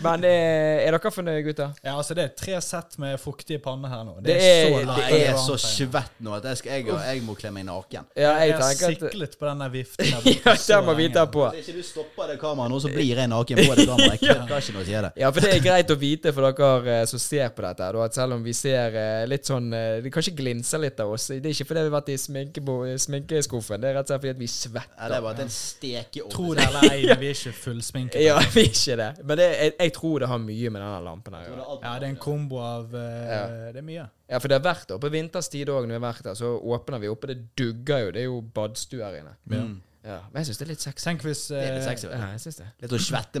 [SPEAKER 1] Men eh, er dere fornøyde, gutter?
[SPEAKER 2] ja, altså det er tre sett med fuktige panner her nå.
[SPEAKER 1] Det
[SPEAKER 2] Det er
[SPEAKER 1] er-
[SPEAKER 2] så
[SPEAKER 3] Ja,
[SPEAKER 2] langt.
[SPEAKER 3] jeg er så svett nå at jeg, skal, jeg, jeg må kle meg naken.
[SPEAKER 1] Ja, jeg
[SPEAKER 2] Jeg har
[SPEAKER 1] tenker at
[SPEAKER 2] siklet på den der viften der
[SPEAKER 1] <laughs> Ja,
[SPEAKER 2] borte.
[SPEAKER 1] der må vi ta på.
[SPEAKER 3] Hvis ikke du stopper det kameraet nå, så blir jeg naken på det
[SPEAKER 2] <laughs>
[SPEAKER 3] kameraet. Jeg kødder ikke når jeg sier det.
[SPEAKER 1] Ja, for det er greit å vite for dere eh, som ser på dette, da, at selv om vi ser eh, litt sånn eh, Det kanskje glinser litt av oss. Det er ikke fordi vi har vært i sminkebo- sminkeskuffen, det er rett og slett fordi at vi
[SPEAKER 3] Ja,
[SPEAKER 1] svetter.
[SPEAKER 3] det er bare at en stekeovn.
[SPEAKER 2] Tro det eller
[SPEAKER 1] <laughs>
[SPEAKER 2] ei, vi er ikke fullsminket.
[SPEAKER 1] Ja, <laughs> vi er ikke det. Men det, jeg, jeg tror det har mye med denne lampen her å gjøre.
[SPEAKER 2] Ja, det er en kombo av eh,
[SPEAKER 1] Ja.
[SPEAKER 2] Det er mye.
[SPEAKER 1] Ja, for det har vært der. På vinterstid òg, når vi har vært der, så åpner vi opp, og det dugger jo. Det er jo badstue her inne. Ja, Men jeg syns Mm. det er litt sexy.
[SPEAKER 2] Tenk hvis
[SPEAKER 3] Det er litt
[SPEAKER 2] eh, Ah,
[SPEAKER 3] sexy. vet du.
[SPEAKER 1] Ja, jeg synes det.
[SPEAKER 3] Litt sånn svette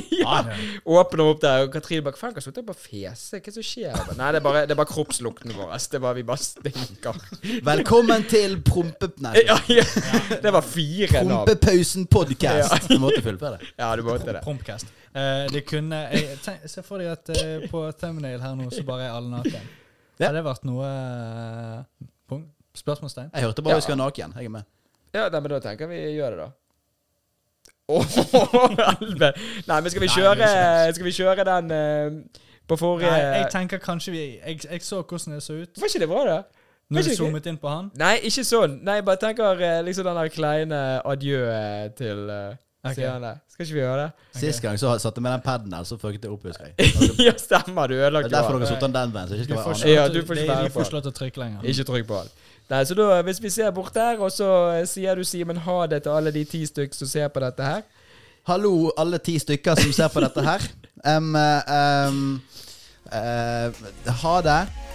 [SPEAKER 1] <laughs> Ja, ja.
[SPEAKER 3] Ja.
[SPEAKER 1] Åpner opp der, og Katrine bare Faen, hva slutter jeg bare å fese? Hva er det som skjer? her?» Nei, det er bare, det er bare kroppslukten vår. ass. Det er bare, vi bare stinker.
[SPEAKER 3] Velkommen til prompe... Nei,
[SPEAKER 1] <laughs> Ja, ja. <laughs> Det var fire navn.
[SPEAKER 3] prompepausen podcast. Du måtte fullføre det.
[SPEAKER 1] Ja, du måtte det.
[SPEAKER 2] Prompcast. Eh, det kunne jeg, tenk, Se for deg at eh, på thumbnail her nå, så bare er alle naken.
[SPEAKER 3] Ja.
[SPEAKER 2] Hadde det vært noe eh, punk- Spørsmålstegn?
[SPEAKER 3] Jeg hørte bare vi skal naken. Jeg er med.
[SPEAKER 1] Ja, nei, men da tenker jeg vi gjør det, da. <laughs> Åh, helvete. Nei, men skal vi kjøre Skal vi kjøre den eh, på
[SPEAKER 2] Nei, jeg
[SPEAKER 1] forrige
[SPEAKER 2] tenker kanskje vi Jeg, jeg så hvordan det så ut
[SPEAKER 1] Var ikke det bra, da?
[SPEAKER 2] når
[SPEAKER 1] Kanskje
[SPEAKER 2] vi
[SPEAKER 1] ikke-
[SPEAKER 2] zoomet inn på han.
[SPEAKER 1] Nei, ikke sånn. Nei, jeg bare tenker eh, liksom den der kleine adjø eh, til eh,
[SPEAKER 2] Ok.
[SPEAKER 1] seerne. Skal ikke vi gjøre det?
[SPEAKER 3] Sist gang så satte jeg med den paden her, så fucket jeg opp,
[SPEAKER 2] <laughs>
[SPEAKER 3] husker jeg.
[SPEAKER 1] <laughs> ja, stemmer. Du
[SPEAKER 3] Det
[SPEAKER 1] ødelagte
[SPEAKER 3] er derfor
[SPEAKER 1] det.
[SPEAKER 3] dere satte den den veien, så
[SPEAKER 2] Du
[SPEAKER 3] jeg ikke skal
[SPEAKER 2] får
[SPEAKER 3] være
[SPEAKER 2] ikke,
[SPEAKER 3] annen.
[SPEAKER 1] Ja,
[SPEAKER 2] lov til-
[SPEAKER 1] du får ikke
[SPEAKER 2] de-
[SPEAKER 1] være på.
[SPEAKER 2] de får ikke lov til å trykke lenger.
[SPEAKER 1] Ikke trykk på alt. Nei, så da, hvis vi ser bort der, og så eh, sier du Simen ha det til alle de ti stykk som ser på dette her.
[SPEAKER 3] Hallo, alle ti stykker som ser på dette her. Em, eh, em, eh, ha det.